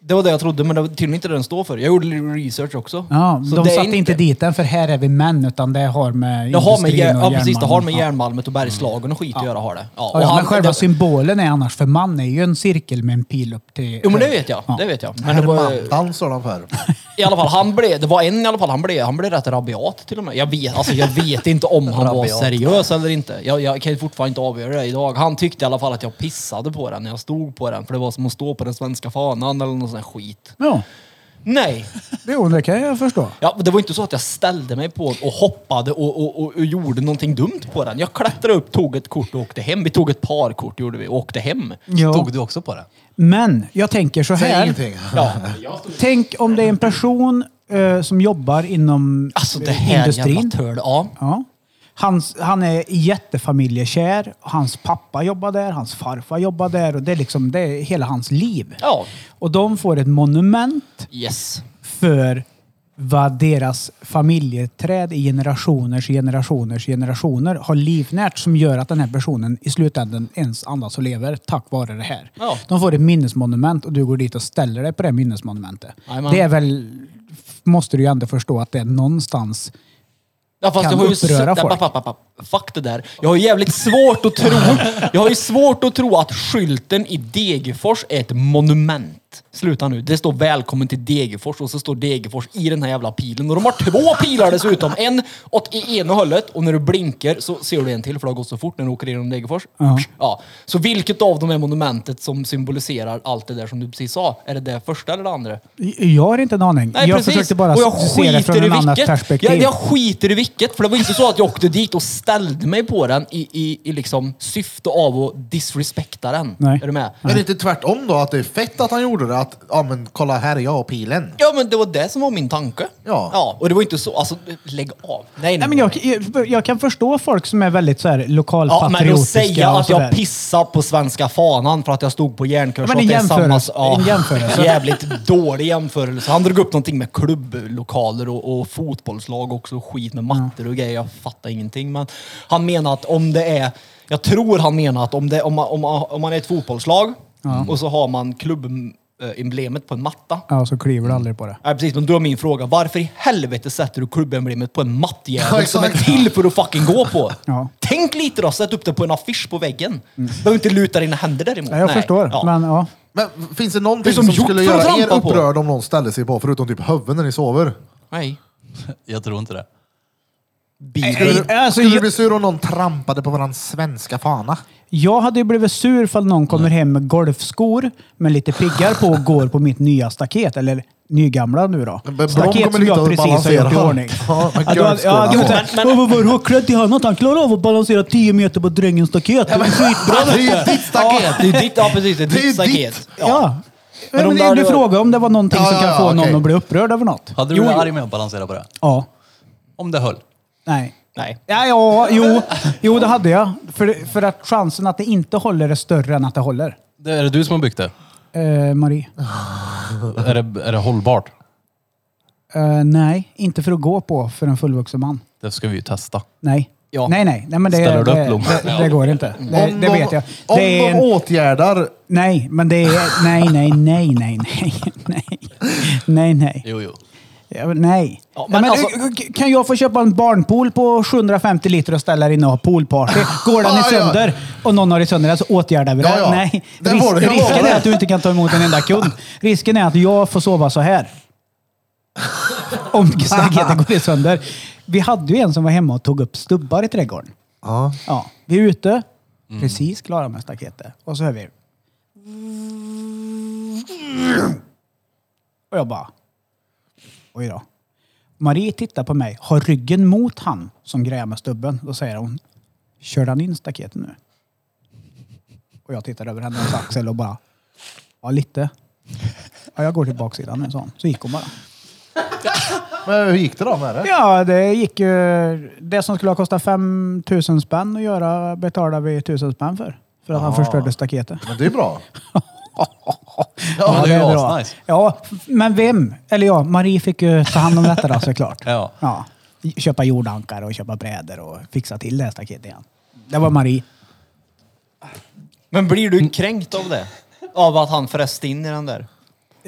Speaker 2: Det var det jag trodde, men det var tydligen inte det den står för. Jag gjorde lite research också.
Speaker 3: Ja,
Speaker 2: Så
Speaker 3: de
Speaker 2: det är
Speaker 3: satte inte dit den för här är vi män utan det har med
Speaker 2: Det har med,
Speaker 3: industrin
Speaker 2: jär,
Speaker 3: och
Speaker 2: ja, precis, det har med
Speaker 3: järnmalmen. Ja.
Speaker 2: järnmalmet och bergslagen och skit att göra. Har det. Ja,
Speaker 3: Ja, ja, men själva
Speaker 2: det,
Speaker 3: symbolen är annars för man är ju en cirkel med en pil upp till...
Speaker 2: Jo men det vet jag, det vet jag. Men det var,
Speaker 1: Herrmattan står den för.
Speaker 2: i alla fall, han blev, det var en i alla fall, han blev, han blev rätt rabiat till och med. Jag vet, alltså, jag vet inte om han var
Speaker 5: Rabiat.
Speaker 2: seriös eller inte. Jag, jag kan ju fortfarande inte avgöra det idag. Han tyckte i alla fall att jag pissade på den när jag stod på den. För det var som att stå på den svenska fanan eller någon sån här skit.
Speaker 3: Ja,
Speaker 2: Nej,
Speaker 3: jo, det kan jag förstå.
Speaker 2: Ja, det var inte så att jag ställde mig på och hoppade och, och, och, och gjorde någonting dumt på den. Jag klättrade upp, tog ett kort och åkte hem. Vi tog ett par kort gjorde vi och åkte hem.
Speaker 3: Ja.
Speaker 5: Tog du också på det?
Speaker 3: Men jag tänker så
Speaker 1: Säg
Speaker 3: här.
Speaker 1: ingenting.
Speaker 2: Ja.
Speaker 3: Tänk om det är en person eh, som jobbar inom
Speaker 2: Alltså det
Speaker 3: eh,
Speaker 2: här
Speaker 3: industrin.
Speaker 2: jävla törd. Ja.
Speaker 3: Ja. Hans, han är jättefamiljekär. Hans pappa jobbar där, hans farfar jobbar där och det är liksom det är hela hans liv.
Speaker 2: ja.
Speaker 3: Och de får ett monument
Speaker 2: Yes.
Speaker 3: för vad deras familjeträd i generationers generationers generationer har livnärt som gör att den här personen i slutändan ens andas och lever tack vare det här.
Speaker 2: Ja.
Speaker 3: De får ett minnesmonument och du går dit och ställer dig på det minnesmonumentet.
Speaker 2: Jajamän.
Speaker 3: Det är väl, måste du ju ändå förstå att det är någonstans
Speaker 2: Ja, fast
Speaker 3: Kan
Speaker 2: jag har ju
Speaker 3: uppröra
Speaker 2: s-
Speaker 3: folk.
Speaker 2: Papp, papp, papp. Fuck det där. Jag har ju jävligt svårt att tro. Jag har ju svårt att tro att skylten i Degerfors är ett monument. Sluta nu. Det står välkommen till Degerfors och så står Degerfors i den här jävla pilen. Och de har två pilar dessutom. En åt i ena hållet och när du blinkar så ser du en till för det har gått så fort när du åker igenom Degerfors.
Speaker 3: Ja.
Speaker 2: Ja. Så vilket av dem är monumentet som symboliserar allt det där som du precis sa? Är det det första eller det andra?
Speaker 3: Jag har inte en aning.
Speaker 2: Nej,
Speaker 3: jag
Speaker 2: precis.
Speaker 3: försökte bara
Speaker 2: och jag
Speaker 3: se det från
Speaker 2: skiter i
Speaker 3: en annan
Speaker 2: vilket.
Speaker 3: perspektiv.
Speaker 2: Jag, jag skiter i vilket, för det var inte så att jag åkte dit och ställde mig på den i, i, i liksom syfte av att disrespekta den.
Speaker 3: Nej.
Speaker 2: Är du med?
Speaker 1: Men är det inte tvärtom då? Att det är fett att han gjorde det? Att, ja men kolla här är jag och pilen.
Speaker 2: Ja, men det var det som var min tanke.
Speaker 1: Ja.
Speaker 2: ja och det var inte så, alltså lägg av. Nej,
Speaker 3: Nej, men jag, jag, jag kan förstå folk som är väldigt så här,
Speaker 2: Ja,
Speaker 3: lokalpatriotiska.
Speaker 2: men att säga
Speaker 3: och
Speaker 2: att
Speaker 3: så där.
Speaker 2: jag pissar på svenska fanan för att jag stod på järnkurs.
Speaker 3: Ja, men
Speaker 2: och
Speaker 3: en
Speaker 2: att det är
Speaker 3: jämförelse.
Speaker 2: ja,
Speaker 3: En jämförelse.
Speaker 2: Jävligt dålig jämförelse. Han drog upp någonting med klubblokaler och, och fotbollslag också. och Skit med mattor och grejer. Jag fattar ingenting. Men han menar att om det är... Jag tror han menar att om, det, om, man, om, man, om man är ett fotbollslag och så har man klubbemblemet på en matta.
Speaker 3: Ja, så kliver
Speaker 1: Mm.
Speaker 3: du aldrig på det.
Speaker 2: Ja, precis, men då är min fråga, varför i helvete sätter du klubbemblemet på en mattjävel
Speaker 1: Ja,
Speaker 2: som är
Speaker 1: exakt.
Speaker 2: till för att fucking gå på?
Speaker 3: Ja. Mm.
Speaker 2: Tänk lite då, sätt upp det på en affisch på väggen. Behöver inte luta dina händer däremot.
Speaker 3: Ja, jag förstår.
Speaker 2: Ja.
Speaker 3: Men, ja.
Speaker 1: Men finns det
Speaker 2: Det
Speaker 1: någonting
Speaker 2: är som
Speaker 1: som,
Speaker 2: hjort
Speaker 1: skulle
Speaker 2: för att
Speaker 1: göra er
Speaker 2: trampa på.
Speaker 1: upprörd om någon ställde sig på förutom typ huvudet när ni sover?
Speaker 2: Nej.
Speaker 5: Jag tror inte det.
Speaker 2: Bibeln.
Speaker 3: Nej, alltså,
Speaker 1: skulle du
Speaker 3: jag-
Speaker 1: bli sur om någon trampade på våran svenska fana?
Speaker 3: Jag hade ju blivit sur ifall någon kommer hem med golfskor med lite piggar på och går på mitt nya staket. Eller nygamla nu då.
Speaker 1: Men Blom
Speaker 3: Staket
Speaker 1: kommer
Speaker 3: som jag
Speaker 1: hit och
Speaker 3: precis har
Speaker 1: balanserar.
Speaker 3: gjort i ordning.
Speaker 1: Ja, men
Speaker 3: Att du hade-
Speaker 1: golfskorna
Speaker 3: ja, du
Speaker 1: på.
Speaker 3: vet såhär, "Åh, vad var du har klädd i handen? Han klarar av att balansera 10 meter på drängens staket. Det är skitbra.
Speaker 1: Det är ju ditt staket!
Speaker 2: Ja, det är ditt, ja precis, det är
Speaker 1: Det är
Speaker 2: ditt
Speaker 1: ju ditt.
Speaker 2: staket. Ja.
Speaker 3: Ja.
Speaker 2: Men
Speaker 3: Men
Speaker 2: om
Speaker 3: men
Speaker 2: där
Speaker 3: det- du
Speaker 2: du-
Speaker 3: frågade om det var någonting
Speaker 1: Ja,
Speaker 3: som
Speaker 1: ja,
Speaker 3: kan
Speaker 1: ja,
Speaker 3: få
Speaker 1: okej.
Speaker 3: någon att bli upprörd över något.
Speaker 5: Hade du blivit arg med att balansera på det?
Speaker 3: Ja.
Speaker 5: Om det höll?
Speaker 3: Nej.
Speaker 2: Nej.
Speaker 3: Ja, ja jo. jo, det hade jag. För, för att chansen att det inte håller är större än att det håller.
Speaker 4: Det, är det du som har byggt det?
Speaker 3: Eh, Marie?
Speaker 4: Är det, är det hållbart?
Speaker 3: Eh, nej, inte för att gå på för en fullvuxen man.
Speaker 4: Det ska vi ju testa.
Speaker 3: Nej.
Speaker 2: Ja.
Speaker 3: Nej, nej. nej men det,
Speaker 4: Ställer du upp
Speaker 3: det,
Speaker 4: blommor?
Speaker 3: det, det går inte. Det,
Speaker 1: Om
Speaker 3: det
Speaker 1: de-
Speaker 3: vet jag.
Speaker 1: Om
Speaker 3: Det är
Speaker 1: de
Speaker 3: en,
Speaker 1: åtgärdar...
Speaker 3: nej, men det är... Nej, nej, nej, nej, nej, nej. Nej, nej.
Speaker 5: Jo, jo.
Speaker 3: Ja, men Nej.
Speaker 2: Ja,
Speaker 3: Ja,
Speaker 2: men
Speaker 3: men
Speaker 2: alltså-
Speaker 3: k- kan jag få köpa en barnpool på 750 liter och ställa in och ha poolparty? Går den i
Speaker 1: Ja, ja.
Speaker 3: sönder och någon har i sönder den så åtgärdar vi det.
Speaker 1: Ja, ja.
Speaker 3: Nej.
Speaker 1: Det
Speaker 3: Ris-
Speaker 1: var det, jag
Speaker 3: risken
Speaker 1: lovar.
Speaker 3: är att du inte kan ta emot en enda kund. Risken är att jag får sova så här. Om staketen går i sönder. Vi hade ju en som var hemma och tog upp stubbar i trädgården.
Speaker 1: Ja.
Speaker 3: Ja, vi är ute, precis klara med staketet. Och så hör vi... Och jag bara... Oj då. Marie tittar på mig, har ryggen mot han som grejar med stubben. Då säger hon, kör han in staketet nu? Och jag tittar över hennes axel och bara, ja lite. Ja, jag går till baksidan med en sån. Så gick hon bara.
Speaker 1: Men hur gick det då med det?
Speaker 3: Ja, det gick ju... Det som skulle ha kostat 5 000 spänn att göra betalade vi 1000 spänn för. För att han förstörde staketet.
Speaker 1: Men det är bra.
Speaker 5: Ja, det är ju asnice.
Speaker 3: Ja, men vem? Eller ja, Marie fick ju ta hand om detta då såklart.
Speaker 5: Ja.
Speaker 3: ja. Köpa jordankar och köpa brädor och fixa till det här staketet igen. Det var Marie.
Speaker 2: Men blir du kränkt av det? Av att han fräste in i den där?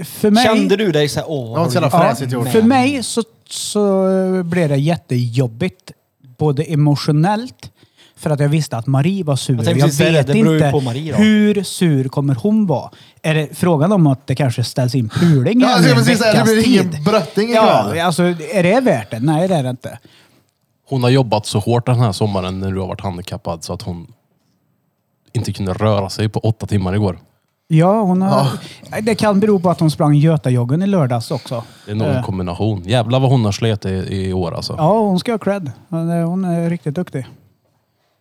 Speaker 3: För mig...
Speaker 2: Kände du dig såhär, åh,
Speaker 1: Det var
Speaker 2: har
Speaker 1: så
Speaker 2: du
Speaker 1: jävla fräsigt gjort.
Speaker 3: För mig så, så blev det jättejobbigt. Både emotionellt, för att jag visste att Marie var sur.
Speaker 2: Jag
Speaker 3: Jag,
Speaker 2: tänkte precis säga det,
Speaker 3: vet
Speaker 2: det beror ju
Speaker 3: inte
Speaker 2: på Marie då.
Speaker 3: hur sur kommer hon vara. Är det frågan om att det kanske ställs in puling
Speaker 1: Ja,
Speaker 3: här
Speaker 1: jag
Speaker 3: nu
Speaker 1: skulle precis
Speaker 3: en
Speaker 1: säga, det
Speaker 3: veckas
Speaker 1: blir ingen
Speaker 3: tid?
Speaker 1: brötting
Speaker 3: Ja,
Speaker 1: ikväll.
Speaker 3: alltså är det värt det? Nej, det är det inte.
Speaker 4: Hon har jobbat så hårt den här sommaren när du har varit handikappad så att hon inte kunde röra sig på åtta timmar igår.
Speaker 3: Ja, hon har, Det kan bero på att hon sprang Götajoggen i lördags också.
Speaker 4: Det är någon
Speaker 3: Eh,
Speaker 4: kombination. Jävlar vad hon har slet i, i år alltså.
Speaker 3: Ja, hon ska ha cred. Hon är, hon är riktigt duktig.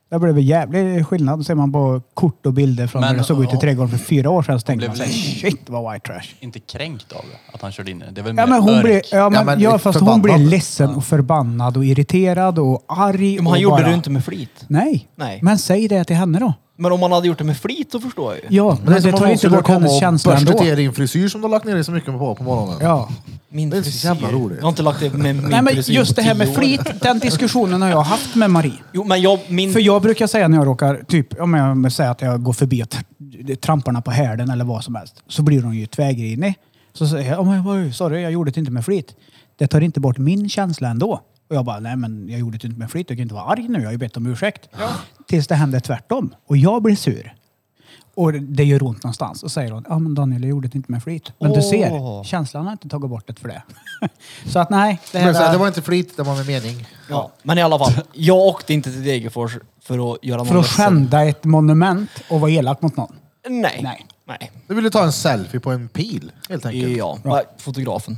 Speaker 3: Det blev en jävlig skillnad. Ser man på kort och bilder från
Speaker 5: Men,
Speaker 3: när det såg ut i
Speaker 5: ja.
Speaker 3: trädgården för fyra år sedan så tänkte
Speaker 5: blev
Speaker 3: man såhär,
Speaker 5: väl-
Speaker 3: shit vad white trash.
Speaker 5: Inte kränkt av det, att han körde in i det. Det är väl mer
Speaker 3: Ja men hon
Speaker 5: örk.
Speaker 3: blev, ja, men,
Speaker 1: Ja,
Speaker 3: ja,
Speaker 1: men
Speaker 3: fast hon
Speaker 1: förbannad.
Speaker 3: blev ledsen och förbannad och irriterad och arg.
Speaker 2: Men han
Speaker 3: och
Speaker 2: gjorde
Speaker 3: bara,
Speaker 2: det ju inte med flit.
Speaker 3: Nej.
Speaker 2: Nej.
Speaker 3: men säg det till henne då.
Speaker 2: Men om han hade gjort det med flit så förstår jag ju.
Speaker 3: Ja, men det,
Speaker 1: som om
Speaker 3: tar
Speaker 1: någon
Speaker 3: ju inte
Speaker 1: skulle
Speaker 3: bort
Speaker 1: komma
Speaker 3: hennes
Speaker 1: och
Speaker 3: känsla
Speaker 1: Börsta
Speaker 3: ändå.
Speaker 1: till din frisyr som du har lagt ner dig så mycket på på morgonen.
Speaker 3: Ja.
Speaker 2: Min
Speaker 1: Det är så
Speaker 2: frisyr.
Speaker 1: jävla roligt.
Speaker 2: Jag har inte lagt det med min
Speaker 3: Nej men
Speaker 2: frisyr
Speaker 3: just
Speaker 2: på
Speaker 3: det här med
Speaker 2: tio år.
Speaker 3: flit, den diskussionen har jag haft med Marie.
Speaker 2: Jo, men jag,
Speaker 1: Mm.
Speaker 2: min...
Speaker 3: För jag brukar säga när jag råkar, typ om jag säger att jag går förbi och t- tramparna på härden eller vad som helst, så blir hon ju tvärgrinig. Så säger jag, "Ja, men oj, sorry, jag gjorde det inte med flit. Det tar inte bort min känsla ändå. Och jag bara, nej men jag gjorde det inte med flit, du kan inte vara arg nu, jag har ju bett om ursäkt. Tills det händer tvärtom och jag blir sur. Och det- det gör ont någonstans. Och säger hon, ja men Daniel, jag gjorde det inte med flit. Men du ser,
Speaker 2: Åh.
Speaker 3: känslan har inte tagit bort det för det. så att nej, det,
Speaker 1: Men så här,
Speaker 3: där-
Speaker 1: det var inte flit, det var med mening.
Speaker 2: ja. men i alla fall, jag åkte inte till Degerfors för att göra någon
Speaker 3: för att
Speaker 2: ledsen.
Speaker 3: skända ett monument och vara elak mot någon.
Speaker 2: Nej.
Speaker 3: Nej.
Speaker 2: Nej.
Speaker 1: Du ville ta en selfie på en pil, helt enkelt.
Speaker 2: Ja, fotografen.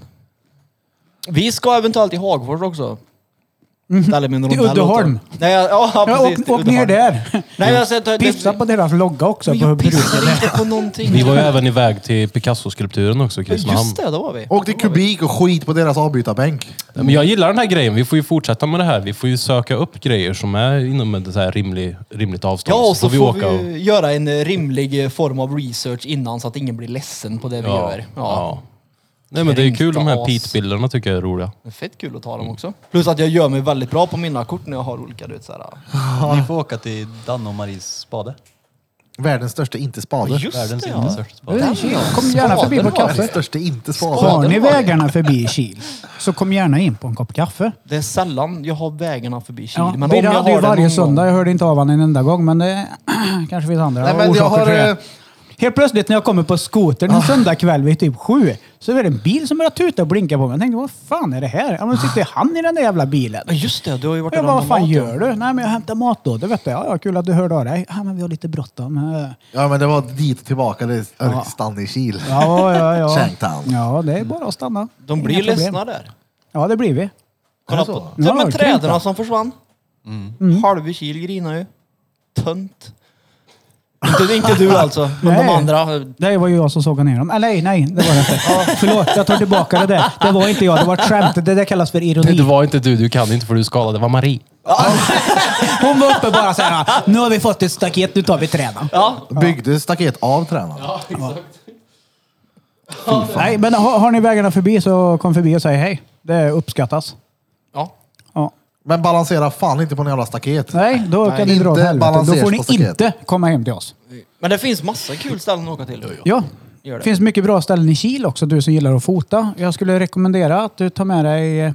Speaker 2: Vi ska eventuellt till Hagfors också. Ställer min
Speaker 3: Mhm.
Speaker 2: rondell
Speaker 3: Till
Speaker 2: åt dig.
Speaker 3: Uddeholm.
Speaker 2: Nej, ja, ja,
Speaker 3: Ja,
Speaker 2: precis.
Speaker 3: åk, åk ner där.
Speaker 2: Nej, men alltså, det-
Speaker 3: Pissa på deras logga också.
Speaker 2: Men
Speaker 3: På
Speaker 2: jag
Speaker 3: bruken.
Speaker 2: pissar inte på någonting.
Speaker 4: Vi var ju även iväg till Picasso-skulpturen också, Kristinehamn.
Speaker 2: Just det, då var vi.
Speaker 1: Åkte kubik och skit på deras avbytarbänk.
Speaker 4: Nej, Men jag gillar den här grejen. Vi får ju fortsätta med det här. Vi får ju söka upp grejer som är inom ett så här rimlig, rimligt avstånd.
Speaker 2: Ja, och så
Speaker 4: vi
Speaker 2: får vi, göra en eh, rimlig eh, form av research innan så att ingen blir ledsen på det vi
Speaker 4: Ja,
Speaker 2: gör.
Speaker 4: ja. Nej men det är ju kul, de här
Speaker 2: Kränkta as.
Speaker 4: Pete-bilderna tycker jag är roliga.
Speaker 2: Det är fett kul att ta dem också. Plus att jag gör mig väldigt bra på mina kort när jag har olika, du vet såhär.
Speaker 5: Ni får åka till Dan och Maries spade.
Speaker 1: Världens största inte-spade.
Speaker 5: Världens
Speaker 2: Just det,
Speaker 5: inte
Speaker 2: ja.
Speaker 5: största spade.
Speaker 3: Kom gärna förbi på
Speaker 1: Världens
Speaker 3: kaffe.
Speaker 1: största inte-spade.
Speaker 3: Har ni
Speaker 2: Spaden var det.
Speaker 3: vägarna förbi Kil så kom gärna in på en kopp kaffe.
Speaker 2: Det är sällan jag har vägarna förbi Kil.
Speaker 3: Ja,
Speaker 2: men om
Speaker 3: Birre
Speaker 2: jag
Speaker 3: hade ju
Speaker 2: har det
Speaker 3: varje
Speaker 2: någon
Speaker 3: söndag.
Speaker 2: gång.
Speaker 3: Jag hörde inte av honom en enda gång men det kanske finns andra
Speaker 1: Nej, men jag
Speaker 3: orsaker
Speaker 1: har,
Speaker 3: till
Speaker 1: eh,
Speaker 3: det. Helt plötsligt när jag kommer på skotern
Speaker 2: Ah.
Speaker 3: en söndagkväll vid typ sju så är det en bil som börjar tuta och blinka på mig. Jag tänkte vad fan är det här? Ja, men sitter han i den där jävla bilen?
Speaker 2: Ja, just det, du har ju varit
Speaker 3: Jag
Speaker 2: och
Speaker 3: bara,
Speaker 2: handlat
Speaker 3: vad fan
Speaker 2: mat,
Speaker 3: gör du? Nej men jag hämtar mat då. Det vet jag. Ja, ja, kul att du hörde av dig. Ja, men vi har lite bråttom. Eh,
Speaker 1: Ja, men det var dit och tillbaka. Det är örkstan i Kil.
Speaker 3: Ja, ja, ja.
Speaker 1: Shanktown.
Speaker 3: Ja, det är bara att stanna.
Speaker 2: De blir
Speaker 3: Inga problem.
Speaker 2: ledsna där.
Speaker 3: Ja, det blir vi.
Speaker 2: Kolla
Speaker 1: så?
Speaker 2: på
Speaker 3: Ja,
Speaker 2: ja, men
Speaker 3: det kan inte.
Speaker 2: träden som försvann.
Speaker 3: Mm.
Speaker 2: Halva Kil grinar ju. Tönt. Inte, inte du alltså, men de
Speaker 3: Nej.
Speaker 2: andra.
Speaker 3: Det var ju jag som såg ner dem. Ah, nej, nej, det var det inte. Förlåt, jag tar tillbaka det där. Det var inte jag, det var ett skämt. Det där kallas för
Speaker 4: Det
Speaker 3: ironi.
Speaker 4: var inte du, du kan inte för du är skadad. Det var Marie.
Speaker 3: Hon var uppe bara så här. Nu har vi fått ett staket, nu tar vi träden.
Speaker 2: Ja,
Speaker 1: Byggde staket av tränaren.
Speaker 3: Nej, men har, har ni vägarna förbi så kom förbi och säg hej. Det uppskattas.
Speaker 2: ja.
Speaker 3: Ja.
Speaker 1: Men balansera fan inte på några jävla staket.
Speaker 3: Nej, då
Speaker 1: Nej,
Speaker 3: kan ni dra åt
Speaker 1: inte
Speaker 3: helvete. Då får
Speaker 1: balansers
Speaker 3: ni
Speaker 1: på staket.
Speaker 3: inte komma hem till oss.
Speaker 2: Men det finns massa kul ställen att åka till.
Speaker 3: Ja.
Speaker 2: Gör det.
Speaker 3: finns mycket bra ställen i Kil också, du som gillar att fota. Jag skulle rekommendera att du tar med dig eh,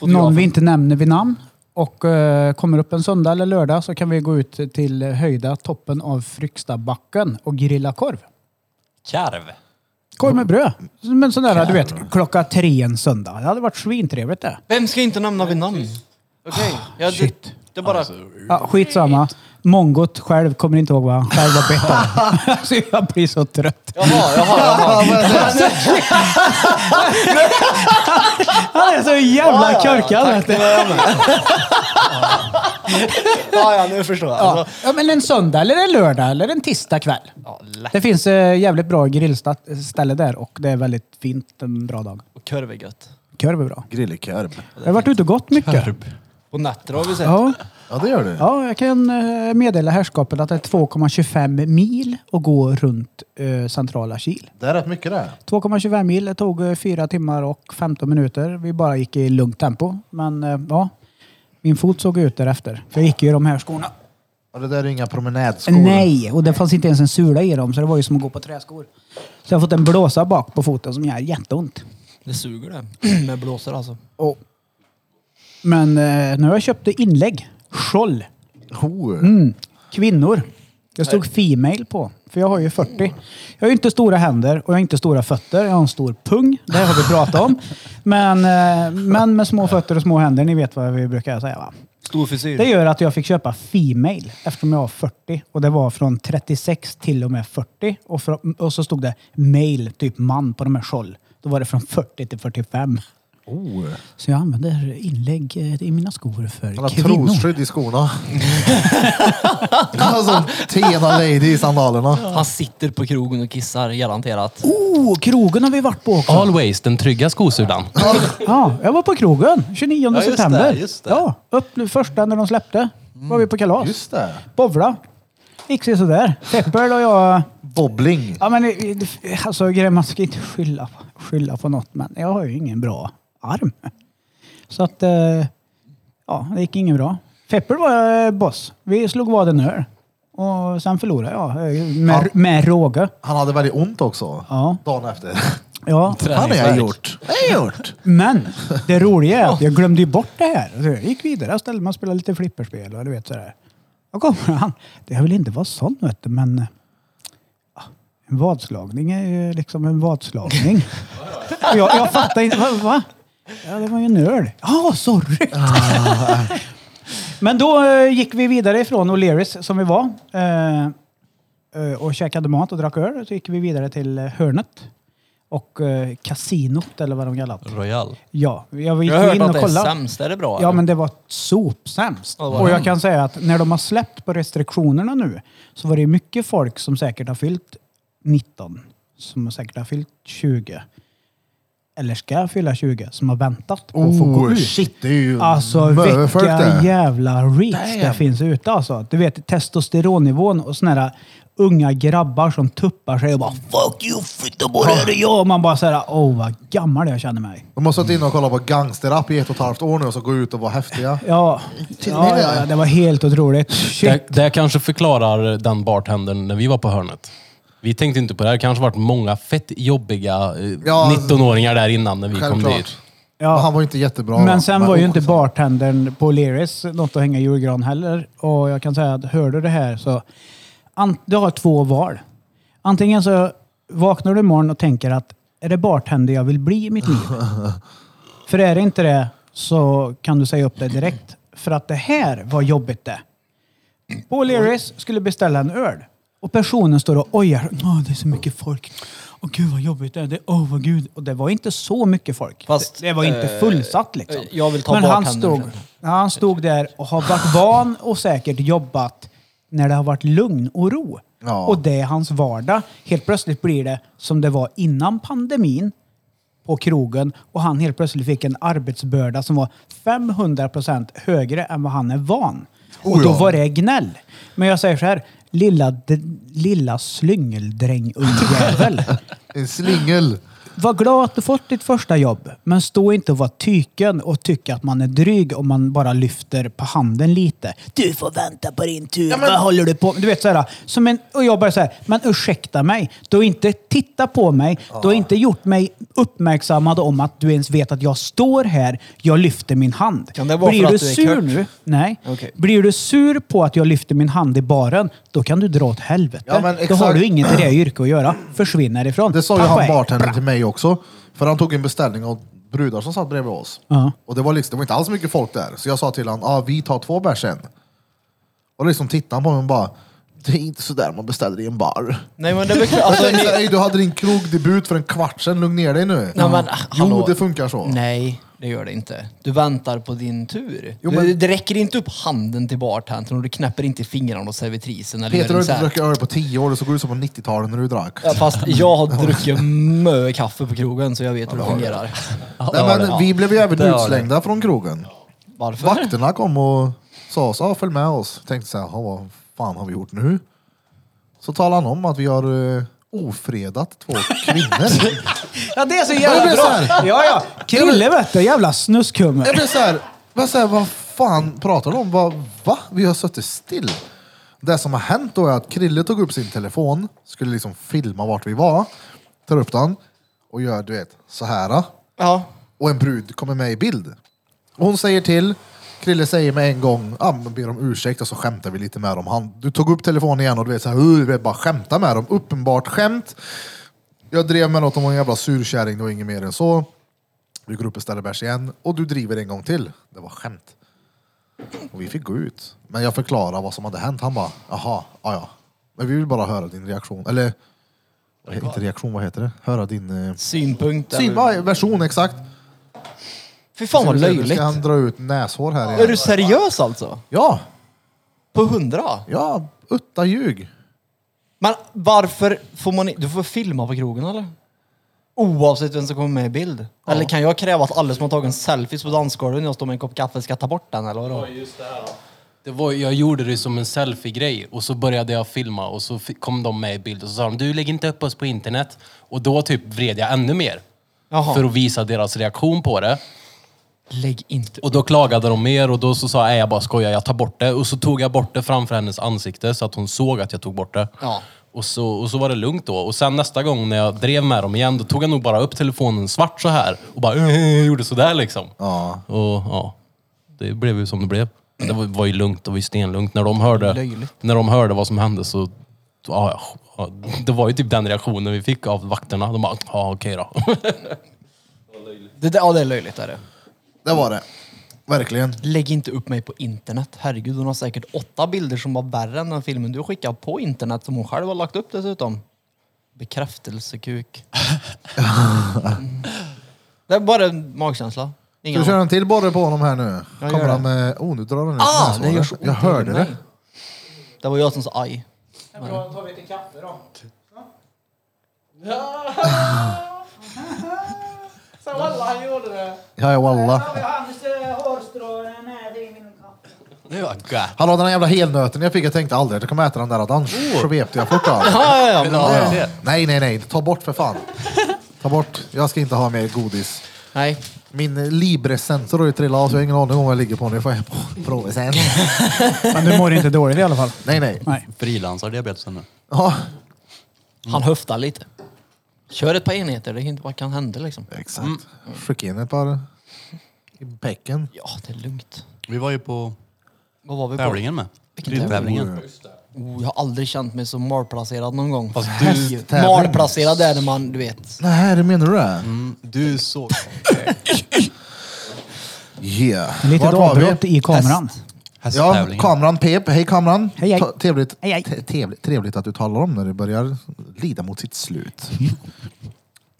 Speaker 3: någon vi inte nämner vid namn. Och eh, kommer upp en söndag eller lördag så kan vi gå ut till höjda toppen av Frykstabacken och grilla korv.
Speaker 5: Karv.
Speaker 3: Korv med bröd. Som en sån där, du vet, klockan tre en söndag. Det hade varit svintrevligt det.
Speaker 2: Vem ska jag inte nämna vid namn? Okej. Ja, det,
Speaker 3: Ah, Shit. Alltså.
Speaker 2: det är bara...
Speaker 3: Ja, skitsamma. Mongot själv kommer inte ihåg vad han själv har bett om. så jag blir så trött.
Speaker 7: Jaha, jaha, jaha.
Speaker 3: Han är så jävla korkad. vet du.
Speaker 2: Ja, ja, nu förstår jag.
Speaker 3: Ja. ja, men en söndag eller en lördag eller en tisdag kväll.
Speaker 2: Ja, lätt.
Speaker 3: Det finns eh, jävligt bra grillställe där och det är väldigt fint en bra dag.
Speaker 2: Och Korv är gött.
Speaker 3: Korv är bra.
Speaker 1: Grillkorv.
Speaker 3: Jag har varit ute och gått mycket.
Speaker 2: På nätter har vi sett.
Speaker 3: Ja,
Speaker 1: Ja, det gör du.
Speaker 3: ja, jag kan eh, meddela herrskapet att det är 2,25 mil att gå runt eh, centrala Kil.
Speaker 1: Det är rätt mycket det.
Speaker 3: 2,25 mil, det tog eh, fyra timmar och 15 minuter. Vi bara gick i lugnt tempo. Men eh, ja, min fot såg ut därefter. För jag gick ju i de här skorna.
Speaker 1: Och det där är inga promenadskor.
Speaker 3: Nej, och det fanns inte ens en sula i dem så det var ju som att gå på träskor. Så jag har fått en blåsa bak på foten som gör jätteont.
Speaker 2: Det suger det. Med blåsor alltså.
Speaker 3: Oh. Men eh, nu har jag köpt inlägg. Scholl.
Speaker 1: Ho.
Speaker 3: Mm. Kvinnor. Jag stod female på. För jag har ju 40. Jag har ju inte stora händer och jag har inte stora fötter. Jag har en stor pung. Det här har vi pratat om. Men eh, män med små fötter och små händer, ni vet vad vi brukar säga va?
Speaker 2: Stor frisyr.
Speaker 3: Det gör att jag fick köpa Female eftersom jag var 40 och det var från 36 till och med 40 och, från, och så stod det male, typ man, på de här skjold. Då var det från 40 till 45.
Speaker 1: Oh.
Speaker 3: Så jag använder inlägg eh, i mina skor för
Speaker 1: Han har
Speaker 3: kvinnor.
Speaker 1: trosskydd i skorna. Han har sån Tena Lady i sandalerna.
Speaker 2: Han sitter på krogen och kissar garanterat.
Speaker 3: Oh, krogen har vi varit på också.
Speaker 4: Always, den trygga skosulan.
Speaker 3: Ja, jag var på krogen 29
Speaker 5: just
Speaker 3: september.
Speaker 5: det, just det.
Speaker 3: Ja, upp nu första när de släppte. var vi på kalas.
Speaker 1: Just det.
Speaker 3: Bovla. Gick sig sådär. Pepper och jag
Speaker 1: Bobbling.
Speaker 3: Ja, men, eh, det- alltså, grejen, man ska inte skylla, på- skylla på något, men jag har ju ingen bra arm. Så att, eh, ja, det gick inget bra. Feppel var eh, boss. Vi slog vad en öl. Och sen förlorade jag eh, med,
Speaker 1: Ja.
Speaker 3: med råge.
Speaker 1: Han hade väldigt ont också.
Speaker 3: Ja.
Speaker 1: Dagen efter.
Speaker 3: Ja.
Speaker 1: Han har jag gjort. Det har jag gjort.
Speaker 3: Men det roliga är att jag glömde ju bort det här. Så jag gick vidare och ställde mig och spelade lite flipperspel och du vet sådär. Då kommer han. Jag vill inte vara sån vet du, men eh, ja, en vadslagning är ju liksom en vadslagning. Och jag, jag fattar inte. Va, va? Ja, det var ju en öl. Ja, sorry. men då eh, gick vi vidare ifrån O'Learys som vi var eh, eh, och käkade mat och drack öl. Så gick vi vidare till eh, Hörnet och eh, kasinot eller vad de kallar det.
Speaker 5: Royal.
Speaker 3: Ja, jag gick
Speaker 2: Jag har hört
Speaker 3: in och
Speaker 2: att det är
Speaker 3: kollade.
Speaker 2: sämst. Är det bra?
Speaker 3: Ja,
Speaker 2: eller?
Speaker 3: men det var sopsämst.
Speaker 2: det var
Speaker 3: och jag
Speaker 2: hemskt.
Speaker 3: kan säga att när de har släppt på restriktionerna nu så var det mycket folk som säkert har fyllt 19, som säkert har fyllt 20 eller ska fylla 20, som har väntat på att få gå
Speaker 1: Oh,
Speaker 3: ut.
Speaker 1: shit, det är ju
Speaker 3: Alltså
Speaker 1: mö- folk
Speaker 3: vilka
Speaker 1: det.
Speaker 3: jävla reach det finns ute alltså. Du vet testosteronnivån och såna här unga grabbar som tuppar sig och bara Fuck you fittaborgare jag! Och man bara såhär, åh vad gammal jag känner mig.
Speaker 1: De har suttit inne och kollat på gangsterrap i ett och ett halvt år nu och så gå ut och vara häftiga.
Speaker 3: Ja, ja, ja, det var helt otroligt. Shit.
Speaker 4: Det, det kanske förklarar den bartendern när vi var på hörnet. Vi tänkte inte på det här. Det kanske varit många fett jobbiga eh,
Speaker 1: Ja, alltså,
Speaker 4: 19-åringar där innan när vi kom dit.
Speaker 1: Självklart. Men
Speaker 3: Ja.
Speaker 1: han var ju inte jättebra.
Speaker 3: Men
Speaker 1: va?
Speaker 3: sen var ju inte
Speaker 1: oh,
Speaker 3: bartendern på Leris något att hänga i julgran heller. Och jag kan säga att hör du det här så an, du har två val. Antingen så vaknar du imorgon och tänker att är det bartender jag vill bli i mitt liv? För är det inte det så kan du säga upp dig direkt. För att det här var jobbigt det. På Leris skulle beställa en öl. Och personen står och ojar. Åh, det är så mycket folk. Åh gud vad jobbigt det är. Det- Åh vad gud. Och det var inte så mycket folk.
Speaker 2: Fast,
Speaker 3: det, det var inte
Speaker 2: eh,
Speaker 3: fullsatt liksom.
Speaker 2: eh, jag vill ta
Speaker 3: Men han
Speaker 2: bartendern
Speaker 3: stod,
Speaker 2: sen.
Speaker 3: ja, han stod där och har varit van och säkert jobbat när det har varit lugn och ro.
Speaker 1: Ja.
Speaker 3: Och det är hans vardag. Helt plötsligt blir det som det var innan pandemin på krogen och han helt plötsligt fick en arbetsbörda som var 500 procent högre än vad han är van. och
Speaker 1: Oh
Speaker 3: då
Speaker 1: ja.
Speaker 3: var det gnäll. Men jag säger så här, lilla, d- lilla slyngeldrängungjävel.
Speaker 1: En slingel.
Speaker 3: Var glad att du fått ditt första jobb, men stå inte och var tyken och tycka att man är dryg om man bara lyfter på handen lite. Du får vänta på din tur, vad håller du på med? Du vet såhär, som en, och jag bara såhär, men ursäkta mig, du har inte tittat på mig,
Speaker 2: Ah.
Speaker 3: du har inte gjort mig uppmärksammad om att du ens vet att jag står här, jag lyfter min hand.
Speaker 2: Kan det vara
Speaker 3: Blir
Speaker 2: för
Speaker 3: du
Speaker 2: att du är
Speaker 3: sur
Speaker 2: kort?
Speaker 3: nu? Nej.
Speaker 2: Okej.
Speaker 3: Blir du sur på att jag lyfter min hand i baren, då kan du dra åt helvete.
Speaker 1: Ja, men
Speaker 3: då har
Speaker 1: exakt.
Speaker 3: du inget i det yrket att göra. Försvinn härifrån.
Speaker 1: Det sa ju
Speaker 3: Tack och
Speaker 1: han
Speaker 3: hej.
Speaker 1: bartendern till mig också. För han tog en beställning av brudar som satt bredvid oss.
Speaker 3: Ja.
Speaker 1: Och det var, liksom, det var inte alls mycket folk där. Så jag sa till honom, ah, vi tar två bärs sen. Och liksom tittade han på mig och bara, det är inte sådär man beställer i en bar.
Speaker 2: Nej men det är väl klart. Alltså,
Speaker 1: Så,
Speaker 2: ni...
Speaker 1: Ey, du hade din krogdebut för en kvart sedan, lugn ner dig nu.
Speaker 2: Nej, men, ah,
Speaker 1: jo,
Speaker 2: hallå.
Speaker 1: det funkar så.
Speaker 2: Nej, det gör det inte. Du väntar på din tur.
Speaker 1: Jo, men-
Speaker 2: Du- Det räcker inte upp handen till bartendern och du knäpper inte i fingrarna åt servitrisen. Eller
Speaker 1: Peter har
Speaker 2: gör
Speaker 1: inte
Speaker 2: så här.
Speaker 1: druckit öl på tio år och så går du som på 90-talet när du drack.
Speaker 2: Ja, Fast jag har druckit mö kaffe på krogen så jag vet hur det fungerar.
Speaker 1: Nej, men, vi blev ju även
Speaker 5: Det har
Speaker 1: utslängda från krogen.
Speaker 2: Varför?
Speaker 1: Vakterna kom och sa oss, ja följ med oss. Tänkte så här, "Ja, vad fan har vi gjort nu? Så talade han om att vi har eh, ofredat två kvinnor.
Speaker 3: Ja, det är så
Speaker 1: Jag
Speaker 3: jävla
Speaker 1: blev
Speaker 3: bra!
Speaker 1: så här-
Speaker 3: Ja, ja. Krille vet du, jävla snuskummer.
Speaker 1: Jag blev såhär, vad, så här, vad fan pratar de om? Vad, va? Vi har suttit still. Det som har hänt då är att Krille tog upp sin telefon, skulle liksom filma vart vi var, tar upp den och gör du vet så här.
Speaker 2: Ja.
Speaker 1: Och en brud kommer med i bild. Och hon säger till, Krille säger med en gång, ah, men ber om ursäkt och så skämtar vi lite med dem. Han, du tog upp telefonen igen och du vet såhär, uh, vi bara skämta med dem. Uppenbart skämt. Jag drev med något om en jävla surkärring, det var inget mer än så. Vi går upp och ställer bärs igen och du driver en gång till. Det var skämt. Och vi fick gå ut. Men jag förklarade vad som hade hänt. Han bara, jaha, ja ja. Men vi vill bara höra din reaktion. Eller, inte reaktion, vad heter det? Höra din... Eh,
Speaker 2: Synpunkt.
Speaker 1: syn,
Speaker 2: eller-
Speaker 1: ja, version, exakt.
Speaker 2: Fy fan vad
Speaker 1: Nu
Speaker 2: löjligt.
Speaker 1: ska han dra ut näshår här
Speaker 2: Är
Speaker 1: igen.
Speaker 2: du seriös alltså?
Speaker 1: Ja,
Speaker 2: På hundra?
Speaker 1: ja, utta ljug.
Speaker 2: Men varför får man inte... Du får filma på krogen eller? Oavsett vem som kommer med i bild. Eller kan jag kräva att alla som har tagit en selfies på dansgolvet när jag står med en kopp kaffe ska ta bort den eller vadå?
Speaker 4: Det var, jag gjorde det som en selfie-grej och så började jag filma och så fi- kom de med i bild och så sa de du lägger inte upp oss på internet. Och då typ vred jag ännu mer
Speaker 2: Jaha.
Speaker 4: för att visa deras reaktion på det.
Speaker 2: Lägg inte upp.
Speaker 4: Och då klagade de mer och då så sa jag "Nej, jag bara skojar, jag tar bort det. Och så tog jag bort det framför hennes ansikte så att hon såg att jag tog bort det.
Speaker 2: Ja.
Speaker 4: Och, så, och så var det lugnt då. Och sen nästa gång när jag drev med dem igen, då tog jag nog bara upp telefonen svart så här och bara "Eh", gjorde sådär liksom.
Speaker 1: Ja.
Speaker 4: Och ja, det blev ju som det blev. Det var, var ju lugnt, det var ju stenlugnt. När de hörde,
Speaker 2: Löjligt.
Speaker 4: när de hörde vad som hände så... Ja, ja, det var ju typ den reaktionen vi fick av vakterna. De bara, ja okej då.
Speaker 2: Det, där- ja, det är löjligt är det.
Speaker 1: Det var det. Verkligen.
Speaker 2: Lägg inte upp mig på internet. Herregud, hon har säkert åtta bilder som var värre än den filmen du skickade på internet som hon själv har lagt upp dessutom. Bekräftelsekuk. Mm. Det är bara en magkänsla.
Speaker 1: Ska
Speaker 2: Inga
Speaker 1: vi köra en till borre på honom här nu?
Speaker 2: Jag gör
Speaker 1: Kommer
Speaker 2: det.
Speaker 1: han med... Oh, nu drar han ut
Speaker 2: Ah,
Speaker 1: näshåret.
Speaker 2: det gör så ont
Speaker 1: Jag
Speaker 2: i
Speaker 1: hörde
Speaker 2: mig.
Speaker 1: det.
Speaker 2: Det var jag som sa aj.
Speaker 3: Då tar vi lite kaffe då.
Speaker 7: Så alla han gjorde det.
Speaker 1: Ja, ja, walla.
Speaker 3: Hans hårstrå, nej det är min kaffe.
Speaker 4: Det
Speaker 5: ah,
Speaker 4: var gött.
Speaker 1: Hallå, den här jävla helnöten jag fick, jag tänkte aldrig att jag kommer äta den där. Den svepte jag fort av.
Speaker 2: Oh. Ja, ja, ja.
Speaker 1: Ja, ja. Nej, nej, nej. Ta bort för fan. Ta bort. Jag ska inte ha mer godis.
Speaker 2: Nej.
Speaker 1: Min eh, Libre-sensor har ju trillat av så jag har ingen aning om vad jag ligger på nu. Får jag prova sen?
Speaker 3: Men du mår inte dåligt i alla fall.
Speaker 1: Nej, nej.
Speaker 3: Nej.
Speaker 5: Frilansar diabetesen nu.
Speaker 1: Ja,
Speaker 2: Han höftar lite. Kör ett par enheter, det kan inte bara kan hända liksom.
Speaker 1: exakt. Skicka in ett par i bäcken.
Speaker 2: Ja, det är lugnt.
Speaker 5: Vi var ju på
Speaker 2: Vad var vi på?
Speaker 5: tävlingen med.
Speaker 2: Vilken tävling?
Speaker 5: Tävlingen.
Speaker 2: Oh, jag har aldrig känt mig så malplacerad någon gång.
Speaker 5: Fast du-
Speaker 2: Herregud.
Speaker 1: tävling.
Speaker 2: Malplacerad är när man, du vet.
Speaker 1: Nej, det menar du det?
Speaker 5: Mm, du såg...
Speaker 1: Yeah.
Speaker 3: Lite avbrott i kameran.
Speaker 1: Ja,
Speaker 5: Hästtävlingen.
Speaker 1: kameran pep. Hej kameran.
Speaker 3: Hej, hej.
Speaker 1: Ta- Trevligt,
Speaker 3: Hej, hej.
Speaker 1: te- Trevligt, trevligt att du talar om när det börjar lida mot sitt slut.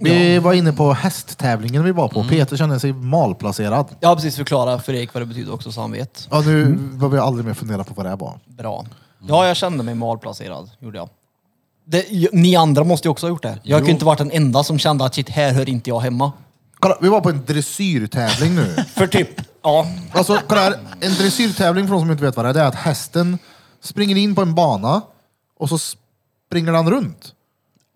Speaker 1: Vi var inne på hästtävlingen vi var på. Peter kände sig malplacerad.
Speaker 2: Jag har precis förklarat för Erik vad det betyder också så han vet.
Speaker 1: Ja, nu behöver jag aldrig mer fundera på vad det här var.
Speaker 2: Bra. Ja, jag kände mig malplacerad, gjorde jag. Det, j- ni andra måste ju också ha gjort det. Jag kan ju inte varit den enda som kände att shit, här hör inte jag hemma.
Speaker 1: Kolla, vi var på en dressyrtävling nu.
Speaker 2: För typ, ja.
Speaker 1: Alltså, kolla här. En dressyrtävling för de som inte vet vad det är, det är att hästen springer in på en bana och så springer den runt.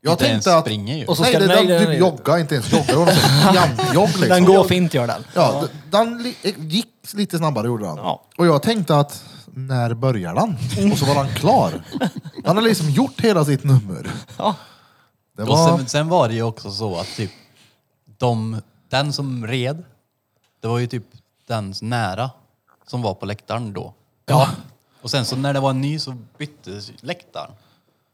Speaker 1: Jag
Speaker 5: Inte ens
Speaker 1: tänkte att...
Speaker 5: springer ju.
Speaker 2: Och så
Speaker 1: nej,
Speaker 2: ska-
Speaker 1: det,
Speaker 2: nej,
Speaker 1: den
Speaker 2: nej,
Speaker 1: typ
Speaker 2: nej.
Speaker 1: jogga, inte ens jogga. Det var någon sån jantjogg liksom.
Speaker 2: Den går fint gör den.
Speaker 1: Ja, d- den li- gick lite snabbare gjorde den.
Speaker 2: Ja.
Speaker 1: Och jag tänkte att när börjar den? Och så var den klar. Han har liksom gjort hela sitt nummer.
Speaker 2: Ja.
Speaker 1: Det
Speaker 5: Och
Speaker 1: var...
Speaker 5: sen, sen var det ju också så att typ de, den som red, det var ju typ den nära som var på läktaren då. Ja. Och sen så när det var en ny så byttes läktaren.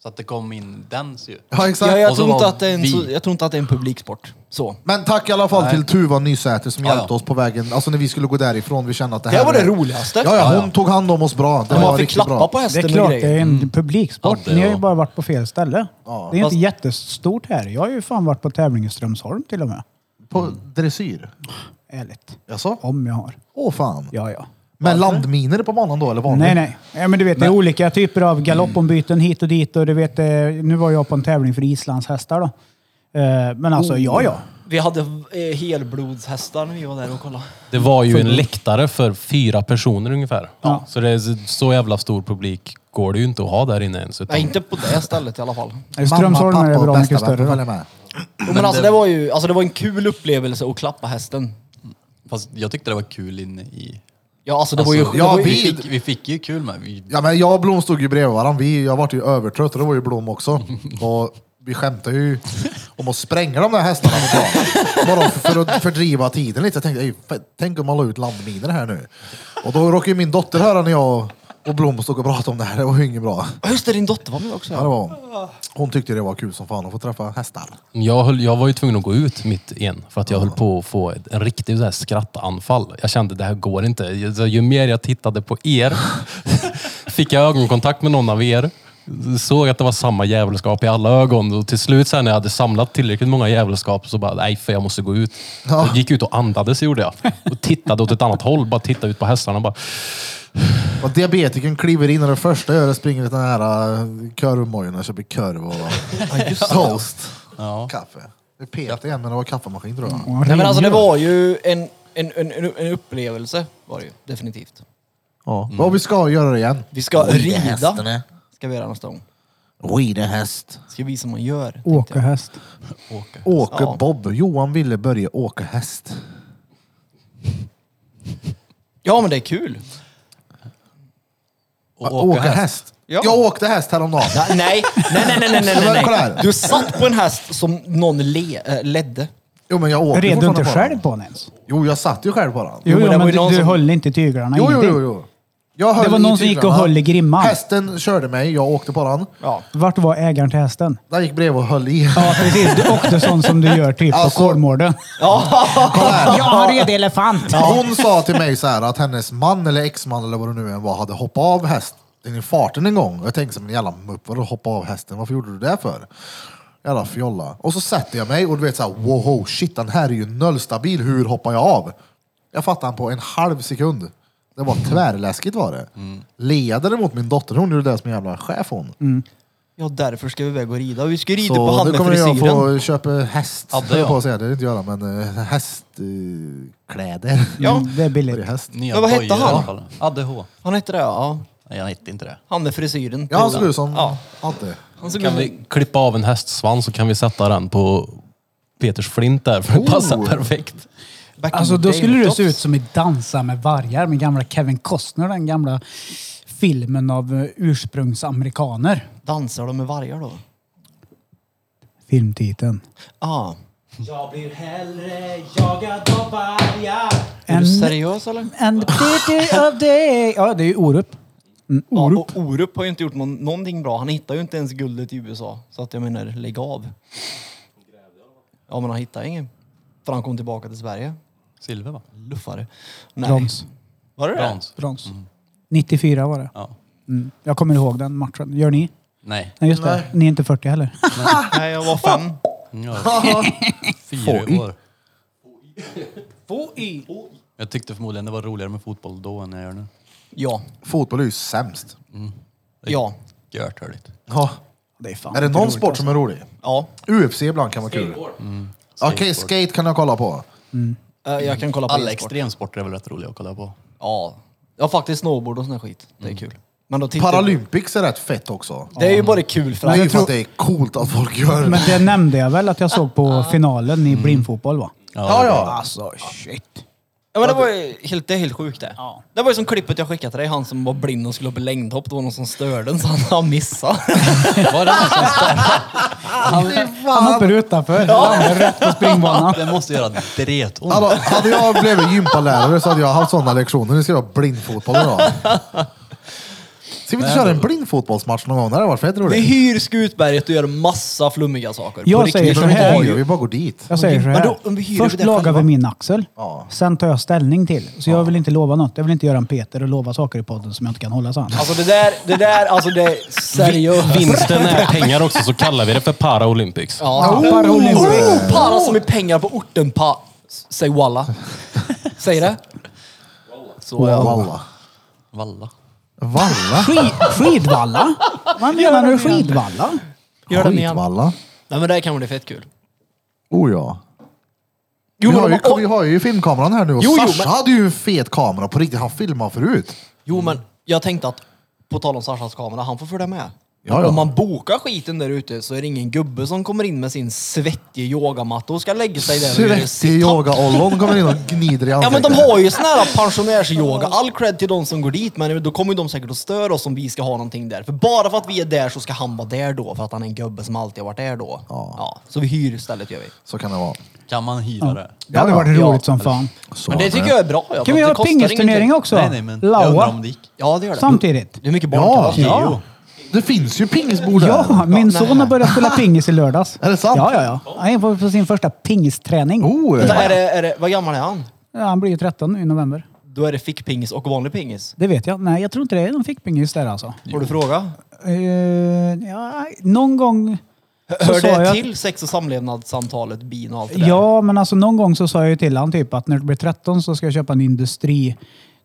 Speaker 5: Så att det kom in dans ju.
Speaker 1: Ja, exakt.
Speaker 2: Ja, jag,
Speaker 5: Och så
Speaker 2: tror inte
Speaker 5: var
Speaker 2: att det är en,
Speaker 5: vi.
Speaker 2: så- jag tror inte att det är en publiksport. Så.
Speaker 1: Men tack i alla fall till Tuva Nysäter som
Speaker 5: Ja, ja.
Speaker 1: hjälpte oss på vägen. Alltså när vi skulle gå därifrån, vi kände att det
Speaker 2: Det
Speaker 1: här...
Speaker 2: var det
Speaker 1: är-
Speaker 2: roligaste.
Speaker 1: Ja, ja,
Speaker 5: Ja,
Speaker 1: hon
Speaker 5: ja.
Speaker 1: tog hand om oss bra. Det var
Speaker 2: man fick
Speaker 1: riktigt
Speaker 2: klappa
Speaker 1: bra.
Speaker 2: på
Speaker 3: Det
Speaker 2: hästen
Speaker 3: är klart
Speaker 2: och
Speaker 3: det är
Speaker 2: grejer.
Speaker 3: en publiksport.
Speaker 5: Ja, det
Speaker 3: Ni har ju
Speaker 5: var-
Speaker 3: bara varit på fel ställe. Det är ju
Speaker 5: Fast-
Speaker 3: inte jättestort här. Jag har ju fan varit på tävling i Strömsholm till och med.
Speaker 1: På dressyr?
Speaker 3: Ärligt.
Speaker 1: Jaså?
Speaker 3: Om jag har.
Speaker 1: Åh fan.
Speaker 3: Ja, ja.
Speaker 1: Men landminer på banan då eller vanligt?
Speaker 3: Nej, nej. Ja, men du vet, det är olika typer av galoppombyten hit och dit. Och du vet, eh, nu var jag på en tävling för Islands hästar då. Eh, Men alltså, ja, ja.
Speaker 2: Vi hade eh, helblodshästar när vi var där och kollade.
Speaker 4: Det var ju en läktare för fyra personer ungefär.
Speaker 3: Ja.
Speaker 4: Så det är så- så jävla stor publik går det ju inte att ha där inne ens.
Speaker 2: Nej,
Speaker 4: Utan
Speaker 2: inte på det stället i alla fall.
Speaker 3: Strömsholm
Speaker 1: Mamma,
Speaker 3: är
Speaker 1: pappa
Speaker 3: bra
Speaker 1: och bästa
Speaker 3: mycket
Speaker 1: vän
Speaker 3: större.
Speaker 1: får
Speaker 3: då.
Speaker 1: följa med.
Speaker 2: Men, alltså, det... var ju alltså, det var en kul upplevelse att klappa hästen.
Speaker 5: Fast jag tyckte det var kul inne i...
Speaker 2: Ja, alltså det var
Speaker 5: Alltså,
Speaker 2: ju...
Speaker 1: ja,
Speaker 2: det var ju
Speaker 5: Vi
Speaker 1: vi-
Speaker 5: fick, vi fick ju kul med. Vi,
Speaker 1: Ja, men jag och Blom stod ju bredvid varandra. Vi, jag vart ju övertrött och det var ju Blom också. Och vi skämtade ju om att spränga de där hästarna på plan. Bara för, för att fördriva tiden lite. Jag tänkte, "Ey, fan, tänk om man la ut landminer här nu. Och då råkade ju min dotter höra när jag och Blom stod och pratade om det här. Det var ju inget bra.
Speaker 2: Ja, Just det, din dotter var med också.
Speaker 1: Ja, det
Speaker 2: Ja.
Speaker 1: var hon. hon tyckte det var kul som fan att få träffa hästar.
Speaker 4: jag, höll, jag var ju tvungen att gå ut mitt igen för att jag höll på att få ett, en riktig så här skrattanfall. Jag kände det här går inte. Ju- så Ju mer jag tittade på er, fick jag ögonkontakt med någon av er, såg att det var samma djävulskap i alla ögon och till slut sen när jag hade samlat tillräckligt många djävulskap så bara, nej för jag måste gå ut. Jag gick ut och andades gjorde jag. Och tittade åt ett annat håll, bara tittade ut på hästarna och bara,
Speaker 1: Och diabetikern kliver in och det första jag gör är att springa till den här eh, korvmojen och köper korv och toast. Kaffe. Det pep igen men det var kaffemaskin tror jag.
Speaker 3: Ja,
Speaker 2: Nej, men alltså det
Speaker 3: gör.
Speaker 2: var ju en, en, en, en en upplevelse. Var det ju, definitivt.
Speaker 1: Ja. Och Mm. vi ska göra det igen.
Speaker 2: Vi ska
Speaker 1: hästen
Speaker 3: eh.
Speaker 2: rida.
Speaker 1: är.
Speaker 2: Ska vi göra nästa gång.
Speaker 1: Rida häst.
Speaker 2: Ska visa hur man gör. tänkte
Speaker 3: Åka
Speaker 2: jag.
Speaker 3: häst.
Speaker 1: Åke
Speaker 2: Ja.
Speaker 1: Bob. Johan ville börja åka häst.
Speaker 2: Ja, men det är kul.
Speaker 1: Åka, Ah, åka häst?
Speaker 2: Ja.
Speaker 1: Jag åkte häst häromdagen.
Speaker 2: Ja, nej, nej, nej, nej, nej, nej,
Speaker 1: Men
Speaker 2: nej,
Speaker 1: kolla här.
Speaker 2: nej. Du satt på en häst som någon le, äh, ledde.
Speaker 1: Jo men jag åker
Speaker 3: Red du inte
Speaker 1: fortfarande
Speaker 3: själv
Speaker 1: den.
Speaker 3: på den ens?
Speaker 1: Jo jag satt ju själv på den.
Speaker 2: men
Speaker 3: Jo, jo
Speaker 2: det
Speaker 3: men
Speaker 2: var
Speaker 3: du,
Speaker 2: ju någon
Speaker 3: du
Speaker 2: som-
Speaker 3: höll inte i tyglarna
Speaker 1: Jo,
Speaker 3: i
Speaker 1: jo,
Speaker 3: dig.
Speaker 1: jo, jo. Jag höll
Speaker 3: Det var
Speaker 1: i
Speaker 3: någon som gick och
Speaker 1: tyglarna.
Speaker 3: höll i grimman.
Speaker 1: Hästen körde mig, jag åkte på den.
Speaker 2: Ja.
Speaker 3: Vart var ägaren till hästen?
Speaker 1: Den gick bredvid och höll i.
Speaker 3: Ja, precis. Du åkte sånt som du gör typ
Speaker 1: Alltså-
Speaker 3: på Kolmården.
Speaker 1: Kolla här.
Speaker 3: Jag har red elefant!
Speaker 1: Hon sa till mig så här att hennes man eller exman eller vad det nu än var hade hoppat av hästen i farten en gång. Och jag tänkte så här, men jävla mupp, vadå hoppa av hästen? Varför gjorde du det för? Jävla fjolla. Och så sätter jag mig och du vet så här, wow, shit den här är ju nollstabil, hur hoppar jag av? Jag fattade han på en halv sekund. Det var tvärläskigt var det.
Speaker 2: Mm.
Speaker 1: Ledare mot min dotter, hon gjorde det som en jävla chef hon.
Speaker 3: Mm.
Speaker 2: ja, därför ska vi iväg och rida. Vi ska ju rida på
Speaker 1: Så
Speaker 2: han
Speaker 1: nu
Speaker 2: med
Speaker 1: kommer jag
Speaker 2: frisyren.
Speaker 1: få köpa häst,
Speaker 5: Adde,
Speaker 1: höll jag på
Speaker 5: ja.
Speaker 1: att säga, det vill inte göra, men eh, hästkläder.
Speaker 2: Ja.
Speaker 3: Mm, Det är billigt.
Speaker 1: häst.
Speaker 5: nya
Speaker 2: Ja, vad hette
Speaker 5: dojor i
Speaker 2: han?
Speaker 5: alla fall. Adde H.
Speaker 2: Han hette det, ja.
Speaker 5: Nej, jag hette inte det.
Speaker 2: Han med frisyren.
Speaker 1: Ja, han såg ut som
Speaker 2: Ja.
Speaker 1: Adde.
Speaker 2: Han såg
Speaker 4: kan
Speaker 2: ut-
Speaker 4: vi klippa av en hästsvans så kan vi sätta den på Peters flint där för det
Speaker 1: Oh.
Speaker 4: passar perfekt.
Speaker 2: back in
Speaker 3: Alltså
Speaker 2: the
Speaker 3: då
Speaker 2: day
Speaker 3: skulle
Speaker 2: med
Speaker 3: du se
Speaker 2: tops.
Speaker 3: ut som i Dansa med vargar med gamla Kevin Costner, den gamla filmen av eh, ursprungsamerikaner.
Speaker 2: Dansar de med vargar då?
Speaker 3: Filmtiteln.
Speaker 2: Ja.
Speaker 8: Jag blir hellre jagad av vargar
Speaker 2: Är
Speaker 3: En-
Speaker 2: du seriös eller?
Speaker 3: And the pity of day. Ja, det är ju Orup. Mm,
Speaker 2: Orup. Ja, och Orup har ju inte gjort någon, någonting bra. Han hittar ju inte ens guldet i USA. Så att jag menar, lägg av. Ja, men han hittar ingen. För han kom tillbaka till Sverige.
Speaker 5: Silver va?
Speaker 2: Luffare. Nej.
Speaker 3: Brons.
Speaker 2: Var det det?
Speaker 5: Brons.
Speaker 3: Brons. 94 var det.
Speaker 5: Ja.
Speaker 3: Mm. Jag kommer ihåg den matchen. Gör ni?
Speaker 5: Nej.
Speaker 3: Nej, just det. Ni är inte 40 heller.
Speaker 2: Nej, jag var fem.
Speaker 5: Jag var fyra år. Jag tyckte förmodligen det var roligare med fotboll då än jag gör nu.
Speaker 2: Ja.
Speaker 1: Fotboll är ju sämst.
Speaker 2: Ja.
Speaker 5: Gört hörligt.
Speaker 1: Ja.
Speaker 3: Det är fan
Speaker 1: Är Mm. det
Speaker 3: inte
Speaker 1: någon
Speaker 3: roligt,
Speaker 1: sport
Speaker 3: alltså.
Speaker 1: som är rolig?
Speaker 2: Ja.
Speaker 1: UFC ibland kan vara kul. Okej, skate kan jag kolla på.
Speaker 2: Eh, Jag kan kolla på
Speaker 5: Alla
Speaker 2: e-sport.
Speaker 5: extremsporter är väl rätt roliga att kolla på.
Speaker 2: Ja. Jag har faktiskt snowboard och sån här skit. Det är kul. Men då tittar
Speaker 1: Paralympics är rätt fett också.
Speaker 2: Det är ju bara kul för
Speaker 1: Det är
Speaker 2: att...
Speaker 1: ju för att det är coolt att folk gör
Speaker 3: Men
Speaker 1: det.
Speaker 3: det nämnde jag väl att jag såg på finalen i blindfotboll va?
Speaker 1: Ja, ja.
Speaker 3: Alltså shit.
Speaker 2: Ja, men det var ju helt, det är helt sjukt det.
Speaker 3: Ja.
Speaker 2: Det var ju som klippet jag skickade till dig, han som var blind och skulle upp i längdhopp. Det var någon som störde en så han- han missade.
Speaker 5: Var det någon som startade?
Speaker 3: Han hoppar utanför. Landar rätt på springbanan.
Speaker 5: Det måste göra dretont.
Speaker 1: Alltså, hade jag blivit gympalärare så hade jag haft sådana lektioner. Nu ska jag ha blindfotboll idag. Ska vi inte köra en blindfotbollsmatch någon gång? Det hade varit fett
Speaker 2: Vi
Speaker 1: roligt.
Speaker 2: hyr Skutberget och gör massa flummiga saker.
Speaker 3: Jag
Speaker 2: På
Speaker 3: säger
Speaker 1: Vi
Speaker 2: riktigt.
Speaker 3: så
Speaker 1: behöver
Speaker 3: här.
Speaker 1: inte hyra, vi bara går dit.
Speaker 3: Jag säger så
Speaker 2: Men
Speaker 3: här.
Speaker 2: då- om vi hyr
Speaker 3: Först
Speaker 2: det
Speaker 3: lagar
Speaker 2: själva.
Speaker 3: vi min axel.
Speaker 1: Ja.
Speaker 3: Sen tar jag ställning till. Så jag vill inte lova något. Jag vill inte göra en Peter och lova saker i podden som jag inte kan hålla sen.
Speaker 2: Alltså det där, det där, alltså det är seriöst.
Speaker 4: Vinsten är pengar också, så kallar vi det för Paralympics.
Speaker 2: Ja.
Speaker 3: Oh, Paralympics.
Speaker 2: Oh, para som är pengar på orten pa... S- Säg walla. Säg det. Så ja.
Speaker 1: Valla.
Speaker 5: Valla.
Speaker 1: Valla?
Speaker 3: Skid, skidvalla? Vad menar du skidvalla?
Speaker 2: Gör den igen.
Speaker 1: Skitvalla?
Speaker 2: Nej men det här kan bli fett kul.
Speaker 1: Oh ja.
Speaker 2: Jo,
Speaker 1: vi, har
Speaker 2: men-
Speaker 1: ju, vi har ju filmkameran här nu och
Speaker 2: Jo, jo,
Speaker 1: Sasha
Speaker 2: men-
Speaker 1: hade ju en fet kamera på riktigt. Han filmade förut.
Speaker 2: Jo men jag tänkte att, på tal om Sashas kamera, han får följa med.
Speaker 1: Ja, ja.
Speaker 2: Om man bokar skiten där ute så är det ingen gubbe som kommer in med sin svettiga yogamatta och ska lägga sig där och göra
Speaker 1: Svettig
Speaker 2: sit-up.
Speaker 1: yoga-ollon kommer in och gnider i
Speaker 2: Ja
Speaker 1: ansiktet.
Speaker 2: men de har ju sån här pensionärsyoga. All cred till de som går dit men då kommer ju de säkert att störa oss om vi ska ha någonting där. För bara för att vi är där så ska han vara där då för att han är en gubbe som alltid har varit där då.
Speaker 1: Ja.
Speaker 2: så vi hyr istället gör vi.
Speaker 1: Så kan det vara.
Speaker 5: Kan man hyra det?
Speaker 3: Det hade varit
Speaker 2: Ja.
Speaker 3: roligt som fan.
Speaker 1: Så
Speaker 2: Men det
Speaker 1: är
Speaker 2: tycker jag är bra. Ja, för
Speaker 3: Kan vi
Speaker 2: att
Speaker 3: ha
Speaker 2: det kostar
Speaker 3: pingisturnering
Speaker 2: ingenting.
Speaker 3: också?
Speaker 5: Nej, nej, men jag undrar om
Speaker 3: Laua
Speaker 5: det gick.
Speaker 2: Ja det gör det.
Speaker 3: samtidigt.
Speaker 2: Det är mycket
Speaker 1: Ja,
Speaker 2: barnkalas.
Speaker 1: ja. Det finns ju pingisbord här.
Speaker 3: Ja, min son har börjat spela pingis i lördags.
Speaker 1: Är det sant?
Speaker 3: Ja, ja, ja. Han var på sin första pingisträning.
Speaker 1: Oh,
Speaker 2: Vänta, Är det, är det, vad gammal är han?
Speaker 3: Ja, han blir ju 13 nu i november.
Speaker 2: Då är det fickpingis och vanlig pingis.
Speaker 3: Det vet jag. Nej, jag tror inte det är någon fickpingis där alltså.
Speaker 2: Har du fråga?
Speaker 3: Eh, ja, någon gång... så
Speaker 2: Hör
Speaker 3: sa
Speaker 2: det
Speaker 3: jag-
Speaker 2: till sex och samlevnadssamtalet, bin och allt det där?
Speaker 3: Ja, men alltså någon gång så sa jag ju till han typ att när du blir 13 så ska jag köpa en industri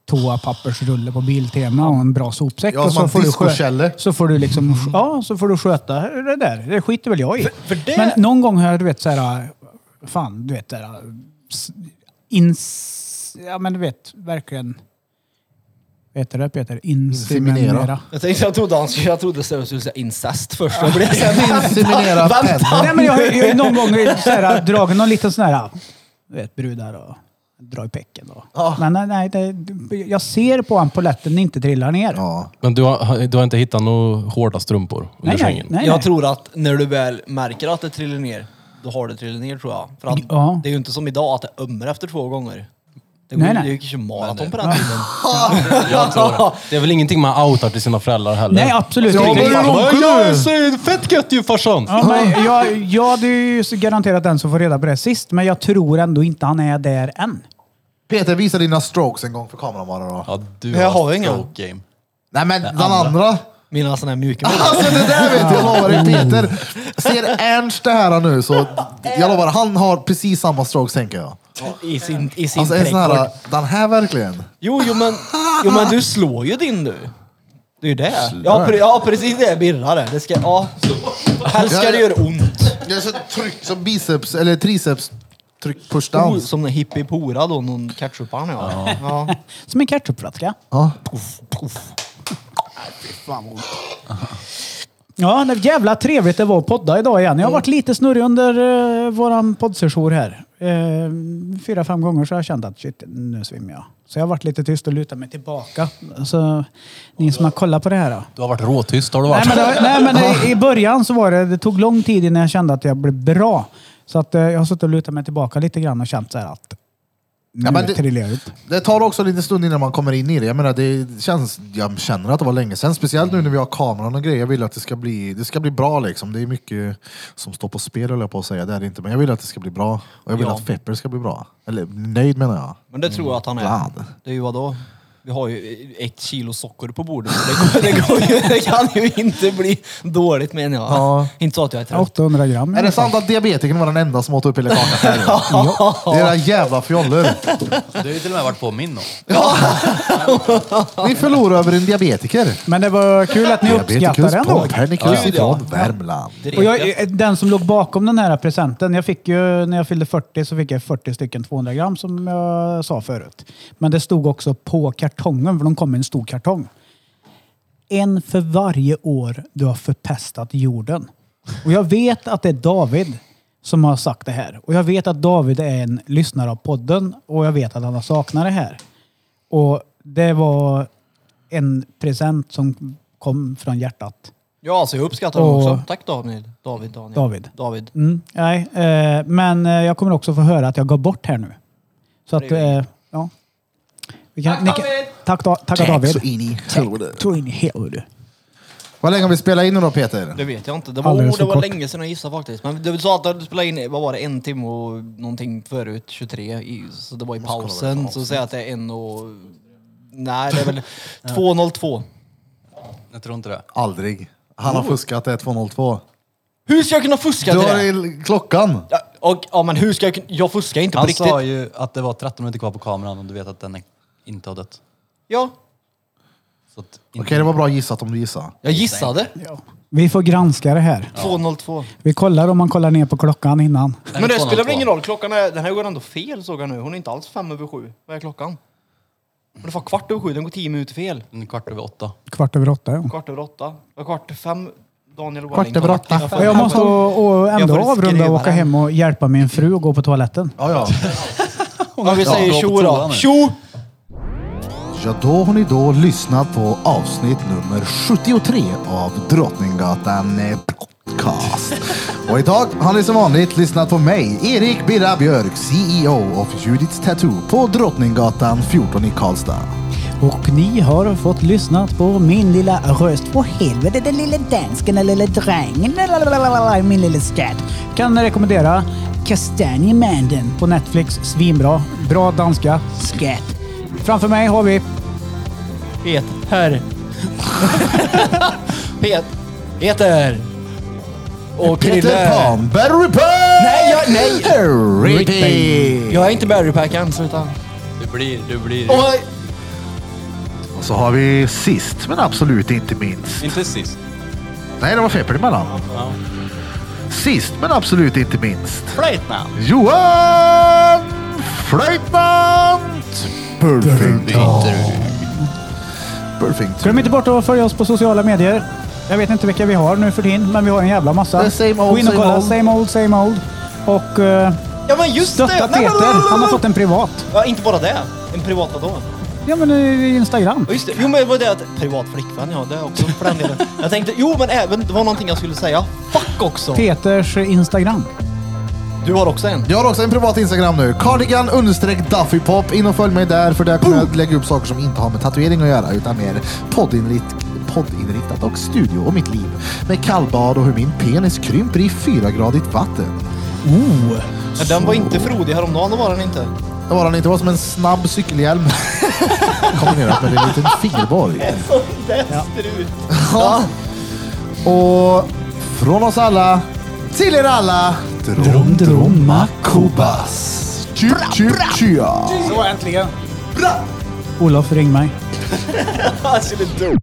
Speaker 3: toapappersrulle på Biltema och en bra sopsäck.
Speaker 1: Ja,
Speaker 3: och
Speaker 1: som
Speaker 3: så
Speaker 1: en
Speaker 3: får, du
Speaker 1: discokällor.
Speaker 3: skö- så får du liksom, ja, så får du sköta det där. Det skiter väl jag i.
Speaker 2: för det-
Speaker 3: Men någon gång har jag, du vet, så här, fan, du vet, så här, s- ins... Ja, men du vet, verkligen. Vad heter det Peter? Inseminera.
Speaker 1: Inseminera.
Speaker 2: Jag, tänkte, jag trodde han skulle, jag trodde Sture skulle säga incest först. Jag blev så här-
Speaker 1: Inseminera pennan.
Speaker 3: Nej, men jag har ju jag har ju någon gång så här, dragit någon liten sån här, du vet, brudar och dra i pecken. Och.
Speaker 1: Ja.
Speaker 3: Men nej, nej, det, jag ser på honom poletten inte trillar ner.
Speaker 1: Ja.
Speaker 4: Men du har, du har inte hittat några hårda strumpor under
Speaker 3: nej, nej,
Speaker 4: sängen?
Speaker 3: nej,
Speaker 2: jag
Speaker 3: nej.
Speaker 2: tror att när du väl märker att det trillar ner, då har det trillat ner tror jag. För att
Speaker 3: Ja.
Speaker 2: det är ju inte som idag att det ömmar efter två gånger. Det, går, nej,
Speaker 3: Nej, nej.
Speaker 2: det gick ju maraton på den tiden.
Speaker 4: Jag tror det. Det är väl ingenting man outar till sina föräldrar heller?
Speaker 3: Nej, absolut
Speaker 1: Ja,
Speaker 3: inte.
Speaker 1: men-
Speaker 3: Ja,
Speaker 4: Jag är så fett gött ju farsan!
Speaker 3: men jag, jag hade ju garanterat den som får reda på det sist, men jag tror ändå inte han är där än.
Speaker 1: Peter, visa dina strokes en gång för kameran bara då.
Speaker 5: Ja, du
Speaker 2: Jag har ju
Speaker 5: stroke
Speaker 2: inga.
Speaker 5: game.
Speaker 1: Nej men den andra.
Speaker 2: Mina sådana här mjuka
Speaker 1: Alltså det där vet jag, jag lovar dig Peter. Ser Ernst det här nu så jag lovar, han har precis samma strokes tänker jag.
Speaker 2: i sin, i sin
Speaker 1: Alltså en sån
Speaker 2: trädgård.
Speaker 1: här, den här verkligen.
Speaker 2: Jo, jo men, jo men du slår ju din nu. Det är ju det. Ja, pre, ja precis det Birra det. det ska, ja. Helst ska det göra ont.
Speaker 1: Jag är så tryckt som biceps, eller triceps, tryck push
Speaker 2: Oh,
Speaker 1: down.
Speaker 2: som en hippie pora då, någon ketchuparn ja. ja.
Speaker 3: Som en ketchupflaska.
Speaker 1: Ja.
Speaker 3: Ja, det jävla trevligt det var att podda idag igen.
Speaker 1: Mm.
Speaker 3: Jag har varit lite snurrig under uh, våran poddsession här. Eh, fyra, fem gånger så har jag känt att shit, nu svimmar jag. Så jag har varit lite tyst och lutat mig tillbaka. Så ni som har kollat på det här då.
Speaker 4: Du har varit råtyst har du
Speaker 3: Nej
Speaker 4: varit.
Speaker 3: men, det, var- nej, men det, i början så var det, det tog lång tid innan jag kände att jag blev bra. Så att eh, jag har suttit och lutat mig tillbaka lite grann och känt så här att nu
Speaker 1: Ja, men det-
Speaker 3: trillar jag upp.
Speaker 1: Det tar också lite stund innan man kommer in i det. Jag menar, det känns, jag känner att det var länge sedan. Speciellt nu när vi har kameran och grejer. Jag vill att det ska bli, det ska bli bra liksom. Det är mycket som står på spel höll jag på att säga. Det är det inte. Men jag vill att det ska bli bra. Och jag vill
Speaker 2: Ja.
Speaker 1: att Pepper ska bli bra. Eller nöjd menar jag.
Speaker 2: Men det tror jag att han är.
Speaker 1: Glad.
Speaker 2: Det är ju vadå? Vi har ju ett kilo socker på bordet. Så det, går, det, går ju, det kan ju inte bli dåligt menar jag.
Speaker 1: Ja.
Speaker 2: Inte så att jag är trött.
Speaker 3: 800 gram. i
Speaker 1: Är
Speaker 2: Mm.
Speaker 3: alla
Speaker 1: det
Speaker 3: fall.
Speaker 1: sant att diabetikern var den enda som åt upp hela kakan själv? ja. Det är era jävla fjollor.
Speaker 5: Du har ju till och med varit på min då.
Speaker 1: Ni förlorar över en diabetiker.
Speaker 3: Men det var kul att ni uppskattade
Speaker 1: Diabetikus
Speaker 3: det ändå.
Speaker 1: Copernicus ifrån Värmland.
Speaker 3: Och jag, eh, den som låg bakom den här presenten, jag fick ju, när jag fyllde 40 så fick jag 40 stycken 200 gram som jag sa förut. Men det stod också på kartongen, för de kom i en stor kartong. En för varje år du har förpestat jorden. Och jag vet att det är David som har sagt det här. Och jag vet att David är en lyssnare av podden och jag vet att han har saknat det här. Och det var en present som kom från hjärtat.
Speaker 2: Ja, alltså jag uppskattar honom
Speaker 3: Och-
Speaker 2: också. Tack David. David, Daniel.
Speaker 3: David.
Speaker 2: David.
Speaker 3: Mm, nej, eh, men eh, jag kommer också få höra att jag går bort här nu. Så att, eh, ja. Vi kan, tack, David! Tack, da, tack,
Speaker 1: Tack
Speaker 3: David!
Speaker 1: så in i helvete.
Speaker 3: Tog in i helvete.
Speaker 1: Vad länge har vi spelat in nu då Peter?
Speaker 2: Det vet jag inte. Det var,
Speaker 3: Alldeles
Speaker 2: oh, det
Speaker 3: för
Speaker 2: var
Speaker 3: kort.
Speaker 2: länge sedan jag gissade faktiskt. Men du sa att du spelade in, vad var det, en timme och någonting förut, 23, i, så det var i pausen. Så säg att det är en och... Nej, det är väl 2.02.
Speaker 5: Jag tror inte det.
Speaker 1: Aldrig. Han har fuskat, det är 202.
Speaker 2: Hur ska jag kunna fuska
Speaker 1: Du
Speaker 2: till
Speaker 1: har
Speaker 2: Oh. det?
Speaker 1: i- klockan.
Speaker 2: Ja, och, ja, men hur ska jag kunna... Jag fuskar inte på
Speaker 5: Han
Speaker 2: riktigt.
Speaker 5: sa ju att det var 13 minuter kvar på kameran och du vet att den är- inte har dött.
Speaker 2: Ja,
Speaker 5: Så att
Speaker 1: Okej, det var bra gissat om du gissade.
Speaker 2: jag gissade.
Speaker 3: Vi får granska det här.
Speaker 2: 2.02.
Speaker 3: Vi kollar om man kollar ner på klockan innan.
Speaker 2: Men det spelar väl ingen
Speaker 5: 202.
Speaker 2: roll, klockan är, den här går ändå fel såg jag nu. Hon är inte alls fem över sju. Vad är klockan? Men det var kvart över sju, den går tio minuter fel.
Speaker 5: En kvart över åtta.
Speaker 3: Kvart över åtta, ja.
Speaker 2: Kvart över åtta. Vad Kvart över fem, Daniel
Speaker 1: Kvart över åtta.
Speaker 2: Jag får-
Speaker 3: Jag måste och, och ändå
Speaker 2: Jag får
Speaker 3: avrunda och
Speaker 2: skriva
Speaker 3: åka
Speaker 2: den.
Speaker 3: hem och hjälpa min fru att gå på toaletten.
Speaker 1: Ja, ja.
Speaker 2: Om vi säger
Speaker 5: gå på
Speaker 2: tjo
Speaker 5: toa
Speaker 2: då.
Speaker 5: nu.
Speaker 2: Tjo!
Speaker 1: Ja, då har ni då lyssnat på avsnitt nummer 73 av Drottninggatan eh, Podcast. Och idag har ni som vanligt lyssnat på mig, Erik Birra Björk, CEO of Judiths Tattoo på Drottninggatan 14 i Karlstad.
Speaker 3: Och ni har fått lyssnat på min lilla röst. På helvete, den lilla dansken, den lilla drängen, lalalala, min lilla skatt. Kan rekommendera Kastanjemanden på Netflix. Svinbra. Bra danska. Skatt. Framför mig har vi
Speaker 9: Peter. Pet. Peter. Och
Speaker 1: Peter
Speaker 9: Krille.
Speaker 1: Pan, Barry Pan!
Speaker 9: Nej, jag, nej!
Speaker 1: Repeat!
Speaker 9: Jag är inte Barrypackaren, sluta.
Speaker 5: Du blir, du blir...
Speaker 9: Oj!
Speaker 1: Och så har vi sist men absolut inte minst.
Speaker 5: Inte sist.
Speaker 1: Nej, det var Feppel emellan. Sist men absolut inte minst.
Speaker 5: Flöjtnant.
Speaker 1: Johan Flöjtnant Burfington. Burfington.
Speaker 3: Glöm inte bort att följa oss på sociala medier. Jag vet inte vilka vi har nu för tiden, men vi har en jävla
Speaker 1: Det är
Speaker 3: massa.
Speaker 1: same old,
Speaker 3: Gå in och
Speaker 1: same
Speaker 3: kolla.
Speaker 1: old.
Speaker 3: Same old, same old. Och eh,
Speaker 2: Ja men just det!
Speaker 3: stötta
Speaker 2: Nej, men-
Speaker 3: Peter. Han har fått en privat.
Speaker 2: Ja, inte bara det. En privat vadå?
Speaker 3: Ja, men eh, Instagram.
Speaker 2: Ja, Just det. Jo men det var det att... Privat flickvän ja, det är också för den delen. Jag tänkte, jo men även, det var någonting jag skulle säga. Fuck också!
Speaker 3: Peters Instagram.
Speaker 2: Du har också en.
Speaker 1: Jag har också en privat Instagram nu. Cardigan understreck Duffypop. In och följ mig där för där kommer jag att lägga upp saker som inte har med tatuering att göra utan mer poddinrikt, poddinriktat och studio och mitt liv. Med kallbad och hur min penis krymper i fyragradigt vatten.
Speaker 2: Ja, den var inte frodig häromdagen, det var den inte.
Speaker 1: Det var den inte. Det var som en snabb cykelhjälm. Kombinerat med en liten fingerborg. Ja. Och från oss alla till er alla. Drom, dromma, kubas. Tjup, tjup, tja.
Speaker 3: Olof, ring mig.
Speaker 2: Alltså det är dumt.